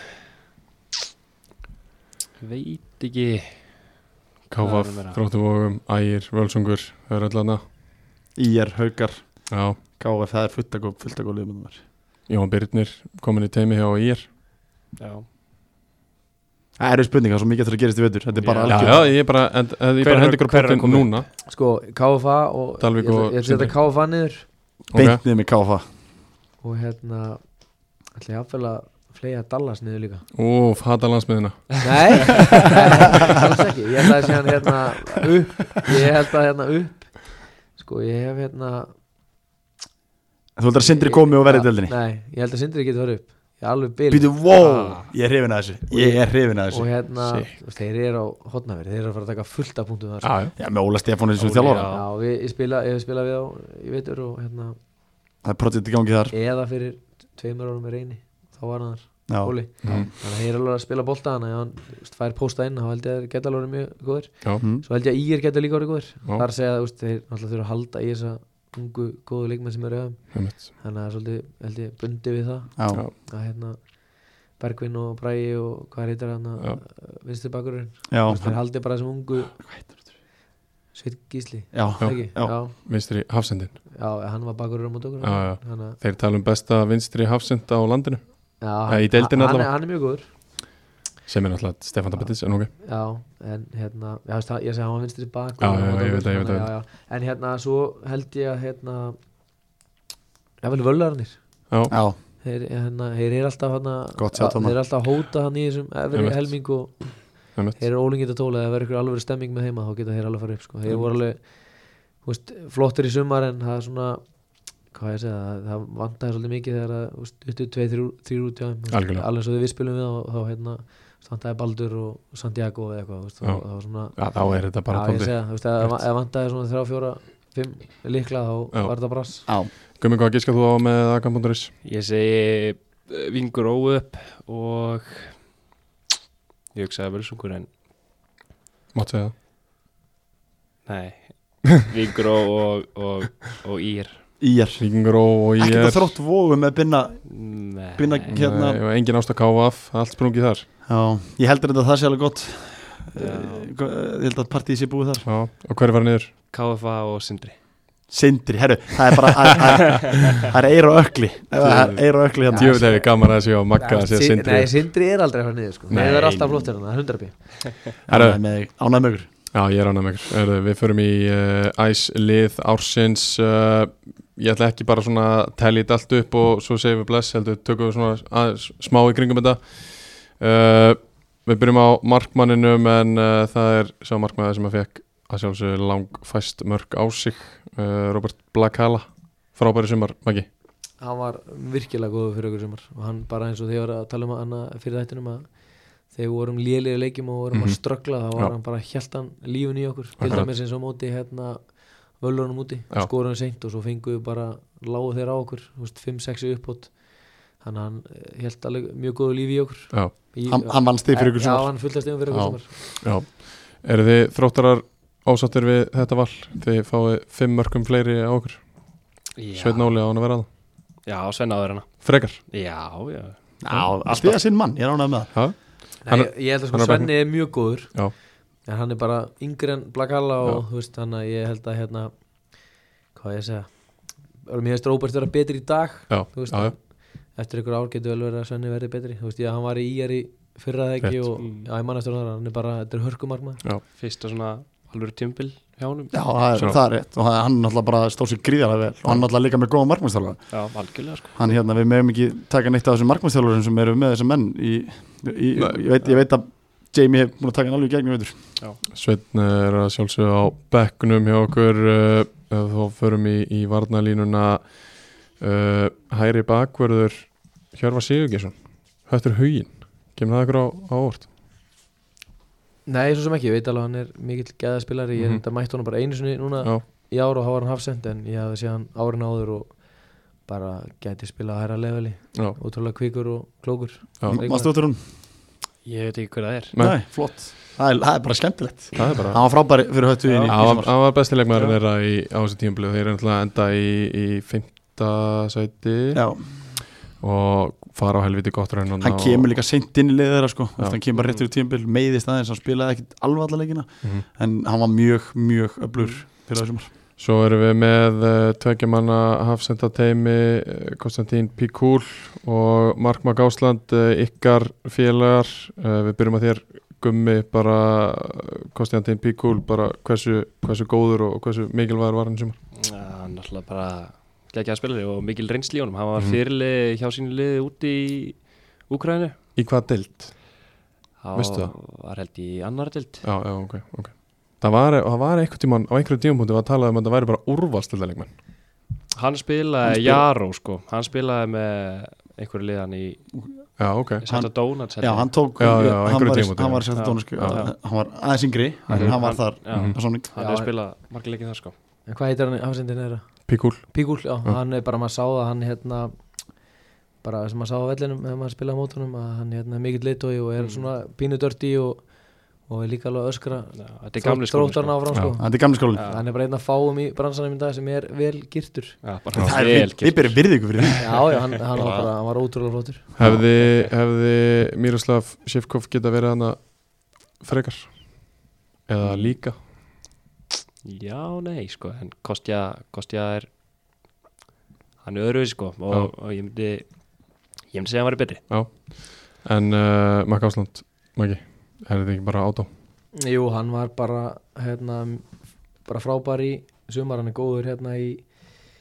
Veit ekki Það er
KVF,
meira.
Þróttu Vóðum, Ægir, Völsungur þau eru öll aðna
IR, Haukar,
Já,
KF, það er fullt að góð, fullt að góð liðmöndum þar
Jón Birnir komin í teimi hjá IR
Já,
Það eru spurningar, svo mikið eftir að gerist í vetur Þetta er bara
Já,
Já,
algjör
já, ég bara, en, en, ég
Hver
bara
er-
hendi ykkur
hver er að
punktin
koma upp?
núna
Sko, KFA og
Dalvík
ég ætla-
og
Ég ætla að
Sindri.
setja KFA niður
Ok,
Beintnið með KF
og hérna ætla ég aðfæla að flega Dallas niður líka
Úf, hata landsmiðina
Nei, alls ekki Ég held að sé hann hérna upp Ég held að hérna upp Sko, ég hef hérna
Þú heldur að sindri komi og verði í deildinni
Nei, ég held að Sindri getur farið upp Ég er alveg bil
Býtu, wow, ég er hrifin að þessu Ég er hrifin að
Og
þessu
hérna, Sick. þeir eru á hotnaveri Þeir eru að fara að taka fullt af punktum þar sko.
Já, já
Já, með Óla Stefánis sem
Óli,
þjálfara
já.
Já, við, ég, spila, ég spila við á Ég veitur og hérna
Það er projekt í gangi þar
Eða fyrir tveimur árum með reyni Þá var hann þar
Já, Mm.
Óli þannig að ég er alveg að spila bolta þannig að hann þú veist, fær pósta inn þá held ég að þeir geta alveg verið mjög góður
Já,
Mhm.
svo held ég að ír geta líka verið góður
Já.
þar að segja að þú veist, þeir náttúrulega þurfa að halda í þessa ungu góðu leikmenn sem eru í þeim
einmitt.
þannig að svolítið held ég bundi við það
já,
Já.
að hérna Bergvin og Bræi og hvað heitir hann uh,
Já.
vinstur bakurinn
já,
þeir haldi bara þessum ungu Sveit Gísli
já,
ekki?
já.
Já.
vinstri hafsendin
já, hann var bakurinn á mót okkur
Já, já.
Þannig að-
Þeir tala um besta vinstri hafsenda á landinu
já,
í deildinni
hann, hann,
allavega.
hann er mjög góður
sem er náttúrulega Stefán Dabittis en ok
Já, en hérna já, veist, það- ég segi hann var vinstri bak
Já,
og-
já,
og-
ég veit það, ég veit það,
þannig að-
ég
já, já. En hérna, svo held ég að hérna jafnvel völarnir
Já,
já.
þeir, hérna, þeir eru alltaf hana,
Gott sjá, Tóma.
þeir eru alltaf að hóta hann í þessum efri
Einmitt.
helming og
einmitt
þeir eru ólingið að tóla eða verður ykkur alveg stemming með heima þá geta þeir alveg að fara upp sko. þeir voru alveg þú veist, flottir í sumar en það er svona hvað ég segja, það, það vantaði svolítið mikið þegar að þú veist, tuttu tveir, þrjú- þrír út hjá þeim, þú veist,
Algjörlega.
alveg svo þegar við spilum við þá, þá hérna, þú veist, vantaði Baldur og Santiago eða eitthvað, þú veist,
Já.
þá, þá var svona
Já, þá er þetta bara
Já, ég
tóndi
segja, þú veist, ef ef vantaði svona þrjá, fjóra, fimm líkla þá
Já.
var þetta brass
já.
Gumi, hvað gíska þú á með Akan.is?
Ég segi eh, vingur óu upp og ég hugsaði vel sungur en
Mátt segja
(laughs) nei, vingur ó og, og, og ír
Íjar
það Ríkingur og ég
Ekkert að þrótt vógu með binna,
Nei,
binna hérna
Nei, og engin ást að káfa af, allt sprungið þar
Já, ég heldur þetta að það sé alveg gott Eh,
Já.
Ég held að partíð sé búið þar
Já, og hver var niður?
KFA og Sindri
Sindri, herru, það er bara að- að- Það er eir og ökli Það er eir og ökli hérna
Djöfull er ég gaman að sé á Magga að sé að
Sin-
sindri
Nei, Sindri er aldrei að fara niður sko.
Nei.
Nei, það er alltaf flottir hann, það er 100 bí
Herru.
Ánægð með þig, Ánægð með ykkur
Já, ég er ánægð með ykkur. Heyrðu, Við förum í uh, æslið ársins uh, Ég ætla ekki bara svona að telja þetta allt upp og svo segjum við bless heldur, tökum við svona aðeins smá í kringum þetta uh, Við byrjum á markmanninum en uh, það er sá markmann sem að fekk að sjálfsög langfæst mörg á sig uh, Robert Blakala frábæri sumar, Maggi
Hann var virkilega góður fyrir okkur sumar og hann bara eins og þegar að tala um að hana fyrir þættinum að þegar við vorum lélir leikjum og vorum
Mhm.
að ströggla þá var
Já.
hann bara hjælt hann lífun í okkur til
Akkurat.
dæmis eins og á móti hérna völunum úti,
Já.
skorum seint og svo fengu við bara lágu þeir á okkur, 5-6 uppbót þannig að hann hjælt alveg mjög góðu lífi í okkur
Já,
í,
Hann, hann vann stið fyrir ykkur
Já,
svo
hann fullast yfir fyrir
Já.
okkur sumar
já Eru þið þróttarar ásattir við þetta val? Þið fáið fimm mörgum fleiri á okkur
Já,
Sveinn Óli á hann að vera að
já Sveinn áður hana
Frekar
Já, já
Stiða sinn mann, ég er ánægð með það
Já,
Nei,
Hann
ég, ég held
hann
að sko
er bara-
Svenni er mjög góður
Já.
en hann er bara yngri en Blakalla og þú veist þannig að ég held að hérna hvað á ég að segja Örlum, ég veist Róbert vera betri í dag
já,
þú veist,
já, já.
en eftir ykkur ár getur vel verið að Svenni verði betri þú veist ég að hann var í IR í fyrra það ekki
Rétt.
og já, ég mann eftir hann hann er bara, þetta er hörkumarma
Fyrsta svona alvöru tímbil hjá honum
Já, það er,
Svona.
það er rétt og hann er náttúrulega bara stóð sér gríðarlega vel og hann er náttúrulega líka með góða markmannstjálfara
Já, algjörlega sko
hann hérna, við megum ekki taka neitt af þessum markmannstjálfurum sem eru með þessum menn í, í,
Nei.
ég, veit, ég veit að Jamie hef búin að taka hann alveg í gegn í veitur
Sveinn er að sjálfsögðu á bekknum hjá okkur uh, ef þá förum í, í varnalínuna uh, hæri bakverður Hjörvar Sigurgesson Höttur Hugin, kemur það ykkur á, á óvart
Nei, svo sem ekki, ég veit alveg að hann er mikill geðaspilari ég er
Mhm.
þetta mætt honum bara einu sinni núna
Já,
í ár og þá var hann hafsend en ég hafði séð hann árin áður og bara gæti spilað að hæra leveli
já,
ótrúlega kvikur og klókur
já
Mastu út úr hún?
Ég veit ekki hver það er
Nei.
Nei, flott það er, það er bara skemmtilegt
Það er bara
Hann var frábæri fyrir höttu í
Já.
Hann
í
var-
sumar.
hann var bestilegmaður
Já.
þeirra í, á þessu tímablu þeir eru náttúrulega að enda í, í fymta sæti
Já,
og fara á helviti gott raun
hann kemur líka seint inn í liðið þeirra sko
Já.
hann kemur bara rétt fyrir tímbil, meiðist aðeins hann spilaði ekkit alveg alla leikina
Mhm.
en hann var mjög, mjög öblur fyrir þessum
Svo erum við með uh, tveggjumanna hafsendateymi uh, Konstantín Píkúl og Markma Gásland, uh, ykkar félagar, uh, við byrjum að þér gummi bara eh, Konstantín Píkúl, bara hversu, hversu góður og hversu mikilvægur var hann í sumar
Já, hann er alltaf bara geggjaða spilari og mikil reynsli í honum Hann var
Mhm.
fyrirlið hjá sínu liði úti í Úkrænu
Í hvað deild? Veistu það?
var held í annar dild
Já, já, ok, ok Það var, það var einhvern tímann, á einhverjum tímapunkti var að tala um að það væri bara úrvalstildalegmenn
Hann
Hann
spilaði
spila-
Jaró sko Hann spilaði með einhverju liðan í
Já, ok,
Santa Donuts held
Já,
ég.
hann tók,
Já, já, á
hann,
einhverju
var, í-
tímapunkti,
hann
já.
var í Sjötta
Já.
Dónasku
Já.
hann var aðeins yngri, en
Mhm.
hann var þar
Já,
Mhm.
á samning
hann
Já,
hefur
en-
spilað margilegin þar sko
En hvað heitir hann hafsendin þeirra?
Píkúl
Píkúl, já, hann er bara maður sá það hann hérna bara sem maður sá á vellinum þegar maður spilaði á mótunum að hann hérna, er mikill leitói og er svona pínu dörti og, og er líka alveg að öskra
Já, þetta er gamli skóli
þróttarna áfram sko.
Þetta er gamli skólinn
hann er bara einn af fáum í bransanum í dag sem er vel girtur
Já, bara
Það er
vel
við, við
gert
byrjum virðingu fyrir því
já, já, hann, hann, var, bara, hann var ótrúlega flottur
Hefði, hefði Miroslav Shevkov geta verið hana frekar eða líka
Já, nei, sko, en Kostja Kostja er hann er öðruvísi, sko, og, og ég myndi ég myndi segja að hann væri betri
en uh, Makk Ásland, Maggi er þetta ekki bara átá
jú, hann var bara hérna, bara frábær í sumar hann er góður hérna í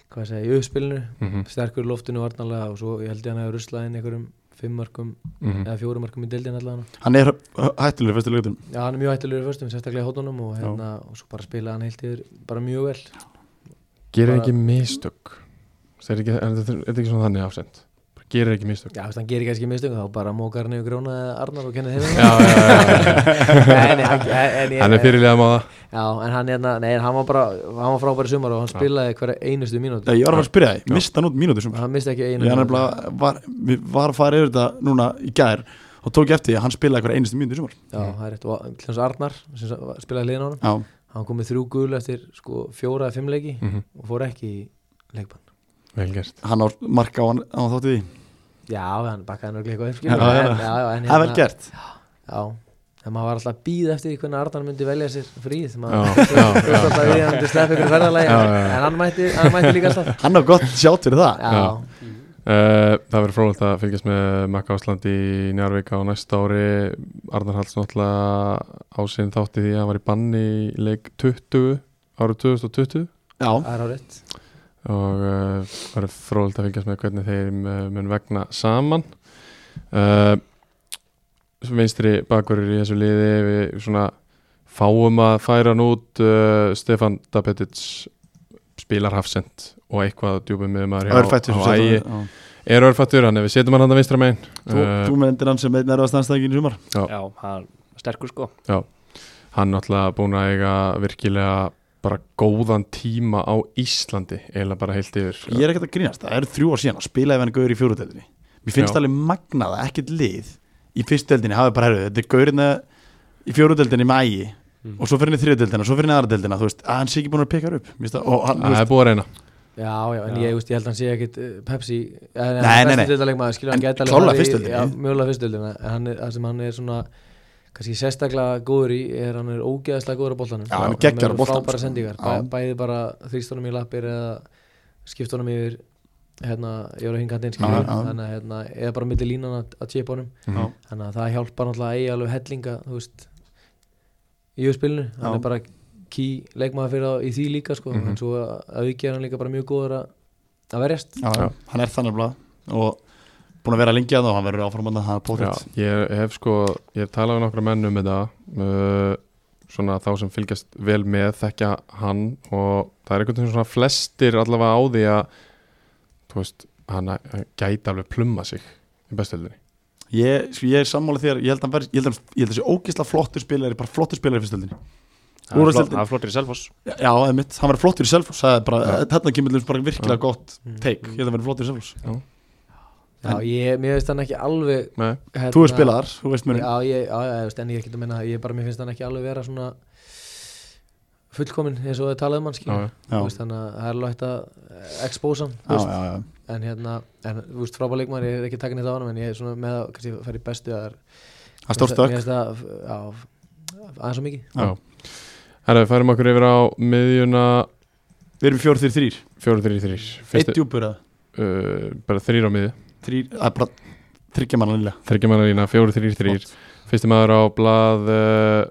hvað ég segja, í uppspilinu
mm -hmm.
sterkur í loftinu varnarlega og svo ég held ég hann að ruslaði inn einhverjum fimmörkum
mhm. Mm.
eða fjórumörkum í deildin allavega
Hann er hættilegur fyrstu lögutum
Já, hann er mjög hættulegur í föstum, sérstaklega í hóttunum og, hérna, og svo bara spilaði hann heilt yfir bara mjög vel
gerir
Bara-
ekki mistök Þetta er ekki, er þetta er þetta ekki svona þannig afsend Bara gerir ekki mistök
Já, þú veist, hann gerir kannski mistökum þá bara mókar hann yfir gróna eða Arnar og kennið hefur
já, já, já, já, já.
(laughs) Nei, nei, hann- en, ég-
hann er fyrirlega maður
Já, en hann, hérna, nei, en hann var bara hann var frábæri sumar og hann spilaði hverja einustu mínútu
Ég var að fara að spyrja því, mista hann út mínútur sem
Hann misti ekki einu
Ég hann
mínútu.
nefnilega var, við var að fara yfir þetta núna í gær og tók ég eftir því að hann spilaði hverja einustu mínútur í sumar
Já, það er rétt og til hans Arnar sem sa- spilaði liðin á hann
Já,
hann kom með þrjú gul eftir sko, fjóra eða fimm leiki
Mhm.
og fór ekki í leikbann
vel gert
hann á marka á hann, á hann þátti því
Já, hann bakkaði nörglega eitthvað upp,
Já,
skilur, en-
já.
já, já, en
Það er vel
hérna-
gert
Já, en maður var alltaf að býða eftir því hvernig Arnar myndi velja sér fríð
Já,
(laughs) maður þú
já,
veist
já.
alltaf að hann myndi sleppa ykkur ferðalagi
Já,
en,
já, já.
en hann, mætti, hann mætti líka alltaf
Hann á gott sjátt fyrir það
Já,
Já. uh, það verður frólægt að fylgjast með Makk Ásland í Njarvík á næsta ári Arnar Hallsson alltaf á sinn þátti því að hann var í banni í leik 20 árið 2020
Já,
það er á rétt
og uh, verður frólægt að fylgjast með hvernig þeir uh, mun vegna saman uh, vinstri bakverður í þessu liði við svona fáum að færa hann út uh, Stefan Dapetic spilar hafsend og eitthvað djúpum með maður
örfættur
á ægi er örfættur, hann ef við setjum hann hann að vinstra megin
Þú,
Eh,
þú myndir hann sem einn erfast anstæðingin í sumar
Já.
Já, hann er sterkur, sko
hann náttúrulega búin að eiga virkilega bara góðan tíma á Íslandi eiginlega bara heilt yfir
Ég er ekkert að grínast, það eru þrjú ár síðan að spila ef hann gauður í fjóruðeldinni Mér finnst
Já.
alveg magnað að ekkert lið í fyrsteldinni hafi bara herfið Þetta er gaurina í fjóruðeldinni með ægi
Mm.
og svo fyrir henni þriðdeldina, svo fyrir henni aðradeldina þú veist, að hann sé ekki búin að peka þær upp Mér finnst það, og hann, þú
Það er
veist,
búið að reyna
Já, já, en
Já.
Ég, veist, ég held að hann sé ekkit eh, Pepsi en,
Nei, nei, nei.
leikmaður, skilur
En
hann gæti alveg
klárlega
farið í-
fyrstöldinni.
Já, mjögulega fyrstöldina en hann er, það sem hann er svona kannski sérstaklega góður í er hann er ógeðaslega góður á boltanum
Já, hann er geggjaður á
með
boltanum,
frábæra
sko.
sendingar,
Já.
bæ, bæði bara þrýstunum í lappir eða skiptunum yfir hérna, ég var að hinga hann
Já,
skilur
já.
þannig að hérna, eða bara milli línan að, að tjepa honum
Já.
Mm.
þannig að það hjálpar náttúrulega að eiga alveg hellinga þú veist í spilinu, hann
Já.
er bara ký leikmaður fyrir það í því líka sko,
Mhm.
en svo að- að auki er hann líka bara mjög góður að, að verjast
já,
Já.
hann er þannig blað og búin að vera lengi að það og hann verður áfram að það
Já,
pótið
ég hef sko, ég hef talað við nokkra menn um þetta uh, svona þá sem fylgjast vel með þekkja hann og það er einhvern veginn svona flestir allavega á því að þú veist, hann hann gæti alveg plumma sig í bestöldinni
Ég, sko, ég er sammála þér, ég held að hann verð, ég held að, ég held að sé ógisla flottur spilari, bara flottur spilari í fyrstöldinni
Hann er flott-
Úrvalsdeildin.
hann er flottur í Selfoss
Já, eða mitt, hann verður flottur í Selfoss, það er bara,
Já.
þetta kemur til dæmis bara virkilega
Já. Mm.
gott take, ég held að hann verður flottur í Selfoss
já, ég, mér veist hann ekki alveg
Nei,
hérna,
Þú er spilaðar, þú veist mér
já, ég, já, já, ég veist, en ég er ekki að minna það ég bara, mér finnst hann ekki alveg vera svona fullkomin eins og það talaði um hann
já,
skilur,
já,
Þú veist, þannig að það er alveg hægt að expósa hann, þú
já,
veist
já, já.
en hérna, en þú veist frábæð leikmaður ég er ekki takin þetta á hann, en ég er svona með að kannski fara í bestu að
Það er stórt stökk.
mér finnst það, já, aðeins og mikið
Já.
já. Herra, við færum okkur yfir á miðjuna
Við erum fjóri þrýr þrýr
4-3-3
Eitt
Fyrstu-
djúpur að
uh, bara þrýr á miði
Þrýr, það er bara þryggja manna lilla
þryggja manna lína, fjóru þrýr þrýr fyrsti maður á blað uh,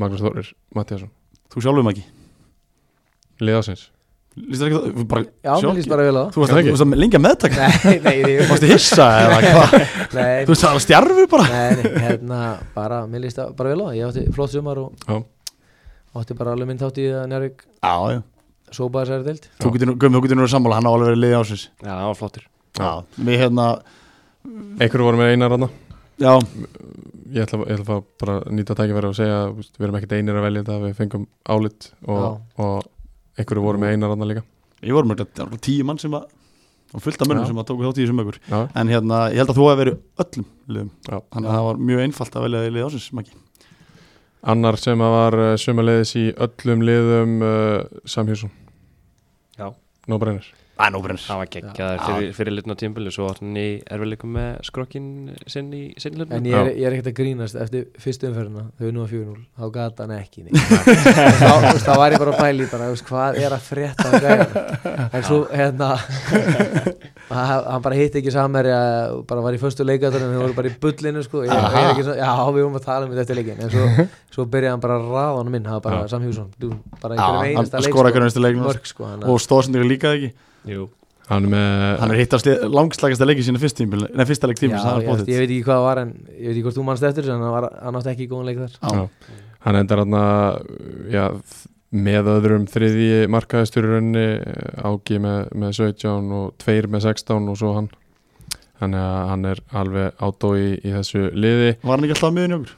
Magnús Þórir, Mattiasson
Þú sjálfum ekki
liðásins,
Lýst ekki það? Bara,
já, mér líst bara vel á það
Þú varst
Ekki?
ekki, þú varst að lengja meðtaka
nei, nei, nei,
Þú varst að
(laughs)
hissa eða hvað
nei,
Þú varst að stjarfu bara
nei, nei, hérna bara, mér líst það bara vel á það, ég átti flott sumar og
Já.
átti bara alveg minn þátt í að Njárvík
Já, já
sópaði sér deild
Þú getur nú, Guðmi, þú getur nú að sammála, hann á alveg verið liðið ásins
Já, hann var flottur
Já Við hérna,
einhverju voru með einar ranna
já,
ég ætla, ég ætla að fá bara að nýta tækifæri og segja þú veist, við erum ekkert einir að velja þetta við fengum álit og, og einhverju voru með einar ranna líka
ég vorum ekki tíu mann sem var og fullt af mönnum
Já.
sem að tóku þátt í þessum ökur
Já.
en hérna, ég held að þú hefur verið öllum liðum
Já.
þannig að það var mjög einfalt að velja í lið ásins Maggi.
Annar sem að var uh, sömuleiðis í öllum liðum uh, Samhjússon
Já.
Nóbrennir
Það er nóbrennir
Það var geggjaður fyrir, fyrir litna tímbili Svo var hann í erfileikum með skrokkin sinn í
En
sinni litna
ég er, ég er ekkert að grínast eftir fyrstu umferðina þau nú að 4-0, þá gata hann ekki neitt. þá, þú veist, þá var ég bara að bæli bara, þú veist, hvað er að frétta af gæðan en svo hérna hann hann bara hitti ekki samherja bara var í föstu leikatunum, þau voru bara í bullinu sko. ég, ég er ekki svo, já við vorum að tala um þetta eftir leikin en svo, svo byrjaði hann bara að ráða hann minn, það var bara Sam Hjússon dú, bara í hverjum
hann
einasta leik
skoraði hverjum einasta leik,
sko,
sko.
mörg, sko, hann,
og stóðsendur líka ekki
Jú,
Hann er með
hann er hitt af sli- langslagasta leiki sína fyrst tímbil nei, fyrsta leik
já,
tímbil það
ég,
er
veist,
bóðið
ég veit ekki hvað það var en ég veit ekki hvort þú manst eftir þessu, en hann, var, hann átti ekki góðan leik þar
Já.
Hann endar hann já, þ- með öðrum þriðji markaðistur í rauninni eh, Ági með, með 17 og tveir með 16 og svo hann Þannig að hann er alveg ádó í, í þessu liði
var hann ekki alltaf miðin í okkur?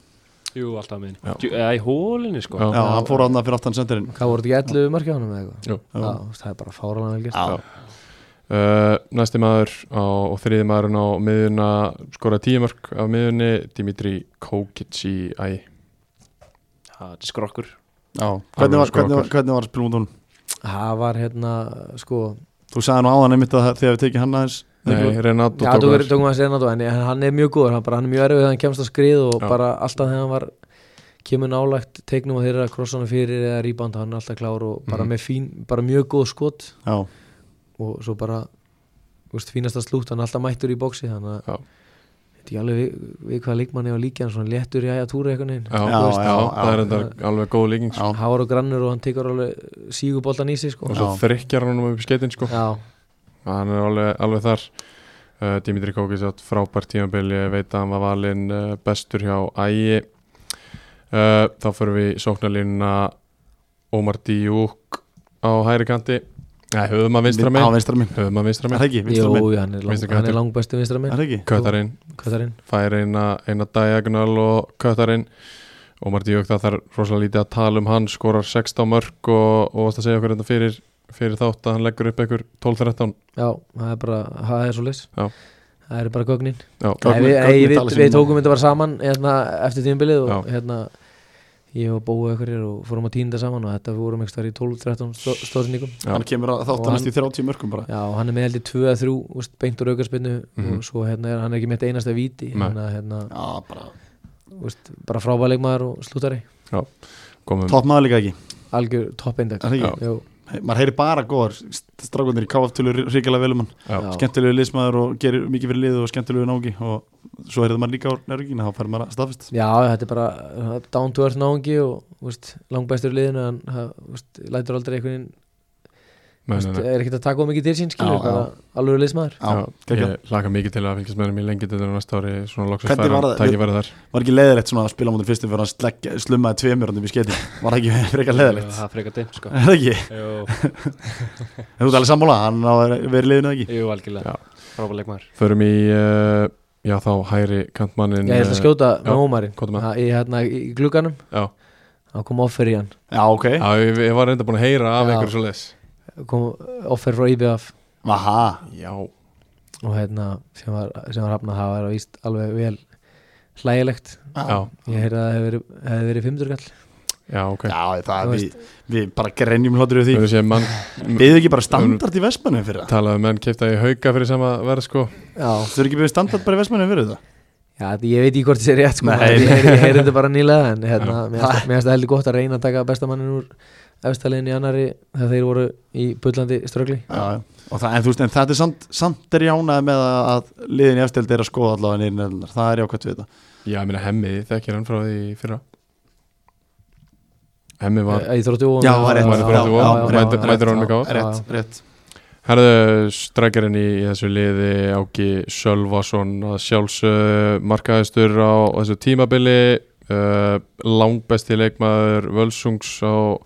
jú alltaf með
Já.
henni Eða í hólinu sko
Já.
já, hann fór hann fyrir aftan sendirinn
Hvað voru þetta ekki 11 mörki á hann með eitthvað?
Jú.
Já, þú veist, það er bara fáralega vel gert
Já.
uh, Næsti maður á, og þriði maðurinn á miðuna skora tímörk af miðunni Dimitri Kókic í æ
Já, Þetta er skrokkur
Já. hvernig var,
sko
hvernig var,
okkur.
hvernig var spilum út honum?
Það var hérna, sko
þú sagði nú áðan einmitt að það- þegar við tekið hann aðeins
Nei, Renato
Já, þú verður tókum að segja náttúrulega en ég- hann er mjög góður, hann, bara, hann er mjög erfið hann kemst að skrið og
Já.
bara alltaf þegar hann var kemur nálægt teiknum og þeir eru að krossa hann fyrir eða rýbanda, hann er alltaf klár og
Mhm.
bara með fín, bara mjög góð skot
já,
og svo bara þú veist, fínasta slútt, hann er alltaf mættur í bóksi þannig að
Já.
Ég veit ekki alveg við, við hvaða leikmann ég á líka hann svona léttur í æja túri eitthvað neinn
Já, já,
Já, já,
það er
já.
enda alveg góð líking sko.
já.
hann var á grannur og hann tekur alveg síguboltan í sig sko
og svo
Já.
þrykkjar hann um upp í skeitin sko.
Já,
hann er alveg, alveg þar uh, Dimitri Kókis átt frábært tímabili ég veit að hann var valinn uh, bestur hjá Ægi uh, þá fyrir við sóknarlínuna Ómar Díúk á hægri kanti Nei, höfum að vinstra
á
með
vinstra minn
höfum að vinstra
er
með
það ekki, vinstra
Jú,
minn
jú, hann er, lang,
Vinstri
hann er
kantur.
langbæstu vinstra
er
minn
það ekki
Kötarinn,
Katarinn
fær eina, eina diagonal og Kötarinn Ómar Díúk það þarf rosalega lítið að tala um hann skorar 16 mörg og, og varst að segja okkur þetta fyrir, fyrir þátt að hann leggur upp einhver 12-13
Já, það er bara, það er svo leys
Já.
Það eru bara gögnin
Já,
Gögnin-
Nei, við,
gögnin
ei,
tala
við,
sínu
við
máli.
tókum þetta bara saman hérna, eftir tímbilið og
Já.
hérna ég og Bói ekkur er og fórum að týnda saman og þetta við vorum ekki í 12-13 stó, stóðsyningum
Já.
hann kemur að
Og
þátt hann
hann-
í 30 mörgum bara
Já, og hann er með heldur 2-3 úst, beint úr aukarspinnu
Mhm.
og svo hérna er hann er ekki mitt einasta víti
Nei.
hérna, hérna,
já, bara
úst, bara frábæleikmaður og slútari
komum
topp maður líka ekki
algjör toppindag
Er það ekki?
Jú,
He- maður heyri bara góðar st- strákunir í KF tölur ríkilega velum hann
Já.
já.
skemmtilegu liðsmaður og gerir mikið fyrir lið og skemmtilegu nági og svo heyrði maður líka á nærvíkina þá fær maður að staðfest
Já, þetta er bara uh, down to earth náungi og úst, langbæstur í liðinu en það, úst, lætur aldrei einhvern
Nei, nei,
veginn
nei.
er ekkert að taka of mikið til sín skilur,
Já,
bara alveg leysmaður
Já,
geggjað.
ég laka mikið til að fylgjast með henni í lengi þetta næsta ári, svona loksast
Hvernig
færa
var það?
tækifæri þar
var ekki leiðilegt svona að spila á mótum fyrstum fyrir hann slegg, slummaði tveimur hann upp í skeitin var það ekki (laughs) frekar leiðilegt
Það er frekar dimm sko
er það ekki,
Jú,
En þú ert alveg sammála hann á að vera liðinu eða ekki
jú
Já.
algjörlega Frábæð leikmaður
Förum í, uh, já þá hæri kantmannin eh,
Ég ætla að skjóta
já,
með Ómarinn
hvað er með?
Það- í, hérna, í glugganum,
Já,
þá kom offer í hann
já ok,
já ég, ég var reynda búin að heyra af
Já.
einhverju svo les
kom offer frá IBF
aha
Já,
og hérna sem var, sem var hafnað það var víst alveg vel hlægilegt
já,
ég heyrði að það hefði verið, hef verið fimmdurkall
já, ok
já það
Þú
er við, við bara grenjum hlotur yfir
Þú
því
veist ég mann
beðið ekki bara standart í Vestmannum fyrir það
talaði um menn keipta í hauka fyrir sama verð sko
Já,
þú er ekki beðið standart bara í Vestmannum fyrir það
já þetta- ég veit ekki hvort þessi er rétt sko,
Nei.
ég, ég, ég heyrði þetta bara nýlega en hérna, mér fannst- mér finnst það heldur gott að reyna að taka bestamannin úr efstaliðin í annari þegar þeir voru í bullandi ströggli
já, já. Og það, en þú veist, en þetta er samt, samt er jánaði með að, að liðin í efstild er að skoða allavega nýrin eldunar, það er jákvæmt við þetta
Já, ég meina hemmiði, þekkir hann frá því í fyrra Hemmi var
Ég þrótti óum
Já, var rétt.
Mætir
Já, já, já,
mætir-
já,
mætir
já,
honum í gáð
já.
rétt, rétt
Herðu strækjarinn í, í þessu liði Áki Sölvason að sjálfsög markaðistur á þessu tímabili uh, langbesti leikmaður Völsungs á,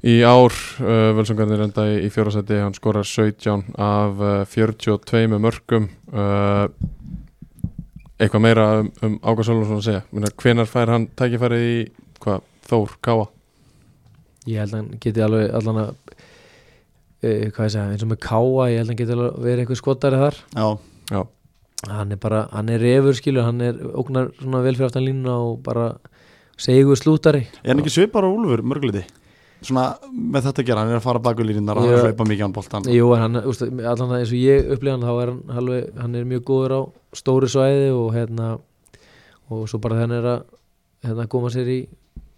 í ár uh, Völsungarnir enda í, í fjórasæti hann skorar 17 af uh, 42 mörgum uh, eitthvað meira um, um Áka Sölvason að segja Minna, hvenar fær hann tækifærið í hvað, Þór, Káa
Ég held að hann geti alveg allan að uh, hvað ég segja, eins og með Káa ég held að hann getur alveg verið eitthvað skotari þar
já,
já,
hann er bara, hann er refur skilur hann er ógnar svona vel fyrir aftan línuna og bara segur slútari
er hann ekki svipar á Úlfur mörgleiti svona með þetta að gera, hann er að fara baku línunar og hann
Já.
hlaupa mikið án boltan
Jú, en hann, úst, allan það eins og ég upplifa hann þá er hann, alveg, hann er mjög góður á stóru svæði og hérna og svo bara þegar hann er að hérna, koma sér í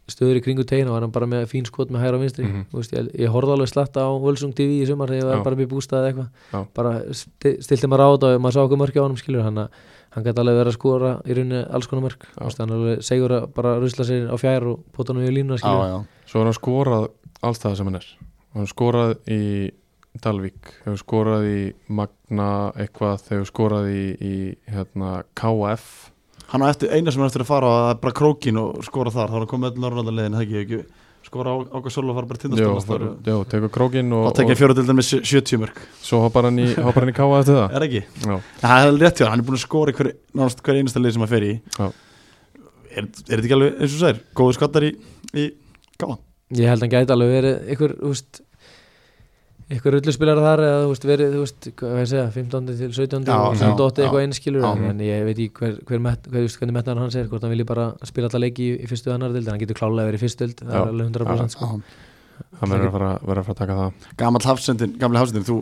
stöður í kringu tegin og hann er bara með fín skot með hæra og vinstri
Mhm.
úst, ég, ég horfði alveg slatta á Völsung TV í sumar þegar ég
Já.
var bara með bústað eða
Já.
eitthvað bara sti- stilti maður á þetta og maður sá okkur mörki á honum skilur hann að hann gæti alveg verið að skora í rauninni alls konar mörk
Já.
Úst, hann er alveg segur að bara rusla sér á fjær og pota hann við línuna
já,
skilur
já,
svo er hann skorað alls það sem hann er hann hefur skorað í Dalvík hefur skorað í Magna eitthvað, hefur skorað í, í hérna, KF
hann á eftir, eina sem hann eftir að fara það er bara krókin og skora þar þá er hann komið öll norrlöndaliðin, það ekki, ekki skora á- ákvað svolv og fara bara
Jó,
tindastólast þá
já, tekur krókin og,
tekja
og
fjóraðildin með sjö- 70 mörg
svo hoppar hann í, hoppar hann í KF eftir
(laughs)
það
er ekki,
já,
það er alveg rétt hjá, hann er búin að skora í hver, nánast hver einasta lið sem hann fer í
Já.
er, er þetta ekki alveg eins og sér góðu skattar í, í gáðan
Ég held að hann gæti alveg verið ykkur, húst ykkur rulluspilar þar eða húst verið, húst, hvað á ég að segja, 15. til 17.
Já,
og
já,
28. eitthvað
já.
einskilur
Já.
en, en ég veit ekki hver, hver met, hver, húst, hvernig metnar hans er, hvort hann vilji bara spila alla leiki í, í fyrstu og annar dild, en hann getur klálega verið í fyrstu dild, það
Já,
er alveg 100% sko.
hann verður að fara, verður að fara að taka það
gammal hafsendin, gamli hafsendin þú,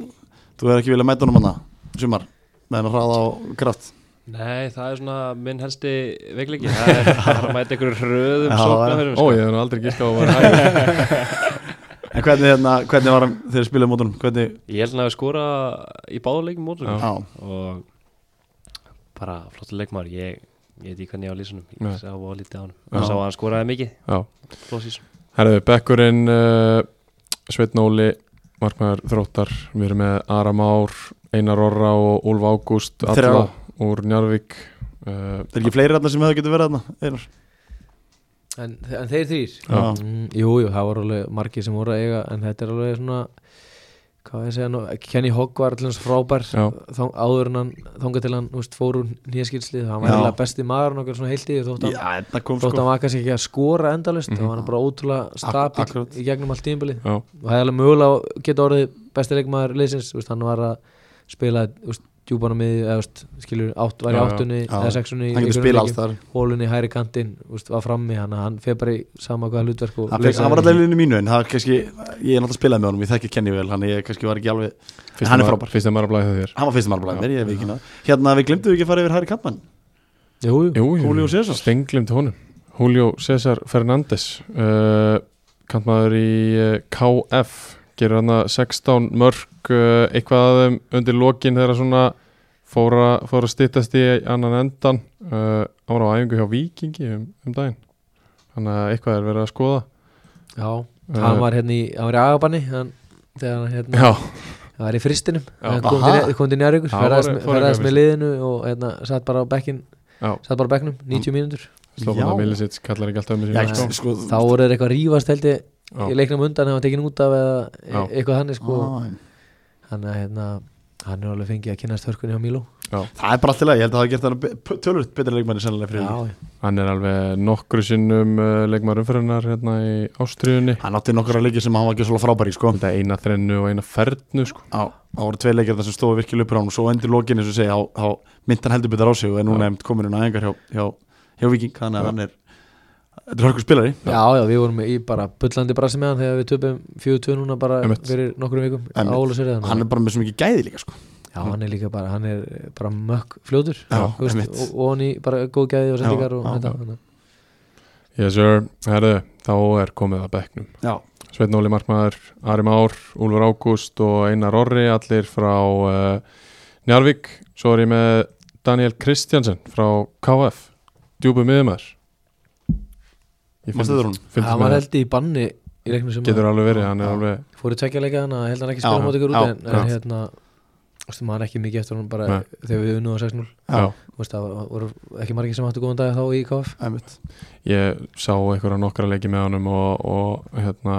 þú er ekki vilja mæta honum hana sumar, með hann hraða á kraft
Nei, það er svona minn helsti veikleiki (laughs) Það er það er að mæta einhverju röðum
Já,
sóknarfærum,
ó,
sko.
ég hef nú aldrei gíska á að vera hæg
en hvernig, hérna, hvernig var hann þegar spilaði mótunum hvernig,
Ég held hann að skora í báðuleikum
Já.
mótum
á,
og bara flottur leikmaður ég, ég veit ekki hvernig ég á lýsunum
Nei.
ég sá á lítið á hann
Já.
ég sá að hann skoraði mikið
já,
flott sísun
Herðu, Bekkurinn uh, Sveitn Óli, Markmaður Þróttar við erum með Ara Már, Einar Orra og Úlf Ágúst alla
Þrjá.
úr Njarvík uh,
það er ekki fleiri hérna sem hefur getið verið hérna Einar?
sko. en, en þeir þrýr
Já.
Já.
mm, Jú, jú, það var alveg margir sem voru að eiga en þetta er alveg svona hvað á ég að segja nú, Kenny Hogg var allans frábær
Já.
þá, áður en hann þanga til hann, húst, fór úr nýjaskilslið hann var
Já.
alveg besti maður nokkar svona heilt í þótt hann
já, þetta kom
þótt
sko
hann var kannski ekki að skora endalust mm
Mhm.
og hann er bara ótrúlega
Ak-
stabil
akkurat.
í gegnum allt tímbilið
já,
og það er alveg mögulega geta orðið besti leikmaður liðsins, úst, hann var að spila úst, djúbana miði eða, úst, skilur, átt, var í
Já, já.
áttunni
Já.
eða sexunni
hann getur spilað alls þar
hólunni hæri kantinn, úst, var frammi hann, hann fer bara í sama hvaða hlutverk og
hann
leysir
fekk- hann var
þetta.
alltaf í línu mínu en það er kannski ég er náttúrulega spilað með honum, ég þekki Kenny vel hann ég kannski var ekki alveg,
fyrst
Hann er
maður-
frábær.
fyrst að maður að blæða þér
hann var fyrstum alveg mér, ég veit ekki náttúrulega hérna, við glemtum ekki að fara yfir Harry Kampmann
Jú, jú.
Jú,
Julio César.
Stenglimt honum Julio César Fernández uh, Kantmaður í uh, KF Gerir hann að 16 mörg uh, Eitthvað af þeim undir lokin Þegar svona fóra, fóra stittast í annan endan uh, Hann var á æfingu hjá Víkingi um, um daginn Þannig að eitthvað er verið að skoða
Já,
Eh,
hann var hérna í, hann var í agabanni hann, þegar hann hérna,
Já,
hann var í fristinum
Já.
hann kom
Aha.
til, kom til njárvíkur,
Já,
ferðast
voru-
með-
voru
ferðast
eitthvað
með liðinu og hérna, satt bara á bekkin,
já,
satt bara á bekknum
Mm.
90 mínútur,
slófum
Já.
að Milicic Kallar ekki alltaf um
já,
þessu
sko,
þá voru þeir eitthvað að rífast held ég,
Já.
í leiknum undan ef hann tekin út af eða
Já.
e- eitthvað þannig sko,
á,
hann er hérna hann er alveg fengið að kynast hörkunni á Míló
það er bara allt í lagi, ég held að það hafi gert hann be- tölvöld betri leikmanni sennilega fyrir Víking.
já,
Hann er alveg nokkru sinnum uh, leikmaður umferðunar hérna í Ástriðunni
hann átti nokkra leiki sem hann var ekki svolítið frábæri sko.
Þetta eina þrennu og eina fernu sko.
Já, það voru tvei leikir þar sem stóðu virkilega upp á hann og svo endur lokin eins og segja, þá- þá myndi hann heldur betur á sig og er núna eftir komin hún aðengar hjá, hjá, hjá Viking, þannig
Já.
að hann er þetta er hörkur spilari
já, já, við vorum í bara bullandi brasi með hann þegar við töpum 42 núna bara
Einmitt.
fyrir nokkrum vikum
Einmitt.
á Ólusverið
hann er bara með svo mikið gæði líka sko.
Já, hann er líka bara, hann er bara mökk fljótur
Já,
þú veist,
einmitt.
og, og hann í bara góð gæði og sendingar
Já,
og
já,
þetta
já.
þannig að-
Yes sir, herðu, þá er komið að bekknum
Já.
Sveinn Óli Markmaður, Ari Már, Úlfur Ágúst og Einar Orri allir frá uh, Njarvík Svo er ég með Daniel Kristjansen frá KF djúpu miðumæður Ég
Manstu þetta, Rún?
Hann
fylgist
var
með
held í banni í leiknum sem
getur alveg verið, hann er
Já.
alveg
fóru tvekja leika þannig að held hann ekki
Já,
spila mót ykkur út
já,
en, en
já.
hérna, þú veist, maður ekki mikið eftir hann bara
Nei.
þegar við unnum á 6-0
Já.
Já.
Þú veist, það var- voru ekki margir sem áttu góðan dag þá í KF
Einmitt.
ég sá einhverja nokkra leiki með honum og, og hérna,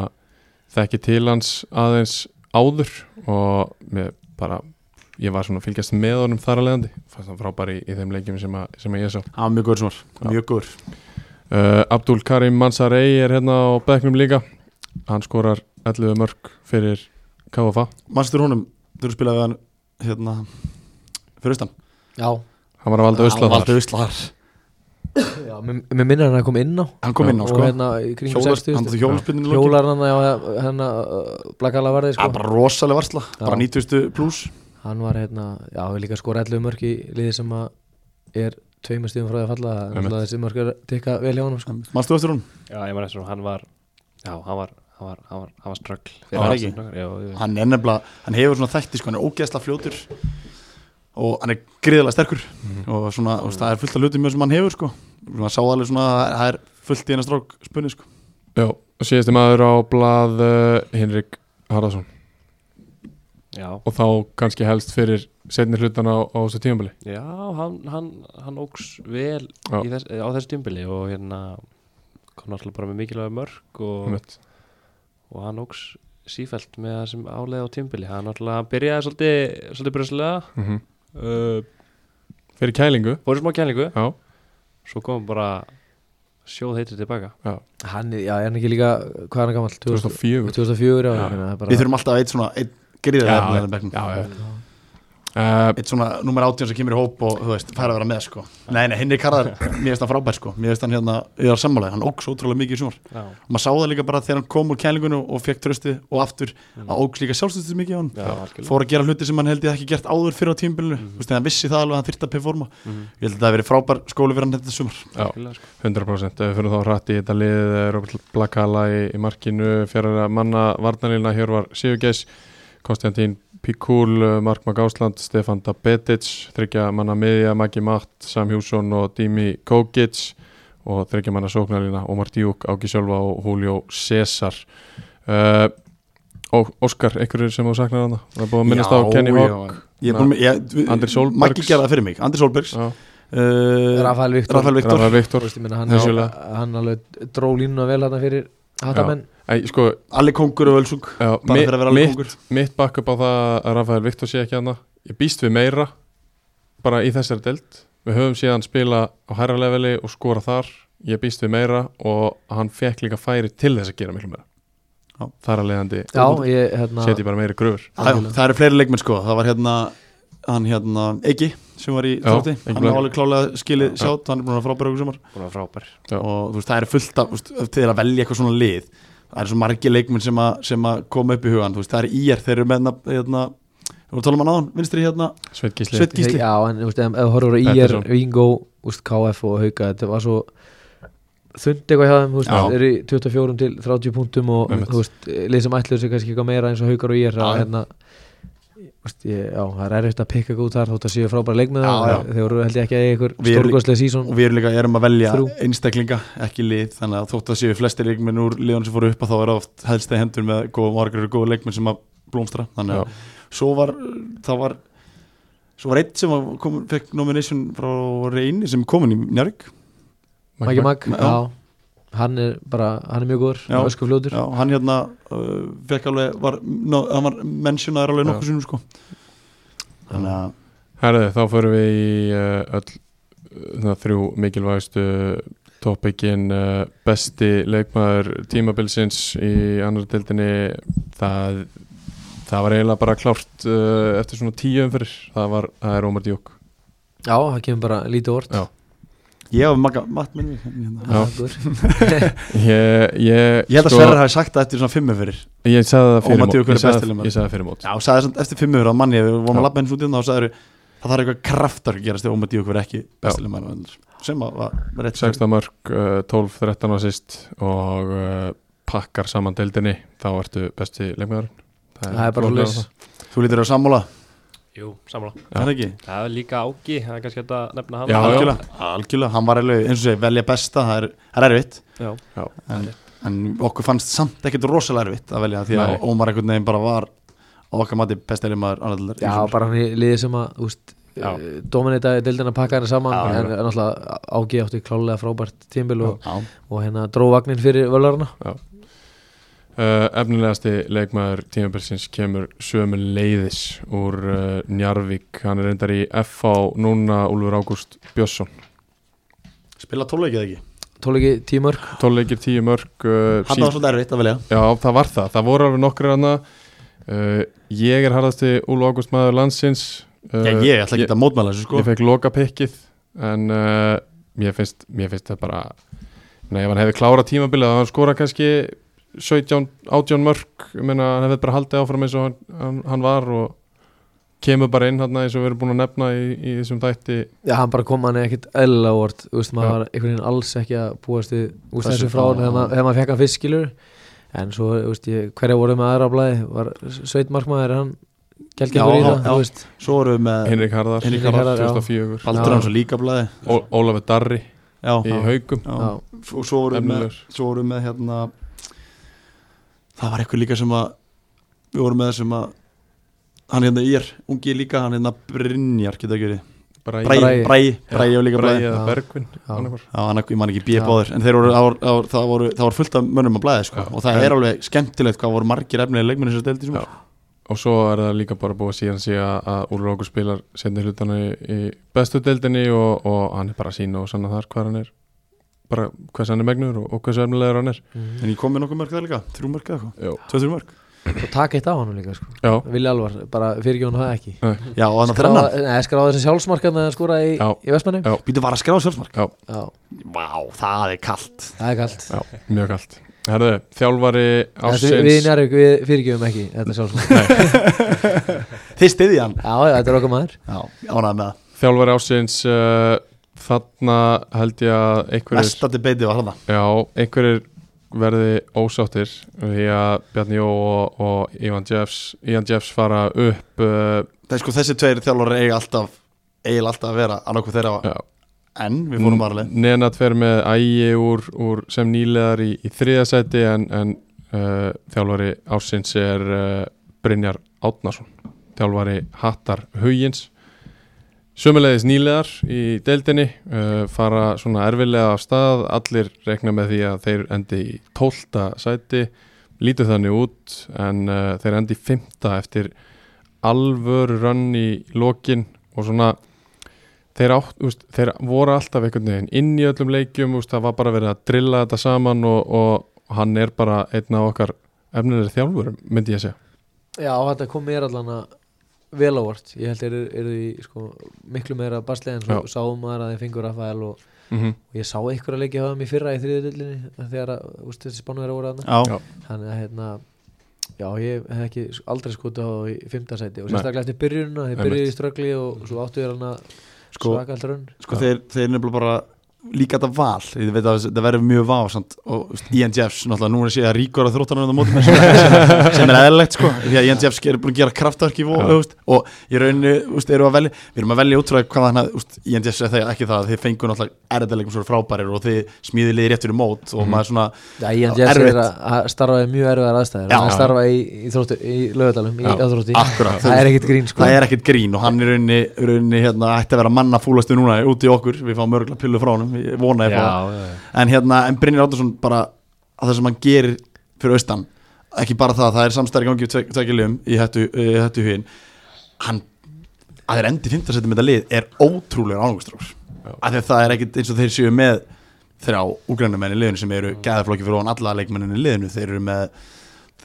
þekki til hans aðeins áður og mér bara ég var svona að fylgjast með honum þar að leiðandi fannst hann frábær í, í þeim leikjum sem, að, sem að ég sá
hann var mjög góður sumar,
Já.
mjög góður
uh, Abdul Karim Mansarey er hérna á bekknum líka hann skorar 11 mörg fyrir KFA
mannstur honum þurfa að spila við hann hérna, fyrir austan
já,
hann var að
Ah,
valda
Já,
Ösla þar
Valdi Usla þar
já mér, mér minnir hann að koma inn á
hann kom inn á
og
sko
hérna í kringum
Hjólar-
60
hann
stig.
tók hjólarspinninu í lokin.
hjólar hann að hérna blakala varði
Það
sko
er bara rosalega varsla bara
Já.
90 pluss
hann var hérna, já við líka skora 11 mörk í liði sem að er tveimur stíðum frá því að falla
Einmitt.
þannig að þessi mörk er að tikka vel hjá honum sko.
mannstu eftir hún
Já, ég maður eftir hún, hann var Já, hann var, hann var, hann var, hann var ströggl
Já,
hann
ekki.
Já, já,
hann er nefnilega hann hefur svona þætti sko hann er ógeðsla fljótur og hann er gríðilega sterkur
Mhm.
og svona og það er fullt af lutum mjög sem hann hefur sko maður sá alveg svona að það er fullt í hennar strák spunni sko
já, og síðasti maður á blað uh, Henrik Harðarsson
já,
og þá kannski helst fyrir setni hlutan á, á þessu tímabili
já hann, hann, hann óks vel
Já.
í þess, á þessu tímbili og hérna kom náttúrulega bara með mikilvæg mörg og,
Einmitt.
og hann óks sífælt með það sem álega á tímbili hann náttúrulega hann byrjaði svolítið, svolítið bröðslega
Mhm.
uh,
fyrir kælingu
fóru í smá kælingu
já,
svo kom bara sjóð heitir tilbaka
hann, er- já er hann ekki líka, hvað er hann gammal
2004
2004 já,
Já.
hérna, það er bara-
við þurfum alltaf eitt svona eitt
Já,
gríðilega efnið
já,
bekknum
já. Uh,
eitt svona nummer 18 sem kemur í hóp og þú veist, fær að vera með sko nei, nei, Henrik Harðar, mér finnst hann frábær sko mér finnst hann hérna, ég er sammálaði, hann óks ótrúlega mikið í sumar
já,
og maður sá það líka bara þegar hann kom úr kælingunum og fekk tröstið og aftur
Mm.
að óks líka sjálfstöðstöð mikið á hann
já, algjörlega
fór að gera hluti sem hann held ég ekki gert áður fyrir á
Mhm.
tímbilinu mm. veist, en hann vissi það alveg að hann þyrta að performa
Mhm.
ég held að það hafi verið frábær skólu fyrir hann þetta sumar
já,
Algjörlega, sko.
100% ef við fyrir þá hratt í þetta lið eh, Robert Blakala í, í markinu fjara manna varnanilna hér var Sigurgeis Konstantín Pikul, eh, Mark Magásland Stefan Dabetic, þryggja manna miðja Maggi Matt, Sam Hjússon og Dimi Kókic og þryggja manna sóknarlina Omar Díuk, Áki Sjölva og Julio Cesar uh, og Óskar, einhverjur sem þú saknar hana það er búið að minnast á Kenny Hawk
ég, er búinn með- ég, við-
Andri Sólbergs.
Maggi gerði það fyrir mig, Andri Solbergs
já,
uh,
Rafael Viktor
Rafael Viktor
Rafael
Þú
Viktor
veist, ég meina, hann,
Vissulega.
hann alveg dró línuna vel hann fyrir hattamenn
Æ, sko,
Alli Kongur og Ölsung
já,
bara fyrir að vera Alli
mitt
Kongur
mitt backup á það að Rafael Viktor sé ekki hana ég býst við meira bara í þessari delt við höfum síðan spila á hærra leveli og skora þar ég býst við meira og hann fekk líka færi til þess að gera miklu meira
Já.
þar að leiðandi
Já, ég, hérna,
setji bara meiri gröfur
Já, já, það eru fleiri leikmenn sko, það var hérna hann hérna, Eggi sem var í
Já,
þrótti,
Eiki
hann
Blær.
var alveg klálega skilið sjátt, hann er búin að frábæra okkur sumar
Hún var frábær
Já.
og þú veist, það eru fullt af, þú veist, til að velja eitthvað svona lið, það eru svo margi leikmenn sem að, sem að koma upp í hugan, þú veist, það eru íjar þeir eru með hérna, hérna þú voru tólum að náðan, vinstri hérna,
Sveit Gísli
Sveit Gísli
Já, en þú veist, ef ef horfur á IR,
Pettersson.
Vingó, úst, KF og Hauka Þetta var svo þund eitthvað hjá þeim, þú veist,
Já.
er í 24 til 30 punktum og
Einmitt.
þú veist, lið sem ætluðu sig kannski eitthvað meira eins og Haukar og IR að
Já.
hérna þú veist, ég, já, það er erfitt að pikka góð þar þótt að séu frábæra leikmið
Já, já.
þeir voru held ég ekki að eiga einhver
Við erum-
stórgóðslega sísón
og við erum líka, erum að velja
Þrjú.
einstaklinga, ekki lið, þannig að þótt að séu flestir leikmenn úr liðan sem fóru upp að þá er það oft helst í hendur með góða margar og góða leikmenn sem að blómstra, þannig að
Já.
svo var það var svo var eitt sem var kom, fekk nomination frá Reyni sem kom inn í Njárvík
Maggi Mag,
Já.
já hann er bara, hann er mjög góður,
Já.
ösku fljótur
Já, hann hérna uh, fekk alveg var, no, hann var mentionaður alveg
Já.
nokkuð sinnum sko þannig að
Herðu, þá förum við í uh, öll uh, það þrjú mikilvægstu topikinn uh, besti leikmaður tímabilsins í annar deildinni það, það var eiginlega bara klárt uh, eftir svona tíu umfyrir það, var, það er Ómar Díok
Já, það kemur bara lítið orð
Já.
ég hef maga mat minni hérna.
Já.
Hann er góður.
ég, ég, sko,
ég held að Sverrar hafi sagt það eftir svona fimmu fyrir já,
ég sagði það fyrir
Ómar
mót
Díok er
ég sagði,
besti leikmaður.
ég sagði það fyrir mót
og sagði samt eftir fimmu fyrir að manni ef við vorum
Já.
að labba eins út í hérna og sagði það þarf eitthvað kraftar að gerast ef Ómar Díok verið ekki
Já.
bestileg mann sem að var rétt
16 mörg, uh, 12, 13 og sýst og uh, pakkar saman deildinni þá ertu besti leikmaður
Það er bara hlust
þú lítur að sammála,
Jú, samla
Já.
er það ekki?
Það er líka ági, það er kannski hægt að nefna hann
Já, já.
algjörlega, algjörlega, hann var alveg eins og segi velja besta, það er, það er erfitt
Já.
Já.
En, en okkur fannst samt ekkert rosalega erfitt að velja því að
Nei.
Ómar einhvern veginn bara var á okkar mati bestileg maður annaðlega
Já, bara hann í liði sem að úst,
Já.
Dominita deildina pakka henni saman
Já,
en náttúrulega ági áttu klálega frábært tímbil og,
Já,
og hérna dró vagnin fyrir völarna
Uh, efnilegasti leikmaður tímabilsins kemur sömu leiðis úr uh, Njarvík hann er reyndar í FH núna Úlfur Ágúst Björnsson
spila tóluleikið ekki
Tóliki tímörk,
12 leikir 10 mörg uh,
Hann
sín-
var svolítið erfitt að velja
já það var það, það voru alveg nokkri hana uh, Ég er harðasti Úlu Ágúst maður landsins uh,
Já, ég ætla ekki að mótmæla þessu sko
Ég fekk loka pikkið En uh, mér, finnst, mér finnst það bara Nei, ef hann hefði klárað tímabilið þá hann skora kannski 17, 18 mörg Ég meina, hann hefði bara haldið áfram eins og hann, hann, hann var og kemur bara inn hann eins og við erum búin að nefna í, í þessum þætti
Já, hann bara kom hann ekkert eðlilega vort Þú veist, maður
Já.
var einhvern veginn alls ekki að búast við Þú veist,
Þessu
þessu frá hann
frá-
þegar maður- þegar maður fekk að fiskilur En svo, þú veist, ég, hverja voru með aðra á blæði Var sveitmarkmaður, er hann
Já,
Gjalgengur í
já,
það,
já.
þú veist
Svo erum við með
Henrik Harðar,
Hinrik
Harðar, já.
2004
Baldur hans og líkablaði
Ó- Ólafur Darri
Já,
í
já,
haugum
já.
Já,
og svo vorum við með,
Efnilegur.
svo vorum við með hérna, það var eitthvað líka sem að við vorum með sem að hann hérna ír, ungi líka hann hérna Brynjar, geta ekki verið
Bragi.
Bræi, Bræi, Bræi og líka Bræi
Bræði eða
Já.
Bergvin
Já.
annaðhvort.
Já, hann, ég man ekki bíja
Já.
báður en þeir voru, það voru, það voru, það voru, það voru fullt af mönnum að blæði sko.
Já.
og það er alveg skemmtilegt hvað voru margir efnilega leikmenni sem steldi sem
Já. og svo er það líka bara búið síðan síðan að Úlur Ógur spilar setni hlutana í, í bestu deildinni og, og hann er bara að sína og sanna þar hvað hann er bara hvers hann er megnur og, og hversu efnilegur hann er
en ég kom með nokkuð mörg það líka, þrjú mörg eða eitthvað
Já,
tvö, þrjú mörg
og taka eitt á hann líka, sko
já,
Vilja alvar, bara fyrirgjónu það ekki
Já, og þannig að þrenna,
Skráða- Nei, skráða þessi sjálfsmarkan að skora í,
Já.
í Vestmanni
Já.
býtu var að skráða sjálfsmark
já,
Já,
Vá, það er kallt
það er kalt
já, mjög kallt Herðu, þjálfari
Þetta, Við í
ásins
Njarvík, við fyrirgjöfum ekki Þetta er sjálfsmark
(laughs)
Þið stiði hann
Já, já, þetta er okkar maður
Já, ánægð með það,
þjálfari ásins uh, þarna held ég að einhverjir
mesta debatið var hann
Já, einhverjir verði ósáttir því að Bjarni Jó og, og Ivan Jeffs, Ivan Jeffs fara upp uh,
Það er sko þessi tveir þjálfur eiga alltaf eiga alltaf að vera annarkoð þeirra
já,
en við fórum varlega
Nenad fer með ægi úr, úr sem nýlegar í, í þriðasæti en, en uh, þjálfari ásins er uh, Brynjar Átnarsson þjálfari Hattar Hugins Sömulegis nýlegar í deildinni uh, fara svona erfilega af stað allir rekna með því að þeir endi í 12. sæti lítur þannig út en uh, þeir endi í 5. eftir alvöru rönn í lokin og svona þeir, átt, úst, þeir voru alltaf einhvern veginn inn í öllum leikjum úst, það var bara verið að drilla þetta saman og, og hann er bara einn af okkar efnilegri þjálfurum, myndi ég segja
Já, þetta kom mér allan að vel ávart ég held þeir eru- eru í sko, miklu meira baslið en svo
Já.
sáum maður að þeir fengur Rafael og,
mm -hmm.
og ég sá einhverja leiki hafa mig fyrra í þriðudelinni þegar að, úst, þessi spánuður voru aðna
Já,
Já.
þannig að hérna já, ég hef ekki s- aldrei skotu á þá í fymta sæti og
Nei.
sérstaklega eftir byrjununa þeir
Einmitt.
byrjuði í ströggli og svo áttu þér hann að
Sko-
svaka alltaf raun
sko þeir, þeir nefnilega bara líka þetta val, ég veit að þetta verður mjög vásamt og þú veist, Ian Jeffs, náttúrulega núna sé að ríkur að þróttanum á mótum mér sem, sem, sem er eðlilegt sko, því að Ian Jeffs er búin að gera kraftarki
Já.
og, ja. veist, og í rauninni þú veist, erum að velja, við erum að velja útrúið hvað hann að, þú veist, Ian Jeffs er þegar ekki það að þið fengur náttúrulega erðalegum svo frábærir og þið smíðið liðið rétt fyrir mót og maður svona,
Já, Ian
Já,
Jeffs er
erfitt.
að- að starfa í mjög erfiðar aðstæður
Já.
hann er að starfa í, í, þróttu, í lögadalum í
Já.
aðþrótti
akkurat
það er ekkit grín sko
það er ekkert grín og hann í rauninni, rauninni hérna, ætti að vera manna fúlastu núna úti í okkur, við fáum örgulega pillu frá honum, ég vona
Já,
ég fá það
já, já.
en hérna, en Brynjar Átnarsson bara að það sem hann gerir fyrir austan ekki bara það, það er samstæri gangi tvek- tvekja liðum í hættu, í hættu hugin hann, að þeir endi 15 setjum þetta lið er ótrúlega ánugustróks af því að það er ekkit eins og þeir séu með þrjá úgrænumenn í liðinu sem eru gæðaflokki fyrir ofan alla leikmennin í liðinu þeir eru með,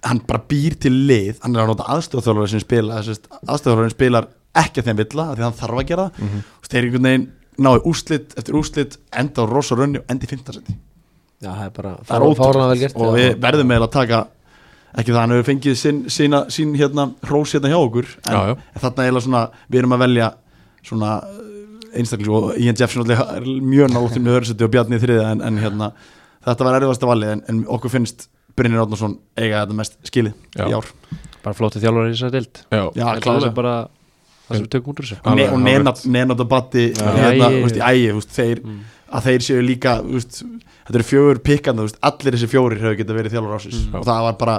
hann bara býr til lið hann er að nota aðstofþjálfari sem spila aðstofþjálfari spilar ekki að þeim villa af því að hann þarf að gera það mm þeir eru einhvern veginn náðu úrslit eftir úrslit enda á rosa rönni og endi 15 setjum
Já, það er bara
það er
fáran vel
ótrúlega
gert
og við verðum með að taka ekki það hann hefur fengið sín, sína, sín hérna, hrós hérna hjá okkur en,
Já, já.
en þarna er svona, við erum að velja svona eh, einstakling og Ian Jeffson alltaf er mjög náttum með hörsetti og Bjarni í þriða en, en hérna, þetta var erfiðasta valið en, en okkur finnst Brynir Átnarsson eiga þetta mest skilið
Já.
í ár
bara flótið þjálfari í þessari dild
Já,
Já,
Það er það sem
klálega
bara það sem við tökum út úr þessu
Og ne-
Alveg,
og
alveg.
nennátt að batti hérna,
Æi.
ægi, þeir að þeir séu líka þú veist, þetta eru fjögur pikkandi, þú veist, allir þessi fjórir hefur getað verið þjálfur ásins og það var bara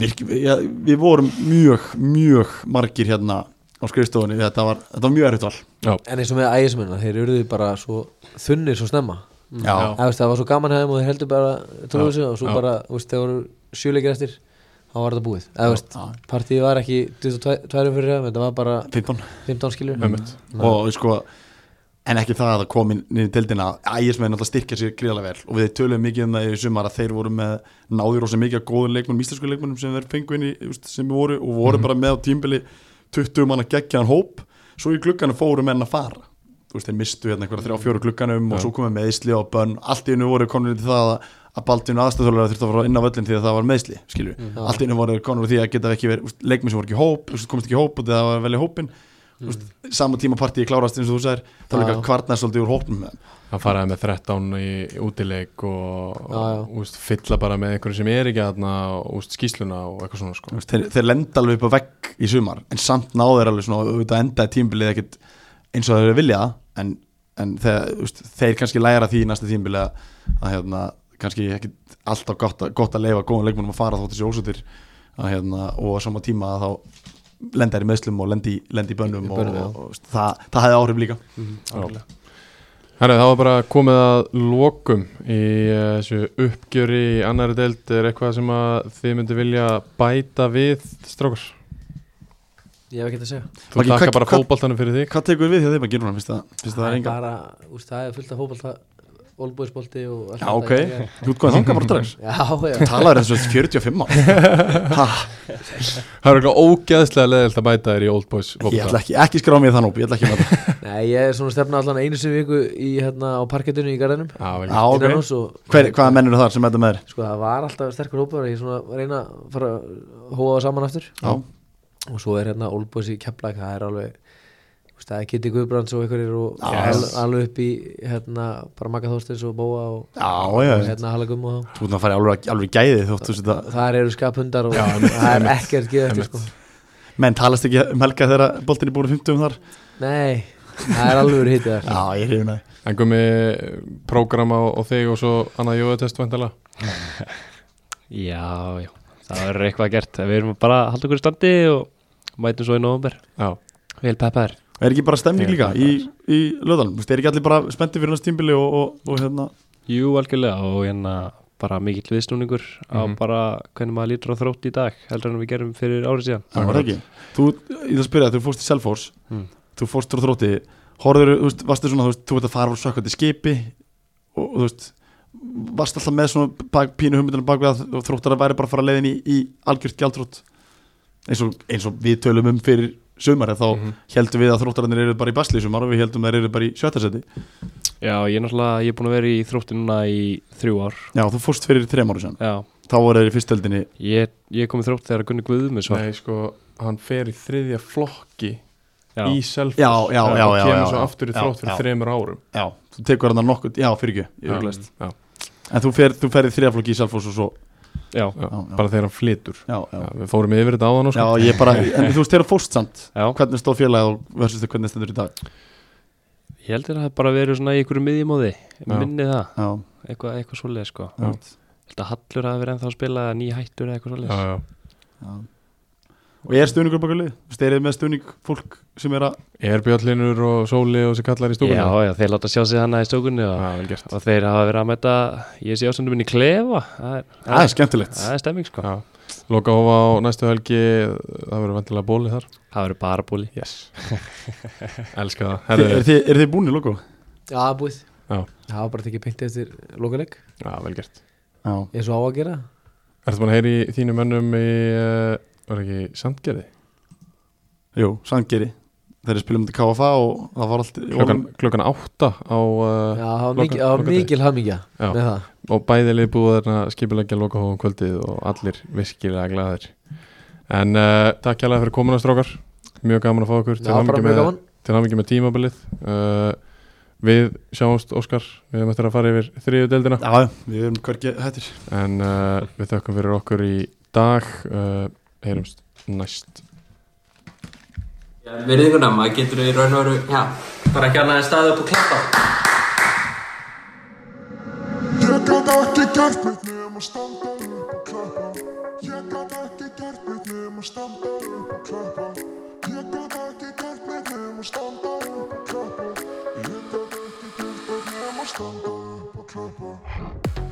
virk, ja, við vorum mjög, mjög margir hérna á skrifstofunni þetta var, þetta var mjög erfitt val
já,
En eins og með ægismennar, þeir eruðu bara svo þunnir svo snemma
já,
Eða, veist, Það var svo gaman hefðum og þeir heldur bara trúðu sig og svo
Já.
bara, þú veist, þeir voru sjöleikir eftir þá var þetta búið Eða, veist,
Já.
Partíið var ekki 22 fyrir hefðum, þetta var bara
15
15 skilur
Einmitt.
og sko en ekki það að það komi niður tildina að ægismenn alltaf styrkja sér gríðarlega vel og við töluðum mikið um það í sumar að þeir voru með náður ósa mikið að góðum leikmunum íslensku leikmunum sem þeir fengu inn í þú veist, sem voru og voru bara með á tímbili 20 manna geggjaðan hóp svo í glugganum fóru menn að fara þú veist, þeir mistu hérna einhverja þrjá fjóru glugganum og
Já.
svo komið meðsli og bönn allt í hennu voru konur til það að- að Baldvin aðstæðþjóðlega þurfti að fara inn á völlin því að það var meðsli skilju, allt í hennu voru konur því að geta ekki verið, úst, leikmenn sem voru ekki í hóp, úst, komist ekki í hóp og það var velja hópin mm. saman tíma partíi klárast eins og þú sagðir þá
Já,
líka
já.
kvarnar svolítið úr hópnum með þeim.
að fara með 13 í útileik og,
Já, já.
og úst, fylla bara með einhverju sem er ekki aðna og úst, skýsluna og eitthvað svona
Þú
sko.
veist, þeir, þeir lenda alveg upp á vegg í sumar en samt náðu þeir alveg svona auðvitað endaði tímbilið ekkit eins og þeir eru vilja en, en þeir, veist, þeir kannski læra því í næsta tímbilið að, að hérna, kannski ekkit alltaf gott, að- gott að leifa góðan leikmennum að fara þótt þessi ósutir að, hérna, og á sama tíma að þá lenda þeir í meðslum og lenda í, lenda í Mhm, bönnum
Í
og,
bönnum, já.
og, og það, það hefði áhrif líka
Herra, það var bara komið að lokum í eh, þessu uppgjöri í annari deild er eitthvað sem að þið myndu vilja bæta við strókar
ég hef ekki að segja
þú
Maggi,
taka
hvað-
bara
hvað-
fótboltanum fyrir þig
Hvað tekur við því að þeim að gera hún fyrst að, fyrst að það er enga
bara, úst, það er fullt af fótbolta Olbúisbolti og allt
Já,
þetta
ok,
í gangi.
þú ert góðan þangað bara strax
Já, já
Talaður eins og þessi 45 (laughs) ára Ha,
það er eitthvað ógeðslega leðilt að bæta þér í Old Boys
Ég ætla
fótbolta
ekki, ekki skrá mig í þann hóp, ég ætla ekki að nota
Nei, ég er svona að stefna allan einu sem viku í, hérna, á parkettinu í garðinum
Já, vel
Já,
gert.
ok
Innan húss og-
Hver, Hvaða menn eru þar sem þetta með þér?
Sko það var alltaf sterkur hópur ég er svona að reyna að fara að hóa það saman aftur
Já.
og svo er hérna Olbúis í Keflæk það er alveg þú veist, það er Kitty Guðbrands og einhverjir og yes. alveg upp í hérna bara Magga Þorstins og Bóa og
Já, já,
og hérna Halagum og þá
þú ert að fara í alveg, alveg gæði þóttu þetta
þar eru skaphundar og það er ekkert geða eftir sko
Menn talast ekki um helga þegar boltin er búin að 50 um þar
nei, það er alveg verið hitið þar
Já, ég hrifin að
en komið prógrama og, og þig og svo annað jóðatest vantala
Já, já, það verður eitthvað gert Við erum bara að halda okkur í standi og mætum svo í nóvumber
já,
Vel peppaður
Er ekki bara stemning
Ég er
líka
bara
í, í löðanum? Er ekki allir bara spendi fyrir hans tímbili og, og, og hérna
Jú, algjörlega og hérna bara mikill viðsnúningur
Mhm.
á bara hvernig maður lítur á þrótt í dag heldur en við gerum fyrir árið síðan
Það var það ekki Þú, ég ætla að spyrja, þú fórst í Selfors
Mm.
Þú fórst úr þrótti Horður, þú veist, varstu svona, þú veist, þú ert að fara úr sökkandi skipi og, og þú veist varst alltaf með svona bak, pínu hugmyndina bak við að þróttar að væri bara að fara leiðin í, í algjört gjaldrótt eins og, eins og við tölum um fyrir sumar þá heldum við að þróttararnir eru bara í basli í sumar og við heldum að þeir eru bara í sjötasetti
Já, ég er náttúrulega, ég er búin að vera í þrótti núna í þrjú ár
Já, þú fórst fyrir þrem ára sér
Já,
þá voru þeir í fyrstöldinni
ég, ég kom í þrótt þegar Gunni Guðmus var
nei sko hann fer í þriðja flokki
Já,
í self
Já, já, já,
og
já,
kemur
já,
svo
já.
aftur í
Já,
þrótt fyrir
já.
þremur árum
Já, þú tekur hann að nokkuð, já, fyrir ekki
Já,
ég
já,
En þú fer, þú ferði þriðaflokki í Salfors og svo
já,
já,
Já, já.
bara þegar hann flytur
Já, já,
Já, við fórum yfir þetta á þann og
já
sko
ég bara, en þú veist þeirra fórst samt
já
Hvernig stóð félagið og versus þau hvernig stendur í dag
Ég heldur að það hafi bara verið svona í einhverju miðjumóði
Já.
Minni það,
Já,
eitthvað, eitthvað svoleið sko
Já.
já.
Þetta Hallur hafi verið ennþá að spila ný hættur eða eitthvað svoleið
já, já.
Og er stuðningur baka lið? Sterið með stuðning fólk sem er að
er bjöllinur og sóli og þessi kallar í stúkunni
Já, já, þeir láta sjá sig hana í stókunni og,
vel gert
og þeir hafa verið að mæta ég sé ástundum minni klefa það er,
Það er skemmtilegt
það er stemming sko
Já. Loka hófa á næstu helgi það verður vantilega bóli þar
það verður bara búli
yes. Elska það
Er,
Herðu,
er, þið, er þið búin í logo?
já, það er búið
Já.
það var bara tekið peinti eftir lokaleg
Já, vel gert
Já
eins og á að gera
Ertu búin að heyri þínu mönnum í uh, var ekki Sandgerði?
Jú, sangeri Þeir um spilum til KFA og það var allt
Klukkan, klukkan átta á
já,
uh,
það var
Loka-
mikil, það var
lokadegi.
mikil hamingja
Já.
með það
og bæði lið búið þarna skipilegja loka hófa um kvöldið og allir virkilega glaðir En uh, takk hérlega fyrir komuna strókar Mjög gaman að fá okkur
það var bara mjög gaman
til hafingi með tímabilið uh, við sjáumst Óskar við erum eftir að fara yfir þriðu deildina
Já, já, við erum hvergi hættir
en uh, við þökkum fyrir okkur í dag uh, heyrumst næst
Virðinguna, maður getur í raun og veru, já, bara ekki annað en staðið upp og klappa.
Ég gat ekki gert neitt nema standa upp og klappa Ég gat ekki gert neitt nema standa upp og klappa Ég gat ekki gert neitt nema standa upp og klappa Ég gat ekki gert neitt nema standa upp og klappa